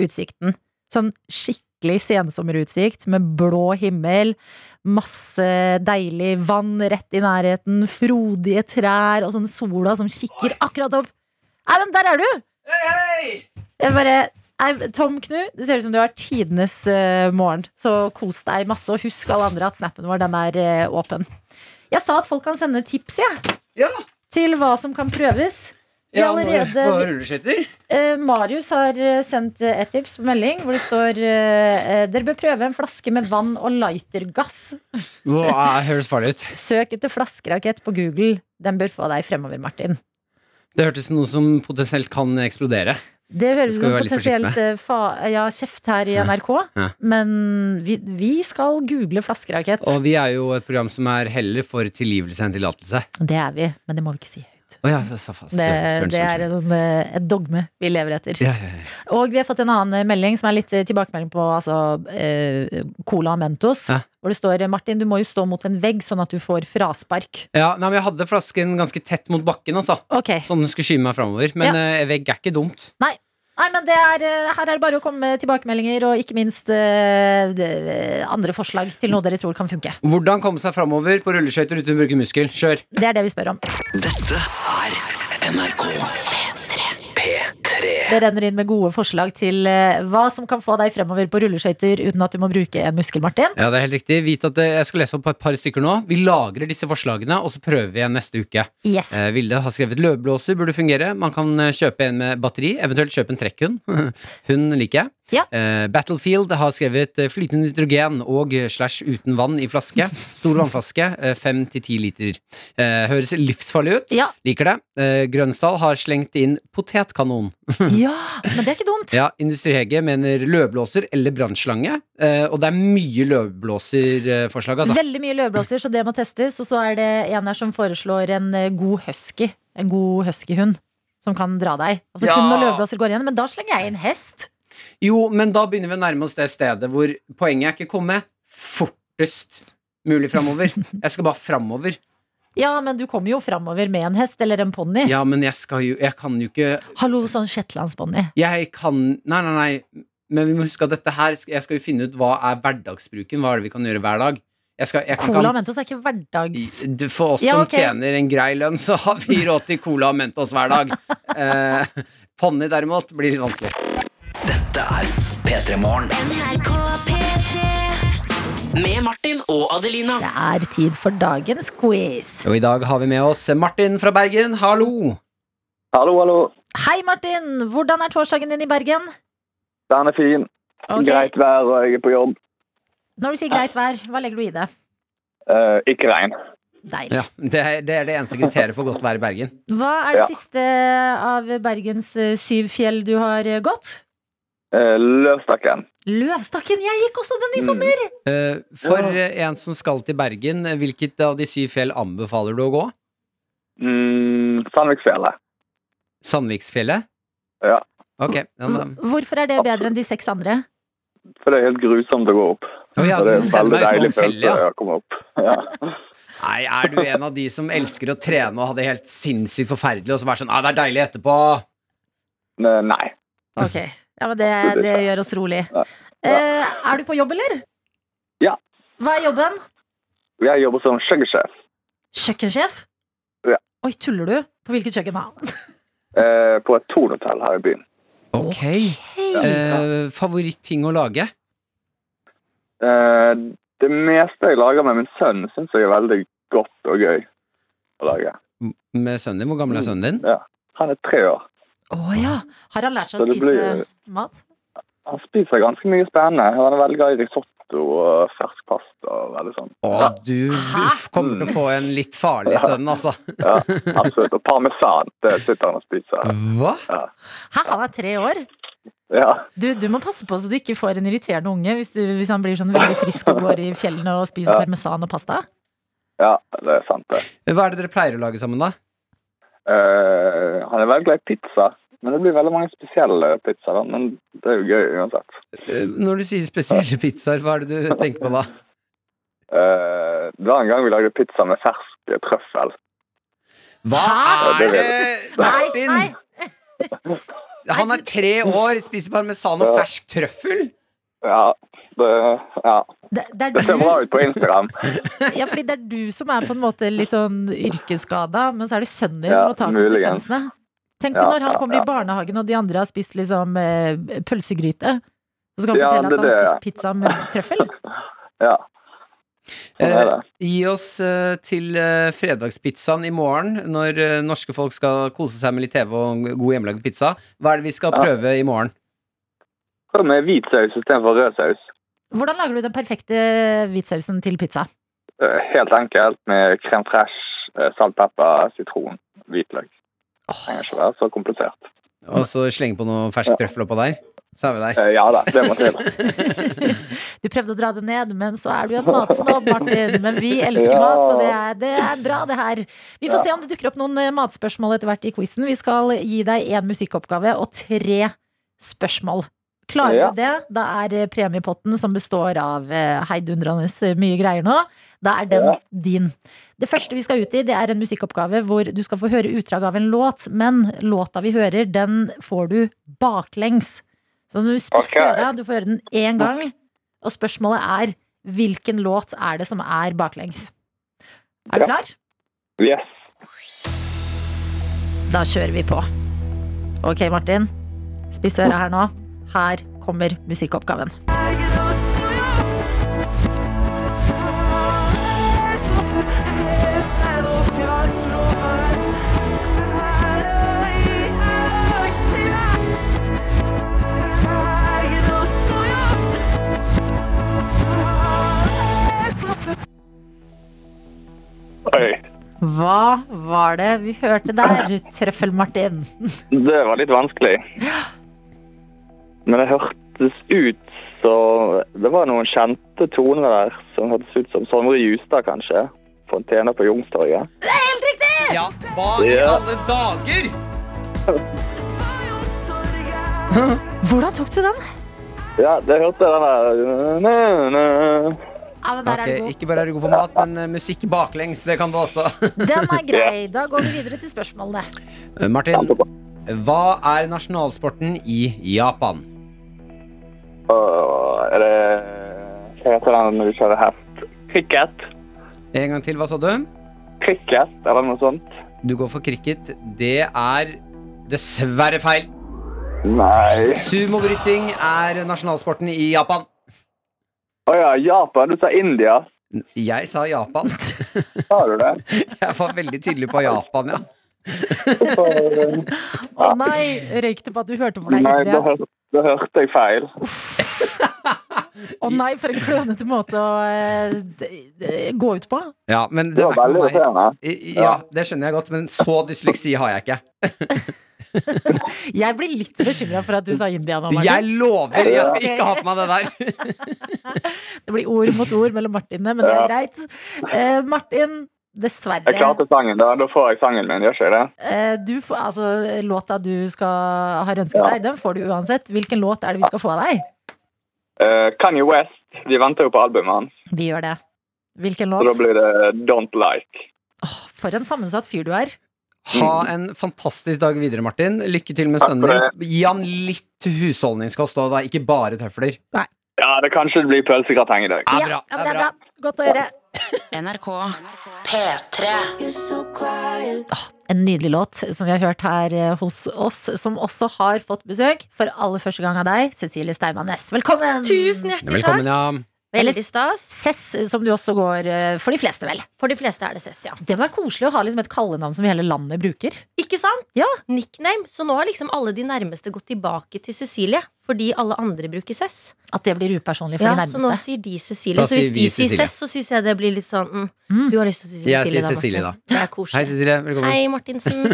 Speaker 2: utsikten. Sånn skikkelig sensommerutsikt med blå himmel, masse deilig vann rett i nærheten, frodige trær og sånn sola som kikker akkurat opp. Nei, men der er du!
Speaker 3: Hei, hei!
Speaker 2: Jeg bare Nei, Tom Knu, det ser ut som du har tidenes eh, morgen. Så kos deg masse, og husk alle andre at snappen vår den er eh, åpen. Jeg sa at folk kan sende tips ja,
Speaker 3: Ja,
Speaker 2: til hva som kan prøves. Vi
Speaker 3: ja
Speaker 2: allerede-
Speaker 3: på, på rulleskøyter.
Speaker 2: Eh, Marius har eh, sendt eh, et tips på melding hvor det står eh, eh, Dere bør prøve en flaske med vann og lightergass.
Speaker 3: Wow, høres farlig ut.
Speaker 2: Søk etter flaskerakett på Google. Den bør få deg fremover, Martin.
Speaker 3: Det hørtes ut som noe som potensielt kan eksplodere.
Speaker 2: Det høres ut
Speaker 3: skal vi
Speaker 2: som
Speaker 3: være litt
Speaker 2: potensielt eh, fa ja, kjeft her i NRK,
Speaker 3: ja.
Speaker 2: men vi, vi skal google flaskerakett.
Speaker 3: Og vi er jo et program som er heller for tilgivelse enn tillatelse.
Speaker 2: Det er vi, men det må vi ikke si høyt.
Speaker 3: Å ja, så, så, faen.
Speaker 2: Det,
Speaker 3: Søren, søren,
Speaker 2: det er
Speaker 3: søren.
Speaker 2: en, eh, et dogme vi lever etter.
Speaker 3: ja, ja, ja.
Speaker 2: Og vi har fått en annen eh, melding som er litt eh, tilbakemelding på altså, eh, Cola og Mentos.
Speaker 3: Ja.
Speaker 2: Hvor det står eh, Martin, du må jo stå mot en vegg sånn at du får fraspark.
Speaker 3: ja, nei, men Jeg hadde flasken ganske tett mot bakken, altså.
Speaker 2: Ok.
Speaker 3: Sånn den skulle skyve meg framover. Men eh, vegg er ikke dumt.
Speaker 2: Nei, men det er, eh, her er det bare å komme med tilbakemeldinger og ikke minst eh, det- andre forslag til noe dere tror kan funke.
Speaker 3: Hvordan komme seg framover på rulleskøyter uten å bruke muskel? Kjør!
Speaker 2: Det er det vi spør om.
Speaker 6: Dette er NRK P3.
Speaker 2: Det renner inn med gode forslag til eh, hva som kan få deg fremover på rulleskøyter uten at du må bruke en muskel, Martin.
Speaker 3: Ja, det er helt riktig. Vit at eh, Jeg skal lese opp et par stykker nå. Vi lagrer disse forslagene, og så prøver vi igjen neste uke.
Speaker 2: Yes.
Speaker 3: Eh, Vilde har skrevet løvblåser burde fungere. Man kan eh, kjøpe en med batteri, eventuelt kjøpe en trekkhund. [LAUGHS] Hund liker jeg.
Speaker 2: Ja.
Speaker 3: Eh, Battlefield har skrevet eh, flytende nitrogen og eh, slash uten vann i flaske. Stor vannflaske, eh, fem til ti liter. Eh, Høres livsfarlig ut.
Speaker 2: Ja.
Speaker 3: Liker det. Eh, Grønsdal har slengt inn potetkanon.
Speaker 2: ja, men det er ikke dumt.
Speaker 3: Ja, Industrihege mener løvblåser eller brannslange. Eh, Og det er mye løvblåserforslag, altså.
Speaker 2: Veldig mye løvblåser, så det må testes. Og så er det en her som foreslår en eh, god husky. En god huskyhund. Som kan dra deg. Altså
Speaker 3: Ja.
Speaker 2: Hund og løvblåser går igjen, men da slenger jeg inn hest.
Speaker 3: Jo, men da begynner vi å nærme oss det stedet hvor poenget er ikke å komme fortest mulig
Speaker 2: [LAUGHS]
Speaker 3: framover. Jeg skal bare framover.
Speaker 2: Ja, men du kommer jo framover med en hest eller en ponni.
Speaker 3: Ja, men jeg skal jo Jeg kan jo ikke
Speaker 2: Hallo, sånn shetlandsponni.
Speaker 3: Jeg kan Nei, nei, nei. Men vi må huske at dette her Jeg skal jo finne ut hva er hverdagsbruken. Hva er det vi kan gjøre hver dag? Jeg skal, jeg kan,
Speaker 2: Cola og Mentos er ikke hverdags...
Speaker 3: I- du- For oss
Speaker 2: Ja,
Speaker 3: som
Speaker 2: ok.
Speaker 3: tjener en grei lønn, så har vi råd til cola og Mentos hver
Speaker 2: [LAUGHS]
Speaker 3: dag. Eh, Ponni derimot blir litt vanskelig.
Speaker 6: Dette er P3 Morgen. Med Martin og Adelina.
Speaker 2: Det er tid for dagens quiz.
Speaker 3: Og i dag har vi med oss Martin fra Bergen. Hallo!
Speaker 8: Hallo, hallo.
Speaker 2: Hei, Martin! Hvordan er torsdagen din i Bergen?
Speaker 8: Den er fin.
Speaker 2: Ok,
Speaker 8: Greit vær, og jeg er på jobb.
Speaker 2: Når du sier greit vær, hva legger du i det?
Speaker 8: Eh, ikke regn.
Speaker 2: Deilig.
Speaker 3: Ja, det, er, det er det eneste kriteriet for godt vær i Bergen.
Speaker 2: Hva er det
Speaker 8: Ja.
Speaker 2: siste av Bergens eh, syv fjell du har eh, gått?
Speaker 8: Uh, Løvstakken.
Speaker 2: Løvstakken! Jeg gikk også
Speaker 5: Mm.
Speaker 2: den i sommer!
Speaker 3: Eh, For eh, en som skal til Bergen, eh, hvilket av de syv fjell anbefaler du å gå?
Speaker 8: Mm, Sandviksfjellet.
Speaker 3: Sandviksfjellet?
Speaker 8: Ja.
Speaker 3: Ok. Ja, da.
Speaker 2: Hv- Hvorfor er det bedre enn de seks andre?
Speaker 8: For det er helt grusomt å gå opp.
Speaker 3: Å ja,
Speaker 8: Og det
Speaker 3: du
Speaker 8: er en
Speaker 3: sender
Speaker 8: veldig
Speaker 3: meg ut
Speaker 8: deilig
Speaker 3: på en felle,
Speaker 8: følelse
Speaker 3: ja.
Speaker 8: å komme opp. Ja.
Speaker 3: Nei, er du en av de som elsker å trene og ha det helt sinnssykt forferdelig, og så være sånn ah, 'Det er deilig etterpå'.
Speaker 8: Ne- Nei.
Speaker 2: Ok, ja, men det, det gjør oss rolig.
Speaker 8: Ja.
Speaker 2: Eh, er du på jobb, eller?
Speaker 8: Ja.
Speaker 2: Hva er jobben?
Speaker 8: Jeg jobber som kjøkkensjef.
Speaker 2: Kjøkkensjef?
Speaker 8: Ja.
Speaker 2: Oi, tuller du? På hvilket kjøkken da?
Speaker 8: eh, på et tornhotell her i byen.
Speaker 3: Ok.
Speaker 2: Hei!
Speaker 3: Eh, Favoritting å lage?
Speaker 8: Eh, det meste jeg lager med min sønn, syns jeg er veldig godt og gøy å lage.
Speaker 3: Med sønnen din? Hvor gammel er sønnen din?
Speaker 8: Han er tre år.
Speaker 2: Å ja! Har han lært seg
Speaker 8: Så
Speaker 2: å
Speaker 8: det
Speaker 2: spise
Speaker 8: blir-
Speaker 2: mat?
Speaker 8: Han spiser ganske mye spennende. Han er veldig glad i risotto og fersk pasta og veldig sånn.
Speaker 3: Å, du f- kommer til å få en litt farlig sønn, altså.
Speaker 8: Ja, absolutt. Og parmesan, det sitter han og spiser.
Speaker 3: Hva?
Speaker 2: Hæ, han er tre år?
Speaker 8: Ja,
Speaker 2: Du, du må passe på så du ikke får en irriterende unge hvis, du, hvis han blir sånn veldig frisk og går i fjellene og spiser
Speaker 8: Ja.
Speaker 2: parmesan og pasta.
Speaker 8: ja det er sant, det.
Speaker 3: Hva er det dere pleier å lage sammen, da?
Speaker 8: Eh, han er veldig glad i pizza, men det blir veldig mange spesielle pizzaer. da, Men det er jo gøy uansett.
Speaker 3: Eh, Når du sier spesielle pizzaer, hva er det du tenker på da?
Speaker 8: Eh, det var en gang vi lagde pizza med fersk trøffel.
Speaker 3: Hva
Speaker 8: Hæ?
Speaker 3: er det,
Speaker 2: Nei,
Speaker 3: Martin?
Speaker 2: nei,
Speaker 3: [LAUGHS] Han er tre år, spiser parmesan og fersk trøffel.
Speaker 8: Ja, det, ja.
Speaker 2: det, det,
Speaker 8: det
Speaker 2: er
Speaker 8: ser bra
Speaker 2: du,
Speaker 8: ut på Instagram.
Speaker 2: ja, fordi det er du som er på en måte litt sånn yrkesskada, men så er det sønnen din
Speaker 8: Ja,
Speaker 2: som må ta
Speaker 8: muligens.
Speaker 2: konsekvensene. Tenk
Speaker 5: Ja,
Speaker 2: når han
Speaker 5: ja,
Speaker 2: kommer
Speaker 5: ja.
Speaker 2: i barnehagen, og de andre har spist liksom eh, pølsegryte. Så skal han
Speaker 5: Ja,
Speaker 2: fortelle at
Speaker 5: det-
Speaker 2: han har
Speaker 5: det-
Speaker 2: spist pizza med trøffel.
Speaker 5: Ja. Sånn er
Speaker 3: Eh,
Speaker 5: det.
Speaker 3: gi oss eh, til eh, fredagspizzaen i morgen, når eh, norske folk skal kose seg med litt TV og en god hjemmelagd pizza. Hva er det vi skal
Speaker 5: Ja.
Speaker 3: prøve i morgen?
Speaker 8: Sånn
Speaker 5: Prøv med hvit saus istedenfor rød saus.
Speaker 2: Hvordan lager du den perfekte hvitsausen til pizza?
Speaker 5: Eh, Helt enkelt med krem fresh, eh, salt, pepper, sitron, hvitløk. Det trenger ikke være så komplisert.
Speaker 3: Og så slenge på noe fersk trøffel oppå der? Så er vi der.
Speaker 5: Eh, Ja da, det må til.
Speaker 2: Du prøvde å dra det ned, men så er du en matsnobb, Martin. Men vi elsker
Speaker 5: Ja.
Speaker 2: mat, så det er, det er bra, det her. Vi får se om det dukker opp noen eh, matspørsmål etter hvert i quizen. Vi skal gi deg én musikkoppgave og tre spørsmål. Klarer
Speaker 5: Ja.
Speaker 2: du det, da er eh, premiepotten, som består av eh, heidundrende eh, mye greier nå, da er den
Speaker 5: Ja.
Speaker 2: din. Det første vi skal ut i, det er en musikkoppgave hvor du skal få høre utdrag av en låt, men låta vi hører, den får du baklengs. Så du spisser
Speaker 5: Ok.
Speaker 2: øra, du får høre den én gang, og spørsmålet er hvilken låt er det som er baklengs? Er du
Speaker 5: Ja.
Speaker 2: klar?
Speaker 5: Yes.
Speaker 2: Da kjører vi på. Ok, Martin. Spiss øra her nå. Her kommer musikkoppgaven.
Speaker 5: Oi.
Speaker 2: Hva var det vi hørte der, Trøffel-Martin?
Speaker 5: Det var litt vanskelig. Men det hørtes ut som Det var noen kjente toner der som hørtes ut som Sondre Justad, kanskje. Fontena på Youngstorget.
Speaker 3: Ja, hva i
Speaker 5: Ja.
Speaker 3: alle dager?!
Speaker 2: Hvordan tok du den?
Speaker 5: Ja, det hørte jeg den der Næ, næ.
Speaker 2: Ja, men der er
Speaker 3: Ok,
Speaker 2: du god.
Speaker 3: ikke bare er du god på mat, men eh, musikk baklengs, det kan du også. [LAUGHS]
Speaker 2: Den er grei. Da går vi videre til spørsmålene.
Speaker 3: Eh, Martin, hva er nasjonalsporten i Japan?
Speaker 5: Åh, Er det Hva heter den når du kjører hest? Cricket?
Speaker 3: En gang til, hva sa du?
Speaker 5: Cricket, eller noe sånt?
Speaker 3: Du går for cricket. Det er dessverre feil.
Speaker 5: Nei.
Speaker 3: Sumobryting er nasjonalsporten i Japan.
Speaker 5: Å ja, Japan. Du sa India.
Speaker 3: Jeg sa Japan. [LAUGHS]
Speaker 5: Sa du det?
Speaker 3: Jeg var veldig tydelig på Japan, ja.
Speaker 5: Hvorfor-
Speaker 2: Å nei, røyk det på at du hørte for deg
Speaker 5: Nei, da
Speaker 2: India.
Speaker 5: hør- da hørte jeg feil.
Speaker 2: Å nei, for en klønete måte å eh, d- d- gå ut på.
Speaker 3: ja men
Speaker 5: Det
Speaker 3: det
Speaker 5: var
Speaker 3: er
Speaker 5: veldig
Speaker 3: ikke meg.
Speaker 5: irriterende.
Speaker 3: I- Ja, det skjønner jeg godt, men så dysleksi har jeg ikke.
Speaker 2: Jeg blir litt bekymra for at du sa India nå,
Speaker 3: Jeg
Speaker 2: Martin.
Speaker 3: lover, jeg skal
Speaker 2: Ja.
Speaker 3: ikke ha på meg det der.
Speaker 5: [LAUGHS]
Speaker 2: Det blir ord mot ord mellom Martinene, men det er
Speaker 5: Ja.
Speaker 2: greit. Eh, Martin, dessverre.
Speaker 5: Jeg klarte sangen, da. Da får jeg sangen min, gjør ikke jeg det?
Speaker 2: Eh, du får, altså, låta du skal, har ønsket
Speaker 5: Ja.
Speaker 2: deg, den får du uansett. Hvilken låt er det vi skal få av deg?
Speaker 5: Eh, Kanye West. Vi venter jo på albumet hans,
Speaker 2: Vi gjør det. Hvilken
Speaker 5: så da
Speaker 2: låt?
Speaker 5: blir det Don't Like.
Speaker 2: Åh, for en sammensatt fyr du er.
Speaker 3: Ha en fantastisk dag videre, Martin. Lykke til med
Speaker 5: Takk for
Speaker 3: sønnen din. Gi han litt husholdningskost òg, da. Ikke bare tøfler.
Speaker 5: Ja, det kanskje det blir pølsegrateng i dag.
Speaker 3: Det er
Speaker 2: Ja,
Speaker 3: bra.
Speaker 2: ja, men
Speaker 3: Det er bra.
Speaker 2: Godt å høre.
Speaker 9: NRK P3
Speaker 2: En nydelig låt som vi har hørt her eh, hos oss, som også har fått besøk for aller første gang av deg, Cecilie Steinmann Næss. Velkommen!
Speaker 10: Tusen hjertelig takk.
Speaker 3: Velkommen, ja.
Speaker 10: Veldig stas.
Speaker 2: Cess, som du også går eh, for de fleste, vel.
Speaker 10: For de fleste er det Cess, ja.
Speaker 2: Det var koselig å ha liksom et kallenavn som hele landet bruker.
Speaker 10: Ikke sant?
Speaker 2: Ja.
Speaker 10: Nickname. Så nå har liksom alle de nærmeste gått tilbake til Cecilie. Fordi alle andre bruker Cess.
Speaker 2: At det blir upersoonlig for
Speaker 10: Ja,
Speaker 2: de
Speaker 10: så nå
Speaker 2: nærmeste.
Speaker 10: sier de Cecilie.
Speaker 3: Da
Speaker 10: Så hvis
Speaker 3: sier vi
Speaker 10: de sier
Speaker 3: Cecilie.
Speaker 10: Cess, så syns jeg det blir litt sånn mm,
Speaker 2: Mm.
Speaker 10: Du har lyst til å si Cecilie,
Speaker 3: Jeg sier
Speaker 10: da,
Speaker 3: Cecilie, da.
Speaker 10: Martin. Det er
Speaker 3: Hei,
Speaker 10: koselig.
Speaker 3: Cecilie. Velkommen.
Speaker 10: Hei, Martinsen.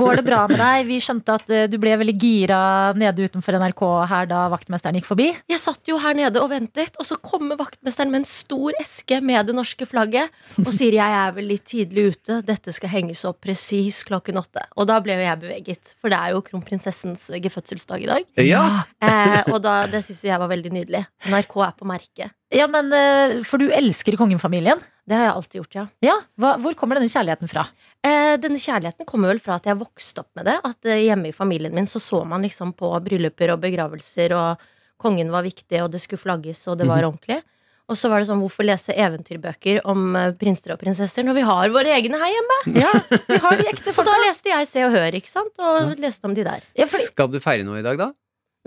Speaker 2: Går det bra med deg? Vi skjønte at eh, du ble veldig gira nede utenfor NRK her da vaktmesteren gikk forbi.
Speaker 10: Jeg satt jo her nede og ventet, og så kommer vaktmesteren med en stor eske med det norske flagget og sier 'jeg er vel litt tidlig ute, dette skal henges opp presis klokken åtte'. Og da ble jo jeg beveget, for det er jo kronprinsessens eh, gefødselsdag i dag.
Speaker 3: Ja.
Speaker 10: Eh, og da, det syns jo jeg var veldig nydelig. NRK er på merket.
Speaker 2: Ja, men eh, For du elsker kongefamilien.
Speaker 10: Det har jeg alltid gjort, ja.
Speaker 2: Ja, hva, Hvor kommer denne kjærligheten fra?
Speaker 10: Eh, denne kjærligheten kommer vel fra at jeg vokste opp med det. At eh, hjemme i familien min så så man liksom
Speaker 2: Mhm.
Speaker 10: på brylluper og begravelser, og kongen var viktig, og det skulle flagges, og det var ordentlig. Og så var det sånn, hvorfor lese eventyrbøker om eh, prinser og prinsesser når vi har våre egne her hjemme?
Speaker 2: [LAUGHS] Ja, vi har de ekte
Speaker 10: [LAUGHS] Så da
Speaker 2: folka.
Speaker 10: leste jeg Se og Hør, ikke sant? Og leste om de der.
Speaker 3: Skal du feire noe i dag, da?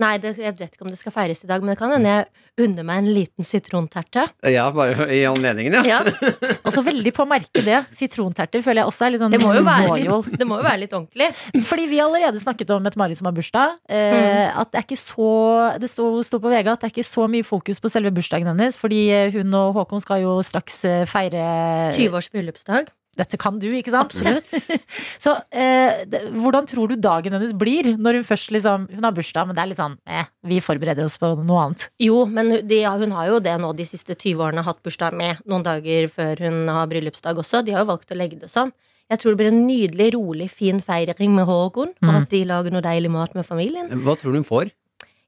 Speaker 10: Nei, det, jeg vet ikke om det skal feires i dag, men det kan hende jeg unner meg en liten sitronterte.
Speaker 3: Ja, bare i anledningen, ja.
Speaker 2: Også veldig på å merke det. Sitronterter føler jeg også er litt sånn
Speaker 10: Det må jo [LAUGHS] være
Speaker 2: royal.
Speaker 10: litt, det må jo være litt ordentlig.
Speaker 2: Fordi vi har allerede snakket om et Mari som har bursdag. Eh,
Speaker 10: Mm.
Speaker 2: At det er ikke så Det sto, sto på VG at det er ikke så mye fokus på selve bursdagen hennes. Fordi eh, hun og Håkon skal jo straks eh, feire
Speaker 10: 20 års bryllupsdag.
Speaker 2: Dette kan du, ikke sant?
Speaker 10: Absolutt.
Speaker 2: [LAUGHS] Så eh, det, hvordan tror du dagen hennes blir når hun først liksom Hun har bursdag, men det er litt sånn eh, Vi forbereder oss på noe annet.
Speaker 10: Jo, men hun- de, ja, hun har jo det nå de siste 20 årene hatt bursdag med noen dager før hun har bryllupsdag også. De har jo valgt å legge det sånn. Jeg tror det blir en nydelig, rolig, fin feiring med Håkon,
Speaker 2: Mm.
Speaker 10: og at de lager noe deilig mat med familien.
Speaker 3: Hva tror du hun får?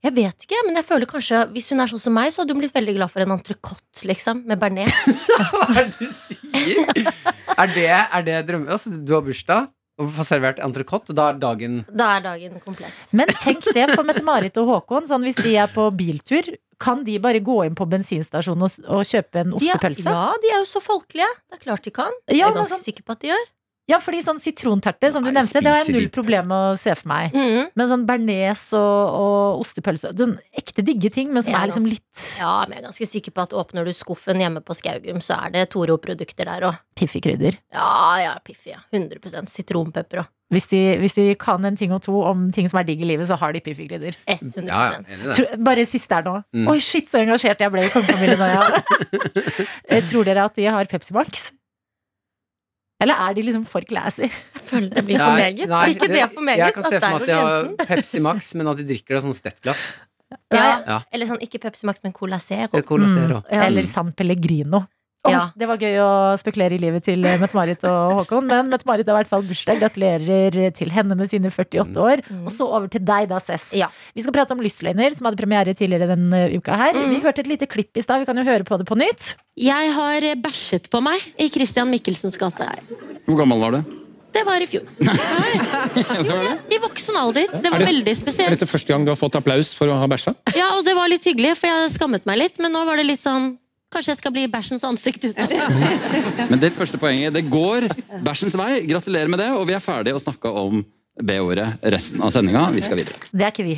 Speaker 10: Jeg vet ikke, men jeg føler kanskje Hvis hun er sånn som meg, så hadde hun blitt veldig glad for en entrecôte, liksom, med bearnés.
Speaker 2: [LAUGHS]
Speaker 3: Hva er det du sier? er det, er det drømme... Altså, du har bursdag og får servert entrecôte, da er dagen
Speaker 10: Da er dagen komplett.
Speaker 2: Men tenk det for Mette-Marit og Håkon. Sånn, hvis de er på biltur, kan de bare gå inn på bensinstasjonen og, s- og kjøpe en
Speaker 10: De er,
Speaker 2: ostepølse?
Speaker 10: ja, de er jo så folkelige. Det er klart de kan. Jeg
Speaker 2: Ja,
Speaker 10: er
Speaker 2: men
Speaker 10: ganske
Speaker 2: sånn-
Speaker 10: sikker på at de gjør.
Speaker 2: Ja, fordi sånn sitronterte, som du
Speaker 3: Nei,
Speaker 2: nevnte, det har jeg
Speaker 3: spiser de-
Speaker 2: null problem med å se for meg.
Speaker 10: Mhm.
Speaker 2: Men sånn bearnés og, og ostepølse Den ekte digge ting, men som
Speaker 10: Ja,
Speaker 2: er liksom
Speaker 10: altså.
Speaker 2: litt
Speaker 10: Ja, men jeg er ganske sikker på at åpner du skuffen hjemme på Skaugum, så er det Toro-produkter der òg.
Speaker 2: piff i krydder.
Speaker 10: Ja, ja, Piffi. Ja. 100 sitronpepper og
Speaker 2: Hvis de, hvis de kan en ting og to om ting som er digg i livet, så har de piff i krydder.
Speaker 10: 100
Speaker 3: Ja, ja, enig i det.
Speaker 2: Tro- Bare siste her nå.
Speaker 3: Mm.
Speaker 2: Oi, shit, så engasjert jeg ble i kongefamilien. nå,
Speaker 3: [LAUGHS]
Speaker 2: ja. Eh, Tror dere at de har Pepsi Max? Eller er de liksom for classy?
Speaker 10: Jeg føler det blir for meget.
Speaker 3: nei,
Speaker 10: blir ikke det for meget?
Speaker 3: Jeg kan se
Speaker 10: At der
Speaker 3: for meg at
Speaker 10: går
Speaker 3: de har
Speaker 10: grensen.
Speaker 3: Pepsi Max, men at de drikker det sånn stettglass.
Speaker 10: Ja.
Speaker 3: Ja.
Speaker 10: Eller sånn, ikke Pepsi Max, men Cola Zero.
Speaker 3: Det er Cola
Speaker 2: Mm.
Speaker 3: Zero.
Speaker 10: Ja.
Speaker 2: Eller San Pellegrino. Åh,
Speaker 10: Ja.
Speaker 2: Det var gøy å spekulere i livet til eh, Mette-Marit og Håkon. Men Mette-Marit har i hvert fall bursdag. Gratulerer eh, til henne med sine 48 år.
Speaker 10: Mm.
Speaker 2: Og så over til deg, da, Cess.
Speaker 10: Ja.
Speaker 2: Vi skal prate om Lystløgner, som hadde premiere tidligere denne eh, uka her.
Speaker 10: Mm.
Speaker 2: Vi hørte et lite klipp i stad. Vi kan jo høre på det på nytt.
Speaker 6: Jeg har bæsjet på meg i Christian Michelsens gate her.
Speaker 11: Hvor gammel var du?
Speaker 6: Det var i fjor.
Speaker 11: [LAUGHS]
Speaker 6: I voksen alder. Det var veldig
Speaker 11: Er
Speaker 6: spesielt.
Speaker 11: dette første gang du har fått applaus for å ha bæsja?
Speaker 6: Ja, og det var litt hyggelig, for jeg skammet meg litt. Men nå var det litt sånn Kanskje jeg skal bli bæsjens ansikt utad.
Speaker 11: Men det første poenget, det går bæsjens vei. Gratulerer med det, og vi er ferdige å snakke om B-ordet resten av sendinga. Vi skal videre.
Speaker 2: Det er ikke vi.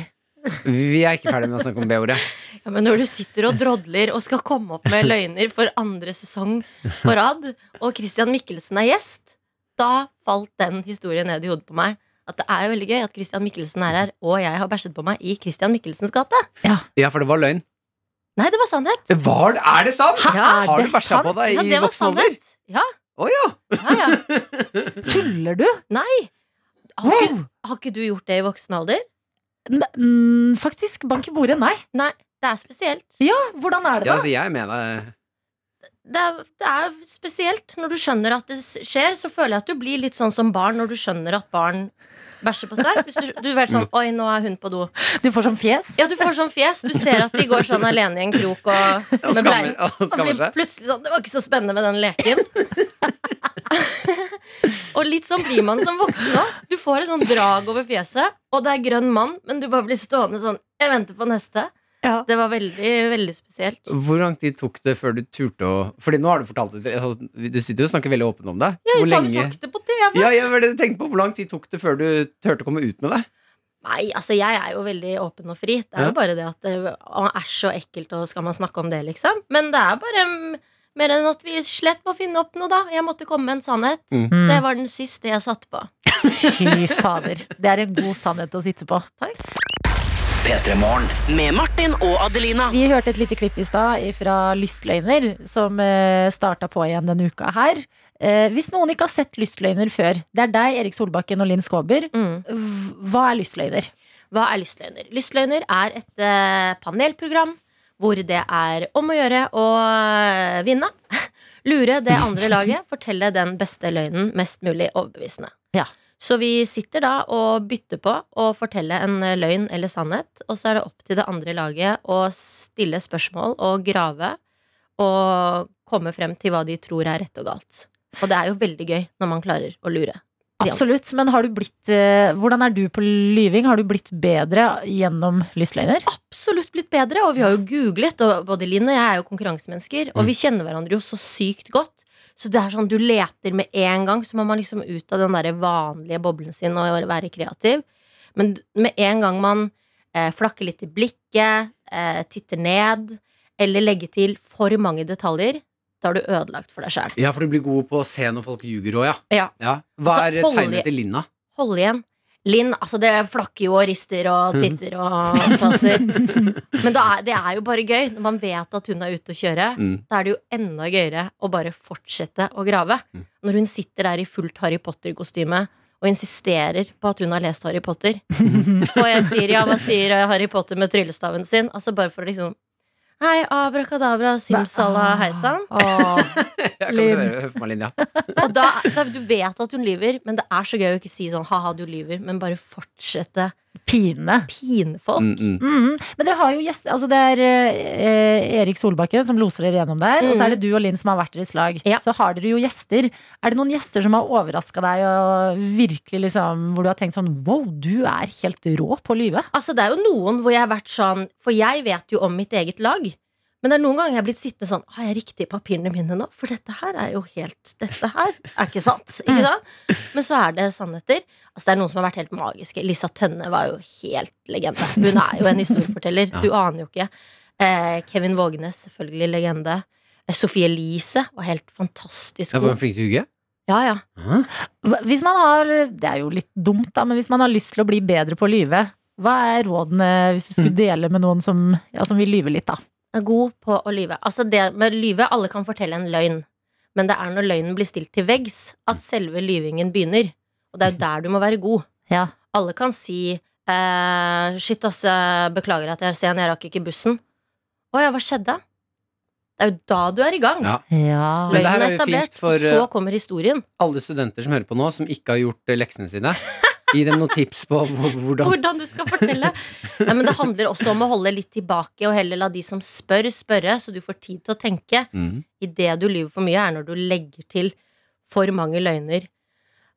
Speaker 3: Vi er ikke ferdig med å snakke om B-ordet.
Speaker 10: Ja, men når du sitter og drodler og skal komme opp med løgner for andre sesong på rad, og Christian Mikkelsen er gjest, da falt den historien ned i hodet på meg. At det er jo veldig gøy at Christian Mikkelsen er her, og jeg har bæsjet på meg i Christian Mikkelsens gate.
Speaker 3: Ja, for det var løgn.
Speaker 10: Nei, det var sannhet.
Speaker 3: Det var det! Er det sant?
Speaker 2: Hæ, er
Speaker 3: har du
Speaker 2: det
Speaker 3: bæsja på
Speaker 2: sant?
Speaker 3: deg
Speaker 10: Ja,
Speaker 3: i
Speaker 10: det var
Speaker 3: voksen alder?
Speaker 10: sannhet. Ja,
Speaker 3: Å ja!
Speaker 10: ja, ja.
Speaker 2: Tuller du?
Speaker 10: Nei! Har,
Speaker 2: Wow.
Speaker 10: ikke, har ikke du gjort det i voksen alder?
Speaker 2: N mm, faktisk, bank i bordet. Nei.
Speaker 10: Nei, det er spesielt.
Speaker 2: Hvordan er det,
Speaker 3: ja
Speaker 2: da?
Speaker 3: altså, jeg er med deg.
Speaker 10: Det er, det er spesielt. Når du skjønner at det s- skjer, så føler jeg at du blir litt sånn som barn når du skjønner at barn bæsjer på seg. Hvis du, du er sånn
Speaker 3: Mm.
Speaker 10: Oi, nå er hun på do.
Speaker 2: Du får sånn fjes.
Speaker 10: [LAUGHS] Ja, du får sånn fjes. Du ser at de går sånn alene i en
Speaker 3: [LAUGHS]
Speaker 10: krok og
Speaker 3: Og
Speaker 10: med
Speaker 3: skammer,
Speaker 10: bleie.
Speaker 3: og
Speaker 10: Og
Speaker 3: skammer
Speaker 10: blir
Speaker 3: seg.
Speaker 10: plutselig sånn Det var ikke så spennende med den leken. [LAUGHS] og litt sånn blir man som voksen nå. Du får et sånn drag over fjeset, og det er grønn mann, men du bare blir stående sånn Jeg venter på neste.
Speaker 2: Ja.
Speaker 10: Det var veldig, veldig spesielt.
Speaker 3: Hvor lang tid tok det før du turte å Fordi nå har du fortalt det. altså, Du sitter jo og snakker veldig åpent om det.
Speaker 10: Jeg
Speaker 3: Hvor
Speaker 10: har jo
Speaker 3: lenge
Speaker 10: sagt det på TV.
Speaker 3: ja, jeg var det jeg tenkte på Hvor lang tid tok det før du turte å komme ut med det?
Speaker 10: Nei, altså jeg er jo veldig åpen og fri. Det
Speaker 3: Ja.
Speaker 10: er jo bare det at det å, er så ekkelt, og skal man snakke om det, liksom? Men det er bare mm, mer enn at vi slett må finne opp noe, da. Jeg måtte komme med en sannhet.
Speaker 3: Mm.
Speaker 10: Det var den siste jeg satte på.
Speaker 2: Fy fader. Det er en god sannhet å sitte på.
Speaker 6: Med Martin og Adelina.
Speaker 2: Vi hørte et lite klipp i stad fra Lystløgner, som eh, starta på igjen denne uka her. Eh, Hvis noen ikke har sett Lystløgner før, det er deg, Erik Solbakken og Linn Skåber.
Speaker 10: Mm.
Speaker 2: V- Hva er Lystløgner?
Speaker 10: Hva er lystløgner? Lystløgner er et eh, panelprogram hvor det er om å gjøre å eh, vinne. [LAUGHS] Lure det andre laget, fortelle den beste løgnen mest mulig overbevisende.
Speaker 2: Ja.
Speaker 10: Så vi sitter da og bytter på å fortelle en eh, løgn eller sannhet, og så er det opp til det andre laget å stille spørsmål og grave og komme frem til hva de tror er rett og galt. Og det er jo veldig gøy når man klarer å lure. Ja.
Speaker 2: Absolutt, men har du blitt, eh, hvordan er du på lyving? Har du blitt bedre gjennom Lystløgner?
Speaker 10: absolutt blitt bedre, og vi har jo googlet, og både Linn og jeg er jo konkurransemennesker, og vi kjenner hverandre jo så sykt godt. Så det er sånn, du leter med en gang, så må man liksom ut av den der vanlige boblen sin og være kreativ. Men med en gang man eh, flakker litt i blikket, eh, titter ned, eller legger til for mange detaljer, da har du ødelagt for deg sjæl.
Speaker 3: Ja, for du blir god på å se når folk ljuger òg, ja.
Speaker 10: Ja.
Speaker 3: ja. Hva
Speaker 10: Altså,
Speaker 3: er
Speaker 10: hold i-
Speaker 3: tegnet til Linna?
Speaker 10: Hold igjen. Linn, altså det flakker jo og rister og titter og passer. Men det er, det er jo bare gøy. Når man vet at hun er ute å kjøre,
Speaker 3: Mm.
Speaker 10: da er det jo enda gøyere å bare fortsette å grave. Når hun sitter der i fullt Harry Potter-kostyme og insisterer på at hun har lest Harry Potter. og jeg sier ja, hva sier eh, Harry Potter med tryllestaven sin? Altså bare for å liksom Hei, abrakadabra, simsala, hei sann.
Speaker 3: Jeg kan
Speaker 10: Linn.
Speaker 3: høre, høre på meg, Linja.
Speaker 10: [LAUGHS] Og da, da, du vet at hun lyver, men det er så gøy å ikke si sånn ha-ha, du lyver, men bare fortsette
Speaker 2: Pine.
Speaker 10: pine folk.
Speaker 2: Mm. Men dere har jo gjester altså Det er eh, Erik Solbakken som loser dere gjennom der. Og så er det du og Linn som har vært deres lag. Så har dere jo gjester. Er det noen gjester som har overraska deg, og virkelig liksom hvor du har tenkt sånn wow, du er helt rå på å lyve?
Speaker 10: Altså, det er jo noen hvor jeg har vært sånn For jeg vet jo om mitt eget lag. Men det er noen ganger jeg har blitt sittende sånn Har jeg riktig i papirene mine nå? For dette her er jo helt Dette her er ikke sant. Ikke sant? Men så er det sannheter. Altså, det er noen som har vært helt magiske. Lisa Tønne var jo helt legende. Hun er jo en historieforteller. Du aner jo ikke. Eh, Kevin Vågenes, selvfølgelig legende. Eh, Sophie Elise var helt fantastisk
Speaker 3: Jeg var
Speaker 10: god.
Speaker 3: flink til å ljuge.
Speaker 10: Ja, ja.
Speaker 2: Hva- Hvis man har, det er jo litt dumt da, men hvis man har lyst til å bli bedre på å lyve, hva er rådene hvis du skulle dele med noen som, ja, som vil lyve litt, da?
Speaker 10: er god på å lyve. Altså det med lyve, alle kan fortelle en løgn. Men det er når løgnen blir stilt til veggs, at selve lyvingen begynner. Og det er jo der du må være god.
Speaker 2: Ja.
Speaker 10: Alle kan si eh, 'Shit, ass, jeg beklager at jeg er sen, jeg rakk ikke bussen'. 'Å ja, hva skjedde?' Det er jo da du er i gang.
Speaker 3: Ja.
Speaker 2: Ja.
Speaker 3: Men det her
Speaker 10: Løgnen
Speaker 3: er
Speaker 10: er
Speaker 3: jo fint
Speaker 10: etablert,
Speaker 3: for,
Speaker 10: og så
Speaker 3: eh,
Speaker 10: kommer historien.
Speaker 3: Alle studenter som hører på nå, som ikke har gjort eh, leksene sine, gi dem noen tips på hvor- hvordan
Speaker 10: Hvordan du skal
Speaker 3: [LAUGHS]
Speaker 10: fortelle. Nei, men det handler også om å holde litt tilbake, og heller la de som spør, spørre, så du får tid til å tenke.
Speaker 11: Mm.
Speaker 10: i det du lyver for mye, er når du legger til for mange løgner.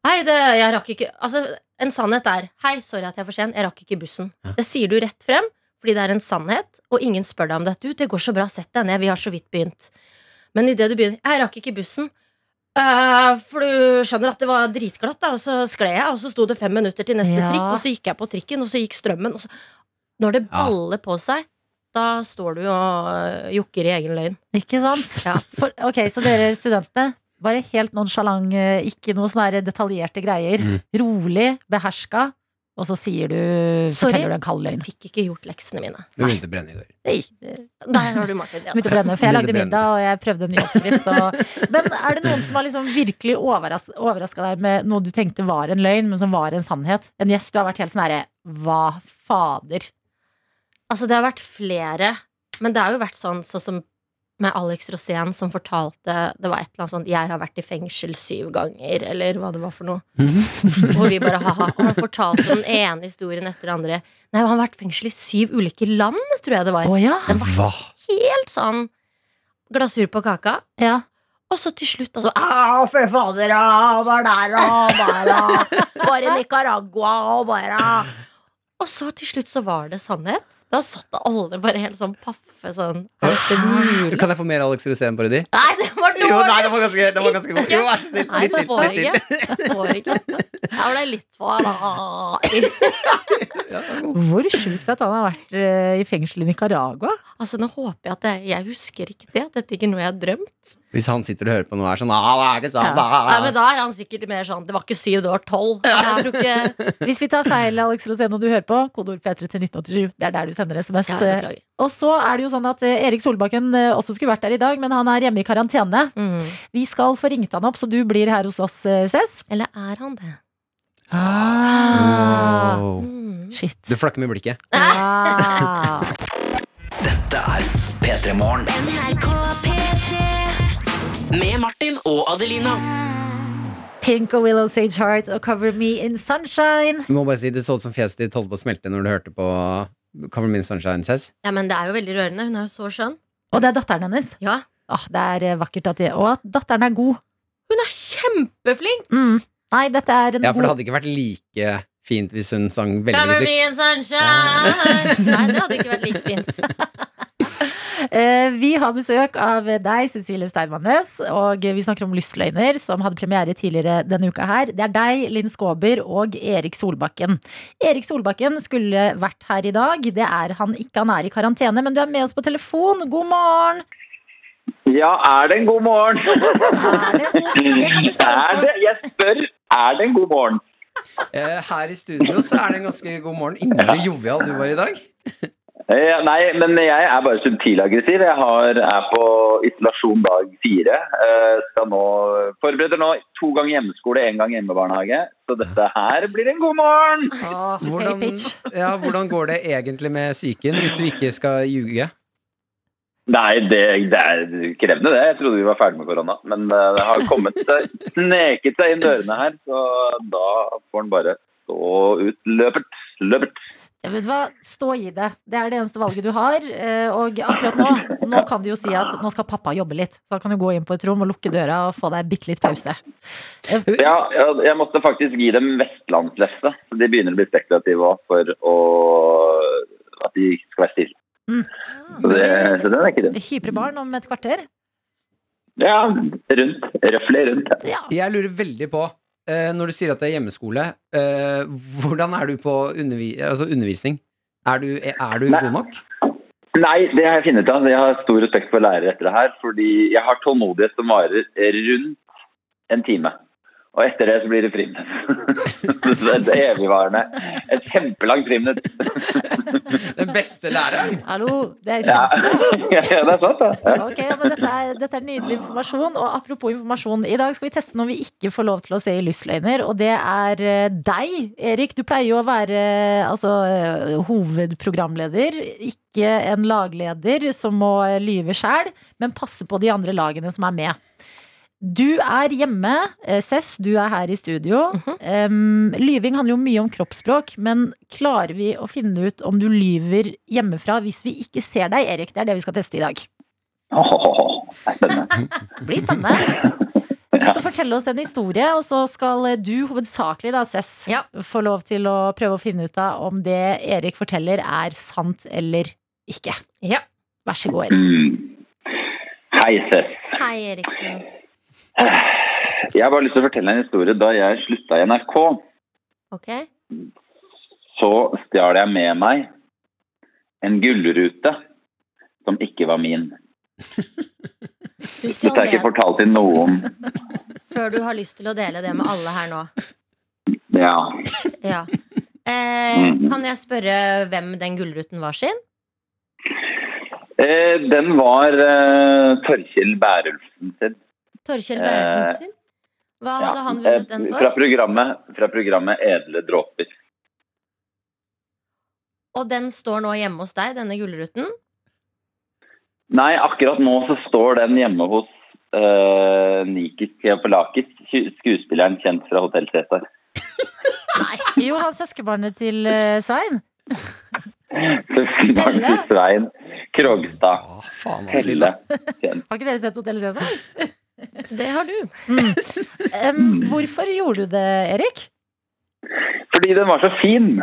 Speaker 10: Nei, det, jeg rakk ikke Altså, en sannhet er Hei, sorry at jeg er for sen, jeg rakk ikke bussen. Det sier du rett frem, fordi det er en sannhet, og ingen spør deg om dette. Du, det går så bra, sett deg ned, vi har så vidt begynt. Men idet du begynner Jeg rakk ikke bussen. «Eh, for du skjønner at det var dritglatt, da, og så skled jeg, og så sto det fem minutter til neste
Speaker 2: Ja.
Speaker 10: trikk, og så gikk jeg på trikken, og så gikk strømmen, og så Når det
Speaker 3: Ja.
Speaker 10: baller på seg, da står du og eh, jokker i egen løgn.
Speaker 2: Ikke sant?
Speaker 10: Ja.
Speaker 2: For, ok, så dere studentene, bare helt nonchalant, eh, ikke noe sånne her detaljerte greier.
Speaker 3: Mm.
Speaker 2: Rolig, beherska, og så sier du
Speaker 10: Sorry.
Speaker 2: Forteller du en kald løgn.
Speaker 10: Fikk ikke gjort leksene mine.
Speaker 3: Du begynte å brenne i går.
Speaker 2: Nei,
Speaker 10: Der har du Martin.
Speaker 2: [LAUGHS]
Speaker 10: Ja.
Speaker 2: begynte å brenne, for jeg
Speaker 3: Begynte å
Speaker 2: lagde
Speaker 3: brenne.
Speaker 2: middag, og jeg prøvde en ny oppskrift. Og... Men er det noen som har liksom virkelig overraska deg med noe du tenkte var en løgn, men som var en sannhet? En gjest du har vært helt sånn herre Hva fader?
Speaker 10: Altså, det har vært flere, men det har jo vært sånn, sånn som med Alex Rosén, som fortalte Det var et eller annet sånn 'Jeg har vært i fengsel syv ganger', eller hva det var
Speaker 2: [LAUGHS]
Speaker 10: for noe. Hvor vi bare ha-ha. Og han fortalte den ene historien etter den andre. Nei, han har vært i fengsel i syv ulike land, tror jeg det var.
Speaker 2: Å ja?
Speaker 3: Hva?
Speaker 10: Helt sånn glasur på kaka.
Speaker 2: ja.
Speaker 10: Og så til slutt, altså Au, fy fader, au, var der, au, [LAUGHS] bare, au, var i Nicaragua, au, bare au». Og så til slutt så var det sannhet. Da satt alle bare helt sånn paffe sånn. Er det mulig?
Speaker 3: Kan jeg få mer Alex Rosén-parodi?
Speaker 10: Nei, det var
Speaker 3: Jo, nei,
Speaker 10: dårlig!
Speaker 3: det var ganske, det var ganske god. Jo, vær så snill.
Speaker 10: Nei,
Speaker 3: Litt
Speaker 10: det
Speaker 3: til.
Speaker 10: får
Speaker 3: Litt til.
Speaker 10: ikke. Det får ikke. Her ble jeg litt for
Speaker 2: Hvor sjukt at han har vært eh, i fengsel i Nicaragua.
Speaker 10: Altså, nå håper jeg at jeg, jeg husker ikke det. Dette er ikke noe jeg har drømt.
Speaker 3: Hvis han sitter og hører på noe og er sånn «Ah, hva er det sånn?
Speaker 2: Ja.
Speaker 10: Nei, men
Speaker 3: Ah.
Speaker 10: Da er han sikkert mer sånn Det var ikke syv, det var tolv. Jeg tror ikke
Speaker 2: Hvis vi tar feil, Alex Rosén, og du hører på, kodeord P3 til 1987. Det er der du sender SMS.
Speaker 10: Ja, beklager.
Speaker 2: Og så er det jo sånn at eh, Erik Solbakken eh, også skulle vært der i dag, men han er hjemme i karantene.
Speaker 10: Mm.
Speaker 2: Vi skal få ringt han opp, så du blir her hos oss, eh, Cess.
Speaker 10: Eller er han det?
Speaker 2: Ah.
Speaker 3: Wow.
Speaker 10: Mm.
Speaker 2: Shit. [LAUGHS]
Speaker 3: Du flakker med blikket.
Speaker 2: Ah.
Speaker 6: NRK P3
Speaker 12: Med Martin og Adelina.
Speaker 2: Pink og Willow Sage Heart og Cover Me in Sunshine.
Speaker 3: Du må bare si Det så ut som fjeset ditt holdt på å smelte når du hørte på Cover Me in Sunshine Says.
Speaker 10: Ja, men det er jo veldig rørende. Hun er jo så skjønn.
Speaker 2: Og det er datteren hennes.
Speaker 10: Ja.
Speaker 2: Åh, det er eh, vakkert at de, Og at datteren er god.
Speaker 10: Hun er kjempeflink!
Speaker 2: Mm. Nei, dette er en
Speaker 3: Ja, for det
Speaker 2: god
Speaker 3: hadde ikke vært like fint hvis hun sang veldig
Speaker 6: Cover me
Speaker 3: musikk.
Speaker 6: in sunshine. Nei, det hadde ikke vært like fint.
Speaker 2: Eh, Vi har besøk av deg, Cecilie Steinmannes, og vi snakker om Lystløgner, som hadde premiere tidligere denne uka her. Det er deg, Linn Skåber og Erik Solbakken. Erik Solbakken skulle vært her i dag. Det er han ikke, han er i karantene, men du er med oss på telefon. God morgen!
Speaker 5: Ja, er det en god morgen? er det? Jeg spør, er det en god morgen?
Speaker 3: Eh, Her i studio så er det en ganske god morgen. Innmari jovial du var i dag.
Speaker 5: Eh, Nei, men jeg er bare subtilaggressiv. Jeg har, er på isolasjon dag fire. Eh, Skal nå, forbereder nå to ganger hjemmeskole, én gang hjemmebarnehage. Så dette her blir en god morgen!
Speaker 3: Hvordan, ja, hvordan går det egentlig med psyken, hvis du ikke skal ljuge?
Speaker 5: Nei, det, det er krevende det. Jeg trodde vi var ferdig med korona. Men eh, det har kommet seg, sneket seg inn dørene her, så da får den bare stå ut. Løpert, løpert.
Speaker 2: Ja, Vet du hva, stå i det. Det er det eneste valget du har. eh, Og akkurat nå, nå kan du jo si at nå skal pappa jobbe litt. Så da kan du gå inn på et rom og lukke døra og få deg bitte litt pause.
Speaker 5: Ja, jeg, jeg måtte faktisk gi dem vestlandslefse. Så de begynner å bli spekulative også for å, at de skal være stille.
Speaker 2: Mm.
Speaker 5: Så, det, så den er ikke dum.
Speaker 2: Hypre barn om et kvarter.
Speaker 5: Ja, rundt. Røffelig rundt.
Speaker 3: Jeg lurer veldig på, eh, når du sier at det er hjemmeskole, eh, hvordan er du på undervi altså undervisning? Er du, er du god nok?
Speaker 5: Nei, det har jeg funnet ut av. Jeg har stor respekt for lærere etter det her. Fordi jeg har tålmodighet som varer rundt en time. Og etter det så blir det friminutt. [LAUGHS] Så det er evigvarende. Et kjempelangt friminutt.
Speaker 3: Den beste læreren?
Speaker 2: Hallo, det er jo
Speaker 5: Ja. [LAUGHS] ja, det er sant, det. Ja.
Speaker 2: Ok, ja, men dette er, dette er nydelig informasjon. Og apropos informasjon, i dag skal vi teste noe vi ikke får lov til å se i Lystløgner, og det er eh, deg, Erik. Du pleier jo å være eh, altså, eh, hovedprogramleder, ikke en lagleder som må eh, lyve sjæl, men passe på de andre lagene som er med. Du er hjemme, eh, Cess, du er her i studio. Em, lyving handler jo mye om kroppsspråk, men klarer vi å finne ut om du lyver hjemmefra hvis vi ikke ser deg, Erik? Det er det vi skal teste i dag. Det blir spennende. Du skal fortelle oss en historie, og så skal eh, du hovedsakelig, da, Cess, få lov til å prøve å finne ut av om det Erik forteller, er sant eller ikke. Vær så god,
Speaker 5: [LAUGHS]
Speaker 2: Erik.
Speaker 5: Mm. Hei, Sess.
Speaker 6: Hei, Eriksen.
Speaker 5: Jeg har bare lyst til å fortelle en historie. Da jeg slutta i NRK,
Speaker 6: Ok?
Speaker 5: så stjal jeg med meg en gullrute som ikke var min.
Speaker 6: Du
Speaker 5: Dette har jeg ikke
Speaker 6: stjal det
Speaker 5: fortalt til noen.
Speaker 6: før du har lyst til å dele det med alle her nå.
Speaker 5: Ja.
Speaker 6: Ja.
Speaker 5: Mm,
Speaker 6: Eh, kan jeg spørre hvem den gullruten var sin?
Speaker 5: Eh, den var eh, Torkjell Bærulfsen sin.
Speaker 6: Torkjell
Speaker 5: Eh,
Speaker 6: Bærelsen sin? Hva
Speaker 5: Ja.
Speaker 6: hadde Ah, han vunnet den
Speaker 5: Eh, Fra
Speaker 6: for?
Speaker 5: programmet, fra programmet Edle dråper.
Speaker 6: Og den står nå hjemme hos deg, denne gullruten?
Speaker 5: Nei, akkurat nå så står den hjemme hos eh, Nikis Keopolakis, sku- skuespilleren kjent fra Hotell Cæsar.
Speaker 2: Jo, han søskenbarnet til eh, Svein.
Speaker 5: Søskenbarn til Svein Krogstad. Helle. Kjent.
Speaker 2: Har ikke dere sett Hotell Cæsar?
Speaker 6: Det har du.
Speaker 2: Em, hvorfor gjorde du det, Erik?
Speaker 5: Fordi den var så fin.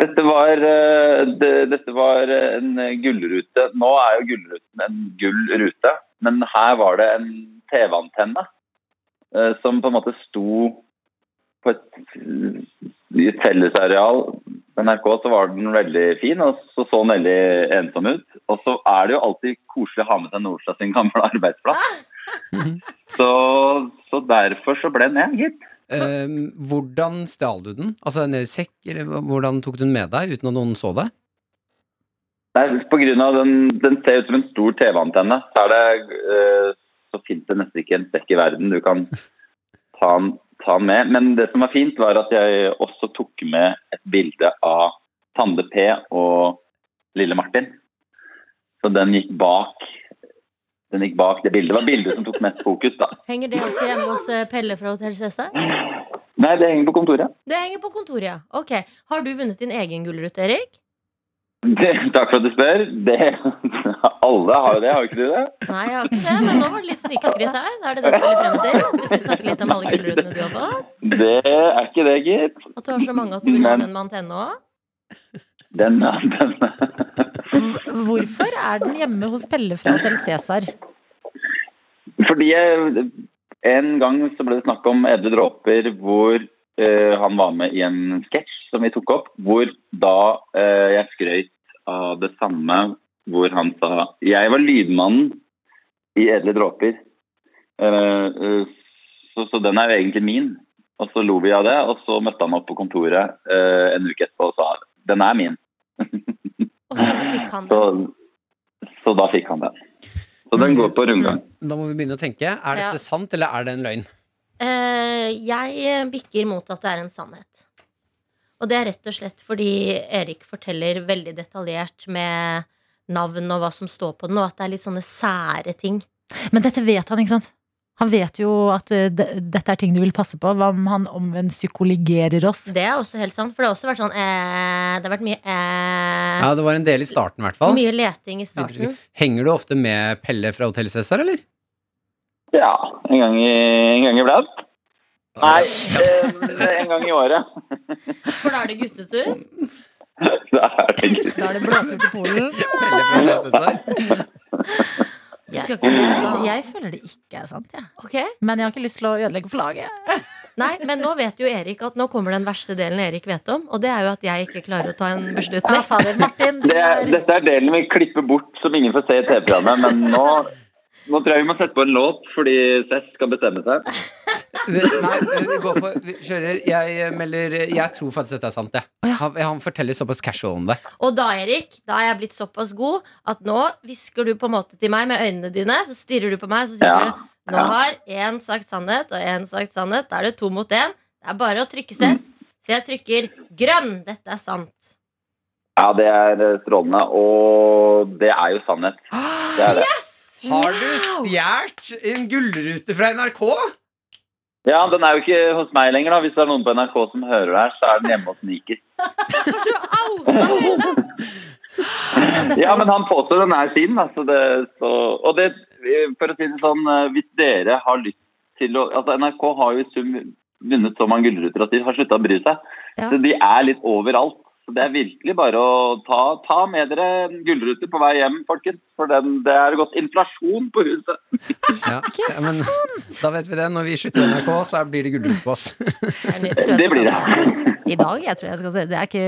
Speaker 5: Dette var, eh, det- dette var eh, en gullrute. Nå er jo gullruten en gull rute, men her var det en TV-antenne eh, som på en måte sto på et, i et fellesareal på NRK, så var den veldig fin, og så så den veldig ensom ut. Og så er det jo alltid koselig å ha med seg Nordstad sin gamle arbeidsplass. Så, så derfor så ble den med, gitt.
Speaker 3: Eh, hvordan stjal du den? Altså ned i sekk, eller hva- hvordan tok du den med deg uten at noen så det?
Speaker 5: Nei, på grunn av den, den ser ut som en stor TV-antenne. Så, er det, eh, så finnes det nesten ikke en sekk i verden du kan ta den, ta den med. Men det som var fint, var at jeg også tok med et bilde av Tande P og lille Martin. Så den gikk bak, den gikk bak det bildet. Det var bildet som tok mest fokus, da.
Speaker 6: Henger det også hjemme hos eh, Pelle fra Hotell Cæsar?
Speaker 5: Nei, det henger på kontoret.
Speaker 6: Det henger på kontoret, ja. Ok. Har du vunnet din egen gullrute, Erik?
Speaker 5: Det, takk for at du spør. Det har Alle har jo det, har jo ikke de det?
Speaker 6: Nei, jeg har ikke det, men nå var det litt snikskritt her. Da er det det du ville frem til? At vi skulle snakke litt om alle gullrutene du har fått?
Speaker 5: Det er ikke det, gitt.
Speaker 6: At du har så mange at du vil ha den med antenne òg?
Speaker 5: Den, den.
Speaker 2: Hvorfor er den hjemme hos Pelle fra Hotell Cæsar?
Speaker 5: Fordi jeg, en gang så ble det snakk om edle dråper hvor eh, han var med i en sketsj som vi tok opp, hvor da eh, jeg skrøt av det samme hvor han sa Jeg var lydmannen i edle dråper. Eh, eh, så, så den er jo egentlig min. Og så lo vi av det, og så møtte han opp på kontoret eh, en uke etterpå og sa den er min.
Speaker 10: Fikk han
Speaker 5: Så, så da fikk han den. Så den går på rundgang.
Speaker 3: Da må vi begynne å tenke. Er
Speaker 6: Ja.
Speaker 3: dette sant, eller er det en løgn?
Speaker 6: Eh, jeg bikker mot at det er en sannhet.
Speaker 10: Og det er rett og slett fordi Erik forteller veldig detaljert med navn og hva som står på den, og at det er litt sånne sære ting.
Speaker 2: Men dette vet han, ikke sant? Han vet jo at eh, de- dette er ting du vil passe på. Hva om han omvendt psykologerer oss?
Speaker 10: Det er også helt sant, for det har også vært sånn eh, Det har vært mye eh,
Speaker 3: Ja, det var en del i starten, i hvert fall.
Speaker 10: Mye leting i starten.
Speaker 3: Henger du ofte med Pelle fra Hotell Cæsar, eller?
Speaker 5: Ja, en gang, i, en gang iblant. Nei, eh, en gang i året.
Speaker 10: For da er det guttetur.
Speaker 5: Da er det ikke
Speaker 2: Da er det blåtur til Polen. Jeg,
Speaker 10: Skal ikke si det sant.
Speaker 2: jeg føler det ikke er sant, jeg. Men jeg har ikke lyst til å ødelegge flagget.
Speaker 10: Nei, men nå vet jo Erik at nå kommer den verste delen Erik vet om, og det er jo at jeg ikke klarer å ta en beslutning.
Speaker 2: Ja, fader, Martin,
Speaker 5: det er, Dette er delen vi klipper bort som ingen får se i TV-programmet, men nå, nå tror jeg vi må sette på en låt fordi Seth skal bestemme seg.
Speaker 3: Nei, vi går for vi Kjører. Jeg eh, melder Jeg tror faktisk dette er sant, jeg. Han, han forteller såpass casual om det.
Speaker 10: Og da, Erik, da er jeg blitt såpass god at nå hvisker du på en måte til meg med øynene dine, så stirrer du på meg, så sier
Speaker 3: Ja,
Speaker 10: du Nå
Speaker 3: ja.
Speaker 10: har én sagt sannhet og én sagt sannhet. Da er det to mot én. Det er bare å trykke
Speaker 5: Mm.
Speaker 10: ses. Så jeg trykker grønn. Dette er sant.
Speaker 5: Ja, det er strålende, og det er jo sannhet. Det er det.
Speaker 3: Har du stjålet en gullrute fra NRK?
Speaker 5: Ja, den er jo ikke hos meg lenger, da. Hvis det er noen på NRK som hører det her, så er den hjemme hos Niker. Ja, men han påstår den er sin, da. Så det, så, og det, for å si det sånn, eh, hvis dere har lyst til å Altså, NRK har jo i sum vunnet så mange gullruter at de har slutta å bry seg.
Speaker 2: Ja.
Speaker 5: Så de er litt overalt. Så det er virkelig bare å ta, ta med dere en gullrute på vei hjem, folkens. For den, det er gått inflasjon på huset.
Speaker 3: Ja, ja, men da vet vi det. Når vi slutter i NRK, så blir det gullrute på oss.
Speaker 5: Det blir det.
Speaker 2: I dag, jeg tror jeg skal se. Det er ikke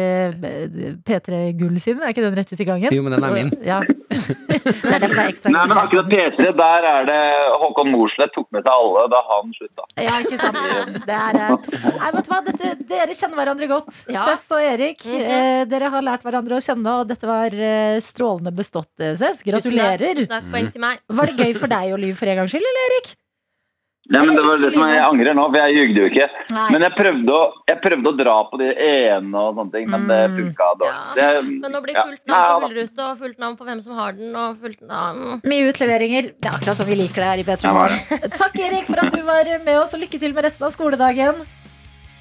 Speaker 2: P3 Gull sin, er ikke den rett ut i gangen?
Speaker 5: Jo, men den er min.
Speaker 2: Ja. [LAUGHS] Det er derfor det er ekstra
Speaker 5: Nei, men akkurat P3, der er det Håkon Mosleth tok med seg alle da han slutta.
Speaker 2: Ja, ikke sant. Det er, eh, nei, vet du hva? Dette, dere kjenner hverandre godt. Cess og Erik.
Speaker 10: Mhm.
Speaker 2: eh, dere har lært hverandre å kjenne, og dette var eh, strålende bestått, eh, Cess. Gratulerer.
Speaker 10: Tusen takk. Tusen takk,
Speaker 5: Mm.
Speaker 10: poeng til meg.
Speaker 2: Var det gøy for deg å lyve for en gangs skyld, eller Erik?
Speaker 5: Nei, men det var det som jeg angrer nå, for jeg jugde jo ikke.
Speaker 2: Nei.
Speaker 5: Men jeg prøvde, å, jeg prøvde å dra på det ene og sånne ting, men det funka dårlig. Det-
Speaker 10: Men nå blir
Speaker 5: ja.
Speaker 10: fullt
Speaker 5: Nei,
Speaker 10: navn på
Speaker 5: da.
Speaker 10: gullrute og fullt navn på hvem som har den, og fullt navn
Speaker 2: Mye utleveringer. Det er akkurat som vi liker det her i P3
Speaker 5: Ja, var
Speaker 2: Morgen. [LAUGHS] Takk, Erik, for at du var med oss, og lykke til med resten av skoledagen.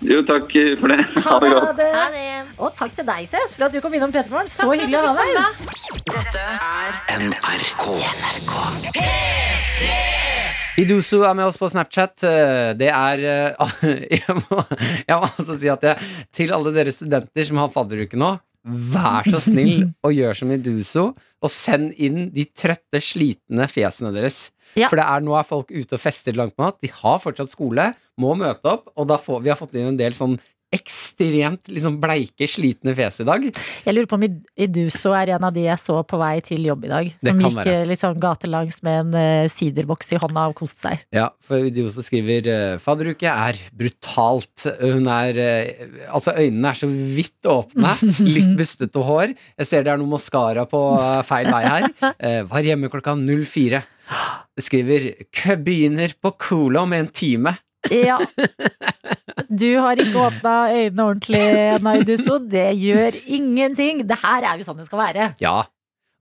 Speaker 5: Jo, takk for det.
Speaker 2: Ha det. Ha det.
Speaker 10: Ha det.
Speaker 2: Og takk til deg, Cess, for at du kom innom P3 Morgen. Så hyggelig å ha deg.
Speaker 12: Dette er
Speaker 11: NRK.
Speaker 3: Idusu er med oss på Snapchat. Eh, Det er eh, [LAUGHS] Jeg må, jeg må altså si at jeg, til alle dere studenter som har fadderuke nå, vær så snill og gjør som Idusu, og send inn de trøtte, slitne fjesene deres.
Speaker 2: Ja.
Speaker 3: For det er, nå er folk ute og fester langt på natt. De har fortsatt skole, må møte opp, og da får, vi har fått inn en del sånn ekstremt liksom bleike, slitne fjes i dag.
Speaker 2: Jeg lurer på om Id- Iduso er en av de jeg så på vei til jobb i dag. Som
Speaker 3: kan
Speaker 2: gikk
Speaker 3: være.
Speaker 2: eh, litt sånn gatelangs med en eh, siderboks i hånda og koste seg.
Speaker 3: Ja, for Idioso skriver eh, Fadderuke er brutalt. Hun er eh, Altså, øynene er så vidt åpne. Litt bustete hår. Jeg ser det er noe maskara på eh, feil vei her. Eh, Var hjemme klokka 04. Skriver Kø begynner på Cola om en time.
Speaker 2: Ja. [LAUGHS] Du har ikke åpna øynene ordentlig ennå, Iduso. Det gjør ingenting. Det her er jo sånn det skal være.
Speaker 3: Ja.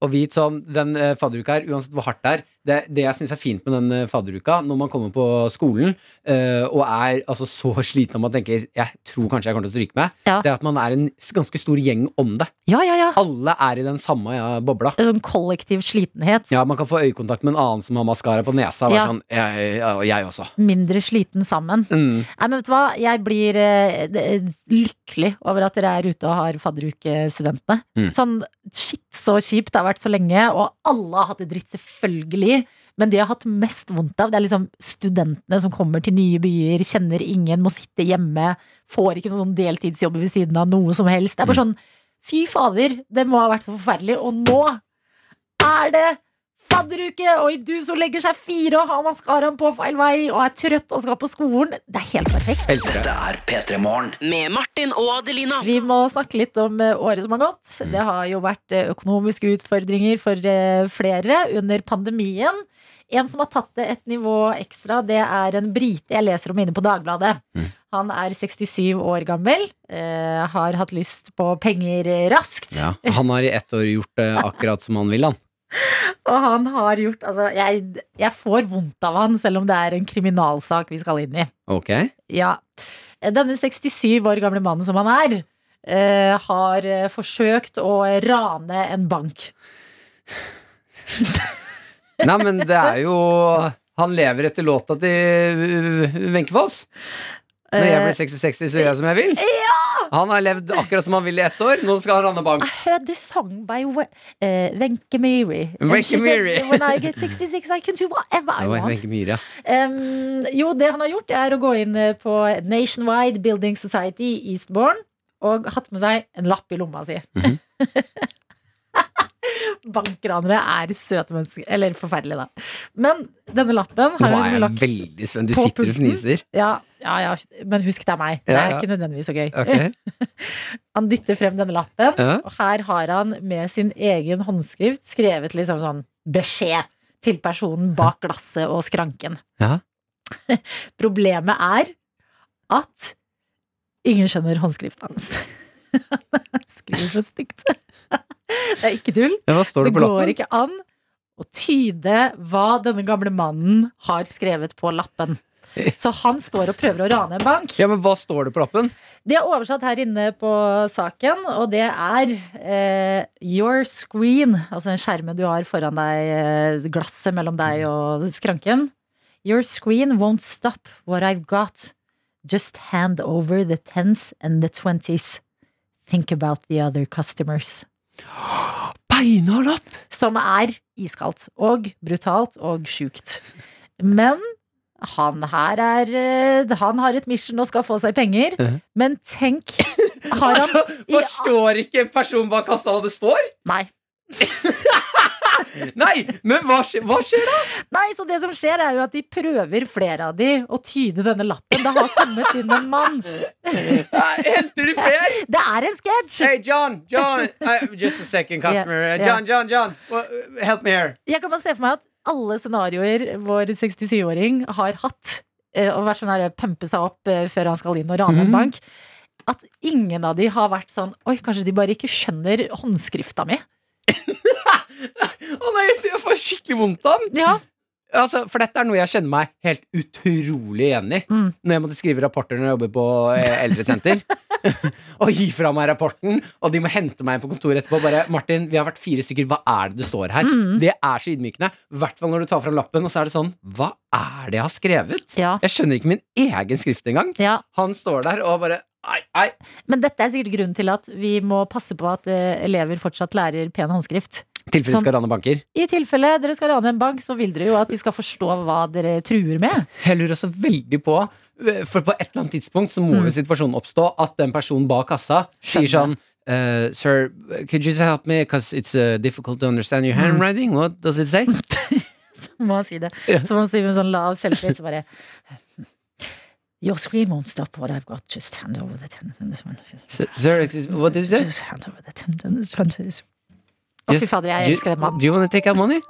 Speaker 3: Og vit som den eh, fadderuka her, uansett hvor hardt det er, det, det jeg syns er fint med den eh, fadderuka, når man kommer på skolen eh, og er altså, så [LAUGHS] sliten at man tenker jeg tror kanskje jeg kommer til å stryke meg,
Speaker 2: Ja.
Speaker 3: det er at man er en s- ganske stor gjeng om det. Alle er i den samme ja, bobla.
Speaker 2: En sånn kollektiv slitenhet.
Speaker 3: Ja, Man kan få øyekontakt med en annen som har maskara på nesa. Og
Speaker 2: Ja.
Speaker 3: er sånn, jeg, jeg, jeg også.
Speaker 2: Mindre sliten sammen.
Speaker 3: Mm.
Speaker 2: Nei, men vet du hva? Jeg blir eh, det- lykkelig over at dere er ute og har fadderukestudentene.
Speaker 3: Mm.
Speaker 2: Sånn, shit, så kjipt det har vært så lenge, og alle har hatt det dritt, selvfølgelig. Men det jeg har hatt mest vondt av, det er liksom studentene som kommer til nye byer, kjenner ingen, må sitte hjemme, får ikke noen sånn deltidsjobb ved siden av noe som helst. Det er bare sånn, fy fader, det må ha vært så forferdelig. Og nå er det fadderuke, og i du som legger seg fire og har maskaraen på feil vei og er trøtt og skal på skolen. Det er helt perfekt.
Speaker 12: Dette er P3 Morgen. Med Martin og Adelina.
Speaker 2: Vi må snakke litt om eh, året som har gått. Det har jo vært eh, økonomiske utfordringer for eh, flere under pandemien. En som har tatt det et nivå ekstra, det er en brite jeg leser om inne på Dagbladet. Han er 67 år gammel, eh, har hatt lyst på penger raskt.
Speaker 3: Ja. Han har i ett år gjort det akkurat som han vil, han.
Speaker 2: Og han har gjort Altså, jeg, jeg får vondt av han, selv om det er en kriminalsak vi skal inn i.
Speaker 3: Ok.
Speaker 2: Ja. Eh, Denne 67 år gamle mannen som han er, eh, har eh, forsøkt å rane en bank.
Speaker 3: Nei, men det er jo Han lever etter låta til uh, Wenche Foss. Når jeg blir 60-60, så gjør jeg som jeg vil. Han har levd akkurat som han vil i ett år. Nå skal han ranne bank.
Speaker 2: I heard this song by We- eh, Wenche Myhre. And
Speaker 3: Wenche
Speaker 2: she said,
Speaker 3: Myhre.
Speaker 2: When I get 66, I can do whatever I
Speaker 3: Det var
Speaker 2: want.
Speaker 3: Wenche Myhre.
Speaker 2: Em, jo, det han har gjort, er å gå inn eh, på Nationwide Building Society i Eastbourne og hatt med seg en lapp i lomma si.
Speaker 3: Mhm.
Speaker 2: [LAUGHS] Bankranere er søte mennesker. Eller forferdelige, da. Men denne lappen
Speaker 3: Nå
Speaker 2: har han
Speaker 3: er
Speaker 2: liksom
Speaker 3: jeg
Speaker 2: lagt
Speaker 3: veldig spent. Du
Speaker 2: på
Speaker 3: sitter og
Speaker 2: pulten.
Speaker 3: fniser.
Speaker 2: Ja, ja, ja, men husk det er meg. Det
Speaker 3: Ja,
Speaker 2: er
Speaker 3: ja.
Speaker 2: ikke nødvendigvis så gøy.
Speaker 3: Ok.
Speaker 2: [LAUGHS] Han dytter frem denne lappen,
Speaker 3: Ja.
Speaker 2: og her har han med sin egen håndskrift skrevet liksom sånn beskjed til personen bak glasset og skranken.
Speaker 3: Ja.
Speaker 2: [LAUGHS] Problemet er at ingen skjønner håndskriften hans. [LAUGHS] Han skriver så stygt. [LAUGHS] Det er ikke tull.
Speaker 3: Ja, hva står det på lappen?
Speaker 2: går ikke an å tyde hva denne gamle mannen har skrevet på
Speaker 3: [LAUGHS]
Speaker 2: lappen. Så han står og prøver å rane en bank.
Speaker 3: Ja, men hva står det på lappen?
Speaker 2: Det er oversatt her inne på saken, og det er eh, your screen, altså den skjermen du har foran deg, eh, glasset mellom deg og skranken. Your screen won't stop what I've got. Just hand over the tens and the twenties. Think about the other customers.
Speaker 3: Beinhard lapp!
Speaker 2: Som er iskaldt og brutalt og sjukt. Men han her er eh, Han har et mission og skal få seg penger.
Speaker 3: Mhm.
Speaker 2: Men tenk Har han
Speaker 3: [LAUGHS] Altså, forstår ikke personen bak kassa hva det står?
Speaker 2: Nei.
Speaker 3: Nei, men hva skjer, hva skjer da?
Speaker 2: Nei, så det som skjer er jo at de prøver flere av de å tyde denne lappen. Det har kommet inn en mann.
Speaker 3: Henter de flere?
Speaker 2: Det er en sketsj!
Speaker 3: Hey, John, John, uh, just a second, customer.
Speaker 2: Ja, ja.
Speaker 3: John, John, John, wha- help me here.
Speaker 2: Jeg kan bare se for meg at alle scenarioer vår 67-åring har hatt, eh, og vært sånn her pumpe seg opp eh, før han skal inn og rane en bank, at ingen av de har vært sånn Oi, kanskje de bare ikke skjønner håndskrifta mi.
Speaker 3: Å nei, jeg ser- jeg får skikkelig vondt av den.
Speaker 2: Ja,
Speaker 3: Altså, for dette er noe jeg kjenner meg helt utrolig igjen i.
Speaker 2: Mm.
Speaker 3: Når jeg måtte skrive rapporter når jeg jobber på eh,
Speaker 2: [LAUGHS]
Speaker 3: eldresenter. og gi fra meg rapporten, og de må hente meg inn på kontoret etterpå. og Bare, Martin, vi har vært fire stykker, hva er det det står her?
Speaker 2: Mm.
Speaker 3: Det er så ydmykende. I hvert fall når du tar fram lappen, og så er det sånn, hva er det jeg har skrevet?
Speaker 2: ja,
Speaker 3: Jeg skjønner ikke min egen skrift engang.
Speaker 2: ja.
Speaker 3: Han står der og bare Nei, nei.
Speaker 2: Men dette er sikkert grunnen til at vi må passe på at eh, elever fortsatt lærer pen håndskrift.
Speaker 3: Tilfelle
Speaker 2: Som-
Speaker 3: vi skal rane banker.
Speaker 2: I tilfelle dere skal rane en bank, så vil dere jo at de skal forstå hva dere truer med.
Speaker 3: Jeg lurer også veldig på eh, For på et eller annet tidspunkt så må
Speaker 2: Mm.
Speaker 3: jo situasjonen oppstå at den personen bak kassa sier sånn «Eh, sir, could you help me? Because it's eh, difficult to understand your handwriting. What does it say?
Speaker 2: må han si det. Så må han si med sånn lav selvtillit, så bare Your scream won't stop what I've got. Just hand over the ten and this one.
Speaker 3: Sir, sir, excuse me, what is it?
Speaker 2: Just hand over the ten and this one. Just- Å, fy fader, jeg elsker den mannen.
Speaker 3: Do you want to take
Speaker 2: [LAUGHS]
Speaker 3: out money?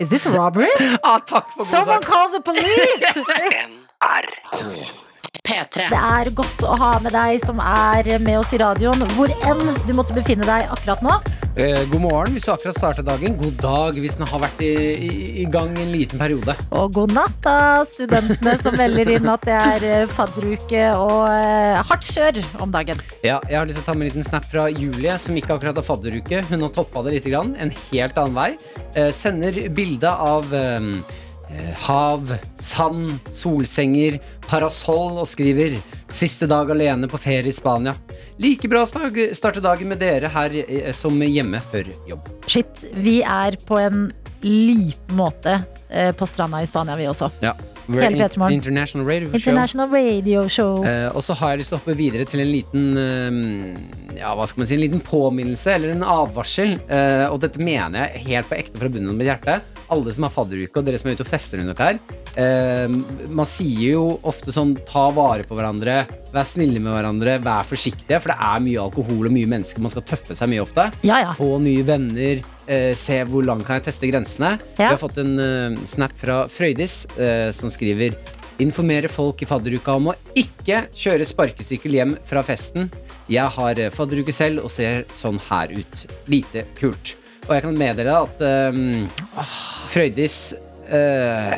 Speaker 2: Is this a
Speaker 3: [LAUGHS]
Speaker 2: robbery?
Speaker 3: Ah, takk for god
Speaker 2: Someone
Speaker 3: sak.
Speaker 2: call the
Speaker 3: [LAUGHS]
Speaker 2: police!
Speaker 12: P3.
Speaker 2: Det er godt å ha med deg som er med oss i radioen, hvor enn du måtte befinne deg akkurat nå.
Speaker 3: Eh, god morgen hvis du akkurat startet dagen. God dag hvis den har vært i, i, i gang en liten periode.
Speaker 2: Og god natt, da, studentene som melder inn at det er eh, fadderuke og eh, hardt kjør om dagen.
Speaker 3: Ja, jeg har lyst til å ta med en liten snap fra Julie, som ikke akkurat har fadderuke. Hun har toppa det litt, grann, en helt annen vei. Eh, sender bilde av eh, eh, hav, sand, solsenger, parasoll og skriver 'Siste dag alene på ferie i Spania'. Like bra å stag- starte dagen med dere her eh, som hjemme før jobb.
Speaker 2: Shit, vi er på en liten måte eh, på stranda i Spania, vi også.
Speaker 3: Ja.
Speaker 2: Hele Peter Morgen.
Speaker 3: International Radio Show.
Speaker 2: International Radio Show.
Speaker 3: Eh, og så har jeg lyst til å hoppe videre til en liten eh, Ja, hva skal man si, en liten påminnelse eller en advarsel. Eh, og dette mener jeg helt på ekte fra bunnen av mitt hjerte. Alle som har fadderuke, og dere som er ute og fester under dere her. eh, man sier jo ofte sånn ta vare på hverandre, vær snille med hverandre, vær forsiktige. For det er mye alkohol og mye mennesker, man skal tøffe seg mye ofte.
Speaker 2: Ja, ja.
Speaker 3: Få nye venner. eh, se hvor langt kan jeg teste grensene. Vi har fått en eh, snap fra Frøydis eh, som skriver Informere folk i fadderuka om å ikke kjøre sparkesykkel hjem fra festen. Jeg har eh, fadderuke selv og ser sånn her ut. Lite kult. Og jeg kan meddele at eh, Frøydis eh,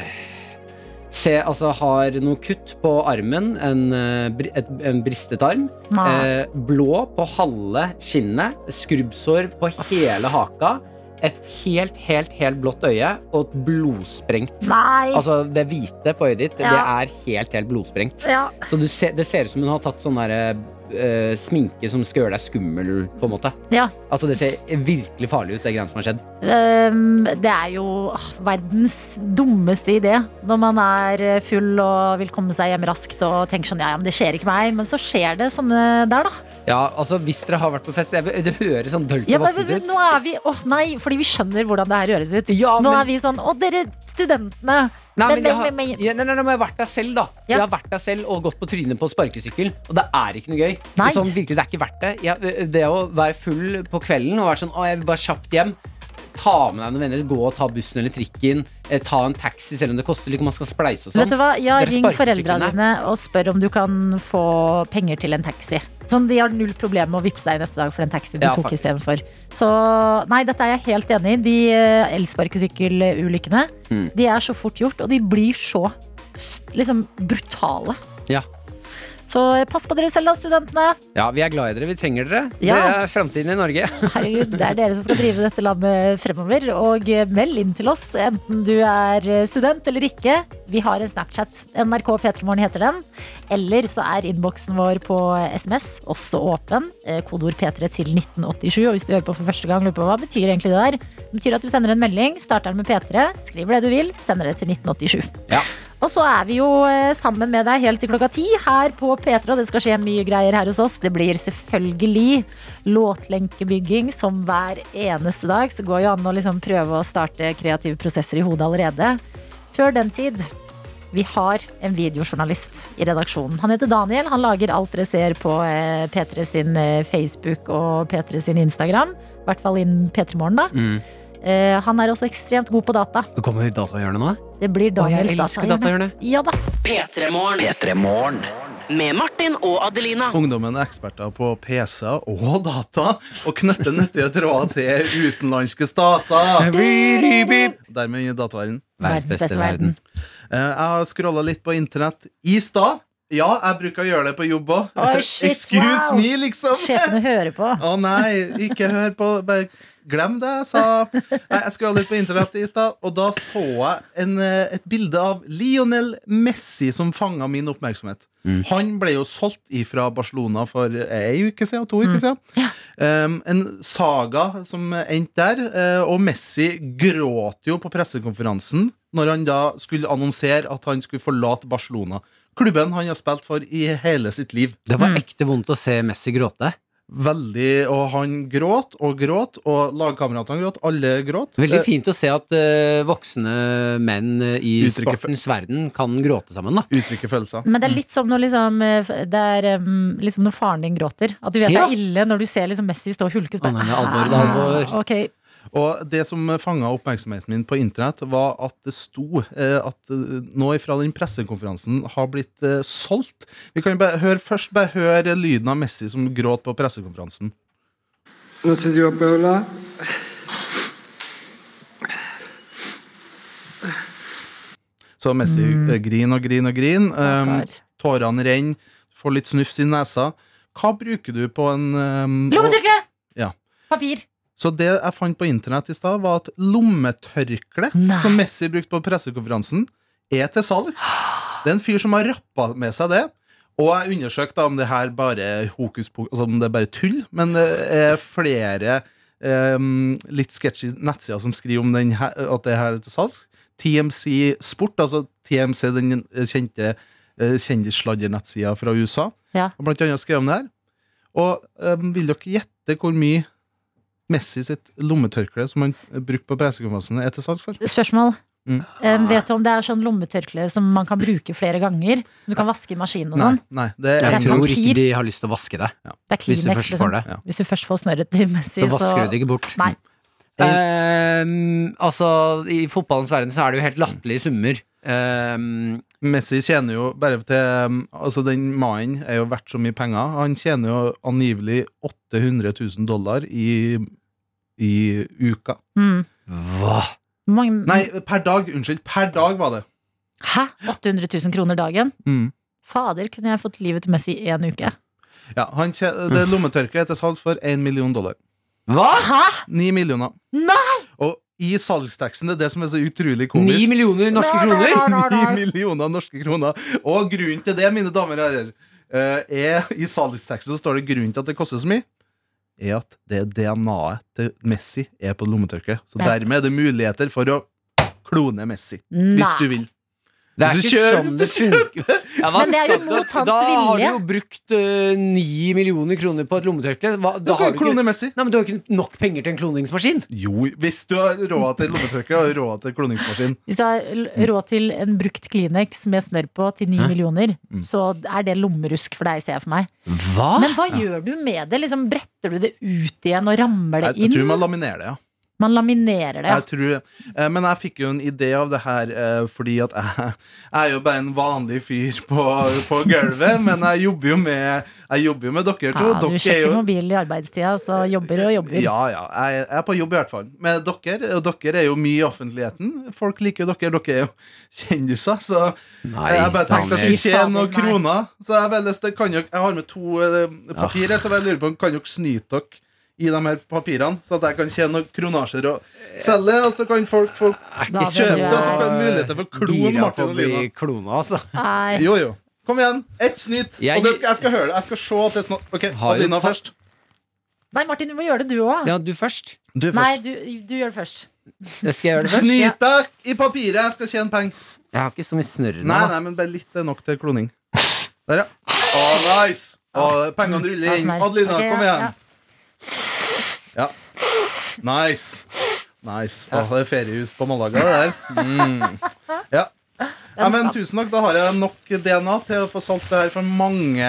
Speaker 3: Se, altså har noe kutt på armen, en, eh, bri- et, en bristet arm.
Speaker 13: Nei.
Speaker 3: Eh, blå på halve kinnet, skrubbsår på hele haka. Et helt, helt, helt blått øye og et blodsprengt.
Speaker 2: Nei.
Speaker 3: Altså det hvite på øyet ditt, det
Speaker 2: Ja.
Speaker 3: er helt, helt blodsprengt.
Speaker 2: Ja.
Speaker 3: Så du ser, det ser ut som hun har tatt sånn derre eh, sminke som skal gjøre deg skummel, på en måte.
Speaker 2: Ja.
Speaker 3: Altså det ser virkelig farlig ut, det greiene som har skjedd.
Speaker 2: Ehm, det er jo ah, verdens dummeste idé når man er eh, full og vil komme seg hjem raskt og tenker sånn ja, ja, men det skjer ikke meg. Men så skjer det sånne der, da.
Speaker 3: Ja, altså hvis dere har vært på fest jeg, Det høres sånn dølt
Speaker 2: Ja,
Speaker 3: og
Speaker 2: men,
Speaker 3: voksent
Speaker 2: men,
Speaker 3: ut.
Speaker 2: nå er vi Åh nei, fordi vi skjønner hvordan det her høres ut. nå
Speaker 3: men-
Speaker 2: er vi sånn Å, dere studentene.
Speaker 3: Nei, men
Speaker 2: men,
Speaker 3: jeg
Speaker 2: men,
Speaker 3: har,
Speaker 2: men, men,
Speaker 3: ja, nei, nei, nei, men jeg har vært der selv, da. Jeg har vært der selv og gått på trynet på sparkesykkel, og det er ikke noe gøy. Det
Speaker 2: Nei.
Speaker 3: er Sånn, virkelig, det er ikke verdt det. Jeg, det å være full på kvelden og være sånn Å, jeg vil bare kjapt hjem. Ta med deg noen venner, gå og ta bussen eller trikken. Eh, ta en taxi selv om det koster litt, man skal spleise og sånn.
Speaker 2: Vet du hva, ja,
Speaker 3: Dere
Speaker 2: ring foreldra
Speaker 3: sparkesyklene-
Speaker 2: dine og spør om du kan få penger til en taxi. Sånn, De har null problem med å vippse deg neste dag for den taxien du
Speaker 14: Ja,
Speaker 2: tok
Speaker 14: faktisk.
Speaker 2: istedenfor. Så nei, dette er jeg helt enig i. De eh, elsparkesykkelulykkene
Speaker 3: Mm.
Speaker 2: de er så fort gjort, og de blir så s- liksom brutale.
Speaker 3: Ja.
Speaker 2: Så eh, pass på dere selv da, studentene.
Speaker 3: ja, vi er glad i dere. Vi trenger dere.
Speaker 2: Ja.
Speaker 3: Dere er framtiden i Norge.
Speaker 2: Herregud, det er dere som skal drive dette landet fremover. Og eh, meld inn til oss, enten du er eh, student eller ikke. Vi har en Snapchat. NRK P3morgen heter den. Eller så er innboksen vår på SMS også åpen. Eh, Kodeord P3 til 1987. Og hvis du hører på for første gang, lurer på hva betyr egentlig det der? Det betyr at du sender en melding, starter den med P3, skriver det du vil, sender det til 1987. Og så er vi jo eh, sammen med deg helt til klokka ti her på P3. og Det skal skje mye greier her hos oss. Det blir selvfølgelig låtlenkebygging som hver eneste dag. Så det går jo an å liksom prøve å starte kreative prosesser i hodet allerede. Før den tid, vi har en videojournalist i redaksjonen. Han heter Daniel. Han lager alt dere ser på eh, P3 sin eh, Facebook og P3 sin Instagram. I hvert fall innen P3 Morgen, da.
Speaker 3: Mm.
Speaker 2: Eh, Han er også ekstremt god på data.
Speaker 3: Det kommer datahjørnet nå.
Speaker 2: Det blir Daniels
Speaker 3: jeg elsker
Speaker 2: datahjørne.
Speaker 3: datahjørnet.
Speaker 2: Ja da.
Speaker 10: P3morgen.
Speaker 6: Med Martin og Adelina.
Speaker 10: Ungdommen er eksperter på PC-er og data, og knytter nyttige tråder til utenlandske stater. Dermed gir dataverden
Speaker 3: Verdens beste verden.
Speaker 10: Eh, Jeg har scrolla litt på internett i stad. Ja, jeg bruker å gjøre det på jobb òg.
Speaker 2: Oi, shit,
Speaker 10: [LAUGHS] Excuse
Speaker 2: wow.
Speaker 10: me, liksom.
Speaker 2: Sjefene hører på.
Speaker 10: Å nei, ikke hør på. Bare glem det jeg sa. Nei, jeg scrolla litt på internett i stad, og da så jeg en, eh, et bilde av Lionel Messi som fanga min oppmerksomhet. Han ble jo solgt ifra Barcelona for ei uke siden, to uker siden. Um, en saga som endte der, eh, og Messi gråt jo på pressekonferansen når han da skulle annonsere at han skulle forlate Barcelona. Klubben han har spilt for i hele sitt liv.
Speaker 3: Det var ekte vondt å se Messi gråte.
Speaker 10: Veldig, og han gråt og gråt, og lagkameratene gråt, alle gråt.
Speaker 3: Veldig
Speaker 10: Eh,
Speaker 3: fint å se at eh, voksne menn eh, i
Speaker 10: Uttrykker- Eh,
Speaker 3: sportens verden kan gråte sammen. da
Speaker 10: Uttrykke følelser.
Speaker 2: Men det er litt som når, liksom, eh, det er, em, liksom når faren din gråter. At du vet
Speaker 10: Ja.
Speaker 2: det er ille når du ser liksom Messi stå og hulke. så bare, «Ah, ok.
Speaker 10: Og det som fanga oppmerksomheten min på internett, var at det sto eh, at eh, nå fra den pressekonferansen har blitt eh, solgt. Vi kan jo bare høre, først bare høre lyden av Messi som gråt på pressekonferansen.
Speaker 15: noches yo Puebla
Speaker 10: Så Messi
Speaker 3: Mm.
Speaker 10: eh, griner og griner og griner. Um, tårene renner. Får litt snufs i nesa. Hva bruker du på en um,
Speaker 2: Lommetørkle!
Speaker 10: Ja.
Speaker 2: Papir.
Speaker 10: Så det jeg fant på internett i stad, var at lommetørkle, som Messi brukte på pressekonferansen, er til salgs. Det er en fyr som har rappa med seg det. Og jeg undersøkte da om det her bare er hokus pokus, altså om det er bare tull, men det er flere eh, litt sketchy nettsider som skriver om den her, at det her er til salgs. TMC Sport, altså TMC, den kjente eh, kjendissladder-nettsida fra USA,
Speaker 2: Ja.
Speaker 10: har blant annet skrevet om det her. Og eh, vil dere gjette hvor mye Messi sitt lommetørkle som han eh, brukte på pressekonferansen, er til salgs for?
Speaker 2: Spørsmål.
Speaker 10: Mm.
Speaker 2: Eh, vet du om det er sånn lommetørkle som man kan bruke flere ganger? Du kan vaske i maskinen og
Speaker 3: Nei,
Speaker 2: sånn.
Speaker 10: nei,
Speaker 2: det er
Speaker 3: jeg tror
Speaker 2: papir.
Speaker 3: ikke de har lyst til å vaske det.
Speaker 2: Det er
Speaker 3: Hvis du
Speaker 2: Kleenex,
Speaker 3: først
Speaker 2: liksom.
Speaker 3: får det.
Speaker 2: Hvis du først får snørret til Messi,
Speaker 3: Så vasker du det ikke bort.
Speaker 2: Nei.
Speaker 3: Ehm, altså, I fotballens verden så er det jo helt latterlige summer. Ehm,
Speaker 10: Messi tjener jo bare til um, Altså, den mannen er jo verdt så mye penger. Han tjener jo angivelig 800 000 dollar i, i uka.
Speaker 2: Mm.
Speaker 3: Hva?
Speaker 2: Mange,
Speaker 10: Nei, per dag. Unnskyld. Per dag var det.
Speaker 2: Hæ? 800 000 kroner dagen?
Speaker 10: Mm.
Speaker 2: Fader, kunne jeg fått livet til Messi i én uke?
Speaker 10: Ja, han tjener, det lommetørkleet er til salgs for 1 million dollar.
Speaker 3: Hva?
Speaker 2: Hæ?
Speaker 10: 9 millioner.
Speaker 2: Nei!
Speaker 10: Og i salgsteksten, det er det som er så utrolig komisk
Speaker 3: Ni millioner norske Nei, nei, kroner? nei, nei, nei.
Speaker 10: 9 millioner norske kroner. Og grunnen til det, mine damer og herrer, eh, er i salgsteksten så står det grunnen til at det koster så mye. Er at det DNA-et til Messi er på lommetørkleet. Så
Speaker 3: Ja.
Speaker 10: dermed er det muligheter for å klone Messi. Hvis
Speaker 3: Nei.
Speaker 10: du vil.
Speaker 3: Det er
Speaker 10: Hvis du
Speaker 3: ikke
Speaker 10: kjører-
Speaker 3: sånn det
Speaker 10: hvis du
Speaker 3: funker. Ja, hva
Speaker 2: Men det er jo
Speaker 3: skal-
Speaker 2: mot hans
Speaker 3: da har du
Speaker 2: vilje.
Speaker 3: jo brukt øh, ni millioner kroner på et lommetørkle. Hva- Da har du ikke,
Speaker 10: Nei,
Speaker 3: men du har ikke nok penger til en kloningsmaskin.
Speaker 10: Jo, hvis du har råd til lommetørkle og råd til kloningsmaskin.
Speaker 2: Hvis du har l- råd til en brukt Kleenex med snørr på til ni
Speaker 10: Hæ?
Speaker 2: millioner,
Speaker 10: Mm. Ah!
Speaker 2: så er det lommerusk for deg, ser jeg for meg.
Speaker 3: Hva?
Speaker 2: Men hva gjør du med det? Liksom Bretter du det ut igjen og rammer det
Speaker 10: Jeg, jeg
Speaker 2: inn?
Speaker 10: tror man laminerer det, ja.
Speaker 2: man laminerer det. ja.
Speaker 10: Jeg tror, eh, men jeg fikk jo en idé av det her eh, fordi at [LAUGHS] jeg, jeg er jo bare en vanlig fyr på, på gulvet. Men jeg jobber jo med, jeg jobber jo med dere to.
Speaker 2: Ja, du
Speaker 10: dere er
Speaker 2: sjekker
Speaker 10: jo
Speaker 2: mobilen i arbeidstida, så jobber og jobber.
Speaker 10: ja, ja. Jeg jeg er på jobb, i hvert fall. Med dere. Og dere er jo mye i offentligheten. Folk liker jo dere. Dere er jo [LAUGHS] kjendiser, så
Speaker 3: Nei,
Speaker 10: jeg bare tenkte jeg
Speaker 3: Daniel.
Speaker 10: skulle tjene noen
Speaker 3: Fy fader, nei.
Speaker 10: kroner. Så jeg, har bare lyst til, kan dere, jeg har med to eh, papirer, så jeg bare lurer på om kan dere snyte dere i de her papirene, så at jeg kan tjene noen kronasjer og selge, og så kan folk få
Speaker 3: Da
Speaker 10: kjøpe
Speaker 3: vil jeg-
Speaker 10: det, og så får jeg muligheter for å klone
Speaker 3: Gira på
Speaker 10: Martin
Speaker 3: å
Speaker 10: og
Speaker 3: bli
Speaker 10: Lina.
Speaker 3: klona, altså.
Speaker 2: Nei.
Speaker 10: Jo, jo. Kom igjen. Ett snyt.
Speaker 3: Jeg-
Speaker 10: og det skal, jeg skal høre det. Jeg skal se at det er snart OK,
Speaker 3: Har jo
Speaker 10: Adelina
Speaker 3: pa-
Speaker 10: først.
Speaker 2: Nei, Martin, du må gjøre det du òg.
Speaker 3: Ja, du først.
Speaker 10: Du
Speaker 2: Nei, du, du gjør det først.
Speaker 3: Skal jeg gjøre det først?
Speaker 10: Snyt deg i papiret. Jeg skal tjene penger.
Speaker 3: Jeg har ikke så mye snørr nå.
Speaker 10: Nei,
Speaker 3: da.
Speaker 10: nei, men bare litt er nok til kloning. Der, ja. Å, nice! Å, pengene ruller inn. Adelina, kom igjen. Ja. Nice. Nice. Å, det er feriehus på Malaga, det der. Mm. Ja. ja, men tusen takk. Da har jeg nok DNA til å få solgt det her for mange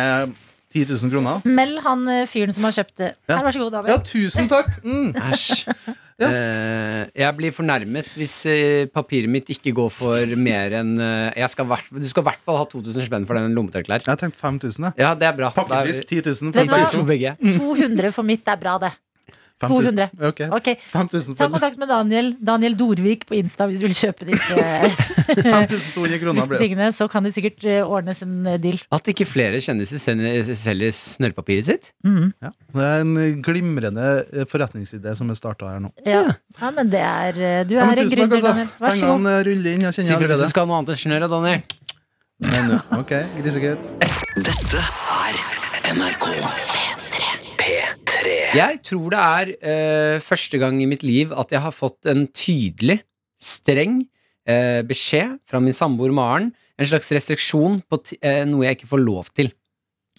Speaker 10: 10 000 kroner.
Speaker 2: Meld han eh, fyren som har kjøpt det.
Speaker 10: Ja.
Speaker 2: Her, vær så god, Daniel.
Speaker 10: Ja, tusen takk. Mm. [LAUGHS]
Speaker 3: Æsj. Eh, jeg blir fornærmet hvis eh, papiret mitt ikke går for mer enn eh, jeg skal hvert- Du skal i hvert fall ha 2000 spenn for den lommetørkleet her.
Speaker 10: Jeg tenkte 5000,
Speaker 3: Ja, det er bra. Da er vi-
Speaker 10: Pakkepris 10 000
Speaker 2: Vet du hva?
Speaker 3: 10 000 for begge.
Speaker 10: Mm.
Speaker 2: 200 for mitt er bra, det. 200.
Speaker 10: 5000. Ok.
Speaker 2: Ok.
Speaker 10: 5000
Speaker 2: Ta
Speaker 10: for
Speaker 2: kontakt med Daniel Daniel Dorvik på Insta hvis du vil kjøpe
Speaker 10: [LAUGHS]
Speaker 2: disse eh,
Speaker 10: 5200 kroner.
Speaker 2: disse
Speaker 10: Ble. det.
Speaker 2: tingene. Så kan det sikkert eh, ordnes en eh, deal.
Speaker 3: At ikke flere kjendiser sender- selger snørrpapiret sitt?
Speaker 10: Ja. Det er en glimrende eh, forretningsidé som er starta her nå.
Speaker 2: Ja. ja, men det er eh, Du
Speaker 10: Ja, men
Speaker 2: er en
Speaker 10: tusen takk,
Speaker 2: gründer,
Speaker 10: altså.
Speaker 2: Daniel. Vær så god.
Speaker 10: Pengene ruller inn. Jeg
Speaker 3: Si fra
Speaker 10: kjenner
Speaker 3: hvis du
Speaker 10: allerede.
Speaker 3: skal ha noe annet enn snørr, da, Daniel.
Speaker 10: Men, ok, grisegutt.
Speaker 16: Dette er NRK P3.
Speaker 3: Jeg tror det er eh, første gang i mitt liv at jeg har fått en tydelig, streng eh, beskjed fra min samboer Maren. En slags restriksjon på ti- eh, noe jeg ikke får lov til.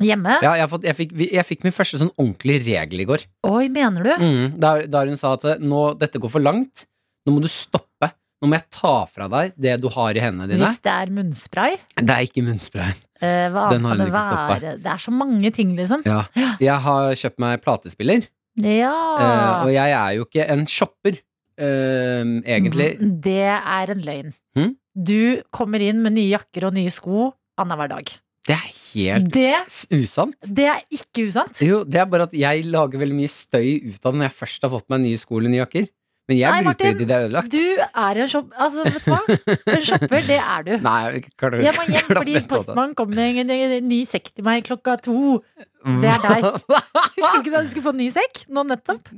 Speaker 2: Hjemme?
Speaker 3: Ja, jeg, har fått, jeg, fikk, vi- jeg fikk min første sånn ordentlige regel i går.
Speaker 2: Oi, mener du?
Speaker 3: Mm, der, der hun sa at eh, nå, dette går for langt. Nå må du stoppe. Nå må jeg ta fra deg det du har i hendene dine.
Speaker 2: Hvis det er munnspray?
Speaker 3: Det er ikke munnsprayen.
Speaker 2: eh, hva annet
Speaker 3: Den har
Speaker 2: kan det
Speaker 3: hun ikke stoppet.
Speaker 2: være? Det er så mange ting, liksom.
Speaker 3: Ja. Jeg har kjøpt meg platespiller, eh,
Speaker 2: Ja.
Speaker 3: og jeg er jo ikke en shopper, eh, egentlig.
Speaker 2: Mm. Det er en løgn.
Speaker 3: Hm?
Speaker 2: Du kommer inn med nye jakker og nye sko annenhver dag.
Speaker 3: Det er helt
Speaker 2: Det-
Speaker 3: s- usant.
Speaker 2: Det er ikke usant.
Speaker 3: Jo, det er bare at jeg lager veldig mye støy ut av det når jeg først har fått meg nye sko eller nye jakker. Men jeg
Speaker 2: Nei,
Speaker 3: bruker
Speaker 2: Martin,
Speaker 3: de de er ødelagt.
Speaker 2: Du er en shopper. Altså, vet du hva? En shopper, det er du.
Speaker 3: [LAUGHS] Nei, jeg klarer
Speaker 2: Jeg må hjem
Speaker 3: [LAUGHS] klarer
Speaker 2: fordi
Speaker 3: ikke å ta det.
Speaker 2: postmannen kom med en- en en ny sekk til meg klokka to. Det er deg.
Speaker 3: [LAUGHS]
Speaker 2: Husker du ikke da du skulle få ny sekk? Nå nettopp?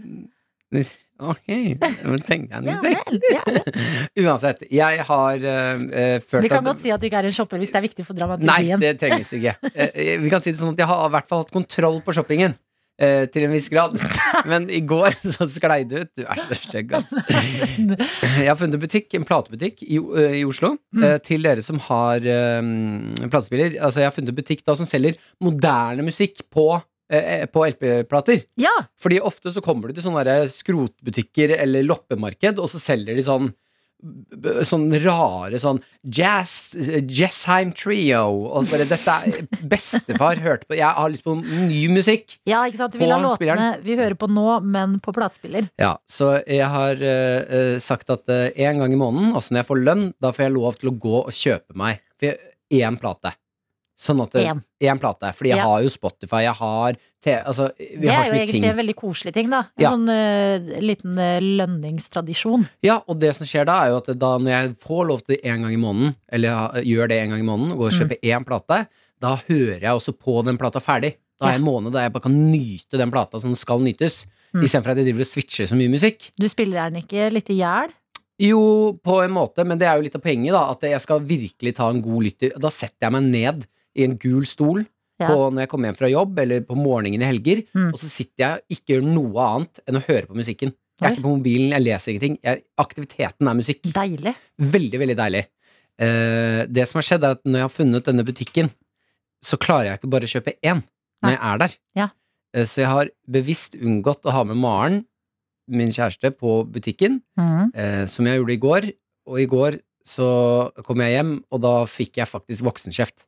Speaker 3: Ok, nå tenkte jeg en ny
Speaker 2: Ja
Speaker 3: sekk.
Speaker 2: vel.
Speaker 3: [LAUGHS]
Speaker 2: Ja.
Speaker 3: Uansett, jeg har eh, eh, følt
Speaker 2: Vi kan
Speaker 3: at-
Speaker 2: godt si at du ikke er en shopper hvis det er viktig for
Speaker 3: Nei,
Speaker 2: dramaturgien.
Speaker 3: det trenges ikke. Eh, Vi kan si det sånn at jeg har i hvert fall hatt kontroll på shoppingen. eh, Til en viss grad. Men i går [LAUGHS] så sklei det ut. Du er så stygg, ass. Jeg har funnet en butikk, en platebutikk i, O- eh, i Oslo.
Speaker 17: Mm.
Speaker 3: eh, Til dere som har eh, platespiller. Altså, jeg har funnet en butikk da som selger moderne musikk på eh, på LP-plater. Fordi ofte så kommer du til sånne der skrotbutikker eller loppemarked, og så selger de sånn b- Sånn rare sånn Jazz, Jessheim Trio. Og så bare, dette er [LAUGHS] bestefar hørte på Jeg har lyst på ny musikk.
Speaker 2: Ja, ikke sant? Vi vil ha
Speaker 3: Få
Speaker 2: låtene
Speaker 3: spilleren.
Speaker 2: vi hører på nå, men på platespiller.
Speaker 3: Ja, så jeg har eh, eh, sagt at eh, en gang i måneden, altså når jeg får lønn, da får jeg lov til å gå og kjøpe meg for jeg- én plate. Sånn at det-
Speaker 2: Én.
Speaker 3: Én plate. Fordi jeg
Speaker 2: Ja.
Speaker 3: har jo Spotify, jeg har te, altså, vi
Speaker 2: Det
Speaker 3: har
Speaker 2: er jo
Speaker 3: så mye
Speaker 2: egentlig
Speaker 3: ting.
Speaker 2: en veldig koselig ting, da. En
Speaker 3: Ja.
Speaker 2: sånn eh, liten eh, lønningstradisjon.
Speaker 3: Ja, og det som skjer da, er jo at da når jeg får lov til en gang i måneden, eller ha- gjør det en gang i måneden, og går og
Speaker 2: Mm.
Speaker 3: kjøper én plate, da hører jeg også på den plata ferdig. Da har jeg en måned der jeg bare kan nyte den plata som skal nytes,
Speaker 2: Mm.
Speaker 3: istedenfor at jeg driver og switcher så mye musikk.
Speaker 2: Du spiller den ikke litt i hjel?
Speaker 3: Jo, på en måte, men det er jo litt av poenget, da. At jeg skal virkelig ta en god lytter. Da setter jeg meg ned i en gul stol
Speaker 2: Ja.
Speaker 3: på, når jeg kommer hjem fra jobb, eller på morgenen i helger,
Speaker 2: Mm.
Speaker 3: og så sitter jeg og ikke gjør noe annet enn å høre på musikken. Jeg
Speaker 2: Oi.
Speaker 3: er ikke på mobilen, jeg leser ingenting. Jeg, aktiviteten er musikk.
Speaker 2: Deilig.
Speaker 3: Veldig, veldig deilig. Eh, det som har skjedd, er at når jeg har funnet denne butikken, så klarer jeg ikke bare å kjøpe én når jeg er der.
Speaker 2: Ja.
Speaker 3: Eh, så jeg har bevisst unngått å ha med Maren, min kjæreste, på butikken eh, som jeg gjorde i går. Og i går så kom jeg hjem, og da fikk jeg faktisk voksenkjeft.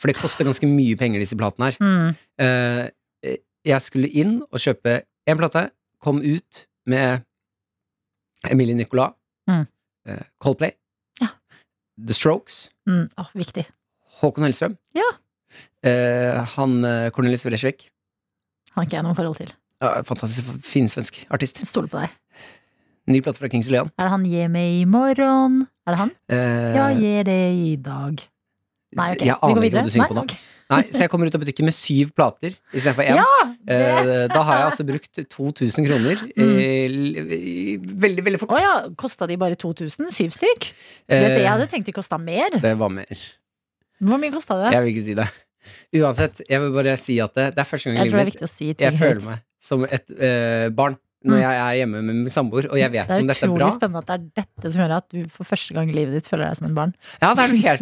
Speaker 3: For det koster ganske mye penger, disse platene her.
Speaker 2: Mm.
Speaker 3: Eh, eh, jeg skulle inn og kjøpe én plate, kom ut med Emilie Nicolas,
Speaker 2: Mm.
Speaker 3: eh, Coldplay, The Strokes,
Speaker 2: Mm. Å, viktig.
Speaker 3: Håkon Hellstrøm,
Speaker 2: Ja.
Speaker 3: eh, han eh, Cornelis Vreeswijk.
Speaker 2: Har ikke jeg noe forhold til.
Speaker 3: Ja, Fantastisk finsvensk artist.
Speaker 2: Stoler på deg.
Speaker 3: Ny plate fra Kings Leon.
Speaker 2: Er det han 'Gi meg i morgen'? Er det han?
Speaker 3: Eh,
Speaker 2: Ja, gi det i dag. Nei, ok.
Speaker 3: Jeg
Speaker 2: Vi går
Speaker 3: aner ikke
Speaker 2: videre.
Speaker 3: hva du synger
Speaker 2: Nei,
Speaker 3: på nå.
Speaker 2: ok.
Speaker 3: [LAUGHS] Nei, Så jeg kommer ut av butikken med syv plater istedenfor én.
Speaker 2: Ja,
Speaker 3: Eh, Da har jeg altså brukt
Speaker 2: [LAUGHS]
Speaker 3: 2000 kroner.
Speaker 2: Mm.
Speaker 3: eh, l- Veldig, veldig fort.
Speaker 2: Å ja, kosta de bare 2000? Syv stykk? Det-
Speaker 3: Eh,
Speaker 2: jeg hadde tenkt de kosta mer.
Speaker 3: Det var mer.
Speaker 2: Hvor mye kosta det?
Speaker 3: Jeg vil ikke si det. Uansett, jeg vil bare si at det, det er første gang i
Speaker 2: Jeg tror det er
Speaker 3: livet
Speaker 2: viktig å si ting
Speaker 3: jeg føler
Speaker 2: høyt.
Speaker 3: meg som et eh, barn når
Speaker 2: Mm.
Speaker 3: jeg er hjemme med min samboer, og jeg vet
Speaker 2: Det er
Speaker 3: om dette er
Speaker 2: utrolig
Speaker 3: bra.
Speaker 2: spennende at det er dette som gjør at du for første gang i livet ditt føler deg som en barn.
Speaker 3: Ja, det er noe helt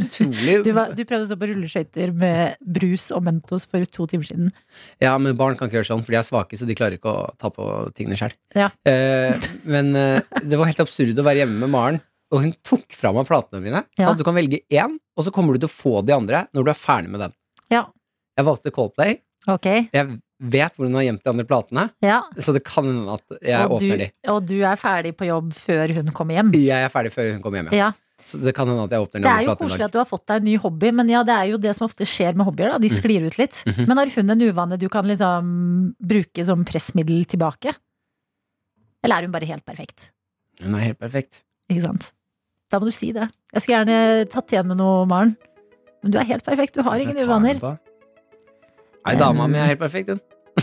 Speaker 2: [LAUGHS]
Speaker 3: utrolig.
Speaker 2: Du, var, du prøvde å stå på rulleskøyter med brus og Mentos for to timer siden.
Speaker 3: Ja, men barn kan ikke gjøre sånn, for de er svake, så de klarer ikke å ta på tingene sjøl.
Speaker 2: Ja.
Speaker 3: Eh, men eh, det var helt absurd å være hjemme med Maren, og hun tok fra meg platene mine. Sa
Speaker 2: Ja.
Speaker 3: at du kan velge én, og så kommer du til å få de andre når du er ferdig med den.
Speaker 2: Ja,
Speaker 3: Jeg valgte Coldplay.
Speaker 2: ok.
Speaker 3: Jeg vet hvor hun har gjemt de andre platene,
Speaker 2: Ja.
Speaker 3: så det kan hende at jeg
Speaker 2: og, du,
Speaker 3: åpner de.
Speaker 2: og du er ferdig på jobb før hun kommer hjem.
Speaker 3: Jeg er ferdig før hun kommer hjem, ja.
Speaker 2: Ja.
Speaker 3: Så det kan hende at jeg åpner
Speaker 2: Det
Speaker 3: de
Speaker 2: er
Speaker 3: andre
Speaker 2: jo
Speaker 3: platene i
Speaker 2: koselig
Speaker 3: dag.
Speaker 2: at du har fått deg en ny hobby, men ja, det er jo det som ofte skjer med hobbyer. da, De
Speaker 3: Mm.
Speaker 2: sklir ut litt.
Speaker 3: Mhm.
Speaker 2: Men har hun en uvane du kan liksom bruke som pressmiddel tilbake? Eller er hun bare helt perfekt?
Speaker 3: Hun er helt perfekt.
Speaker 2: Ikke sant? Da må du si det. Jeg skulle gjerne tatt igjen med noe, Maren. Men du er helt perfekt. Du har ingen
Speaker 3: Jeg tar den
Speaker 2: uvaner.
Speaker 3: på. Nei, dama mi er helt perfekt, hun.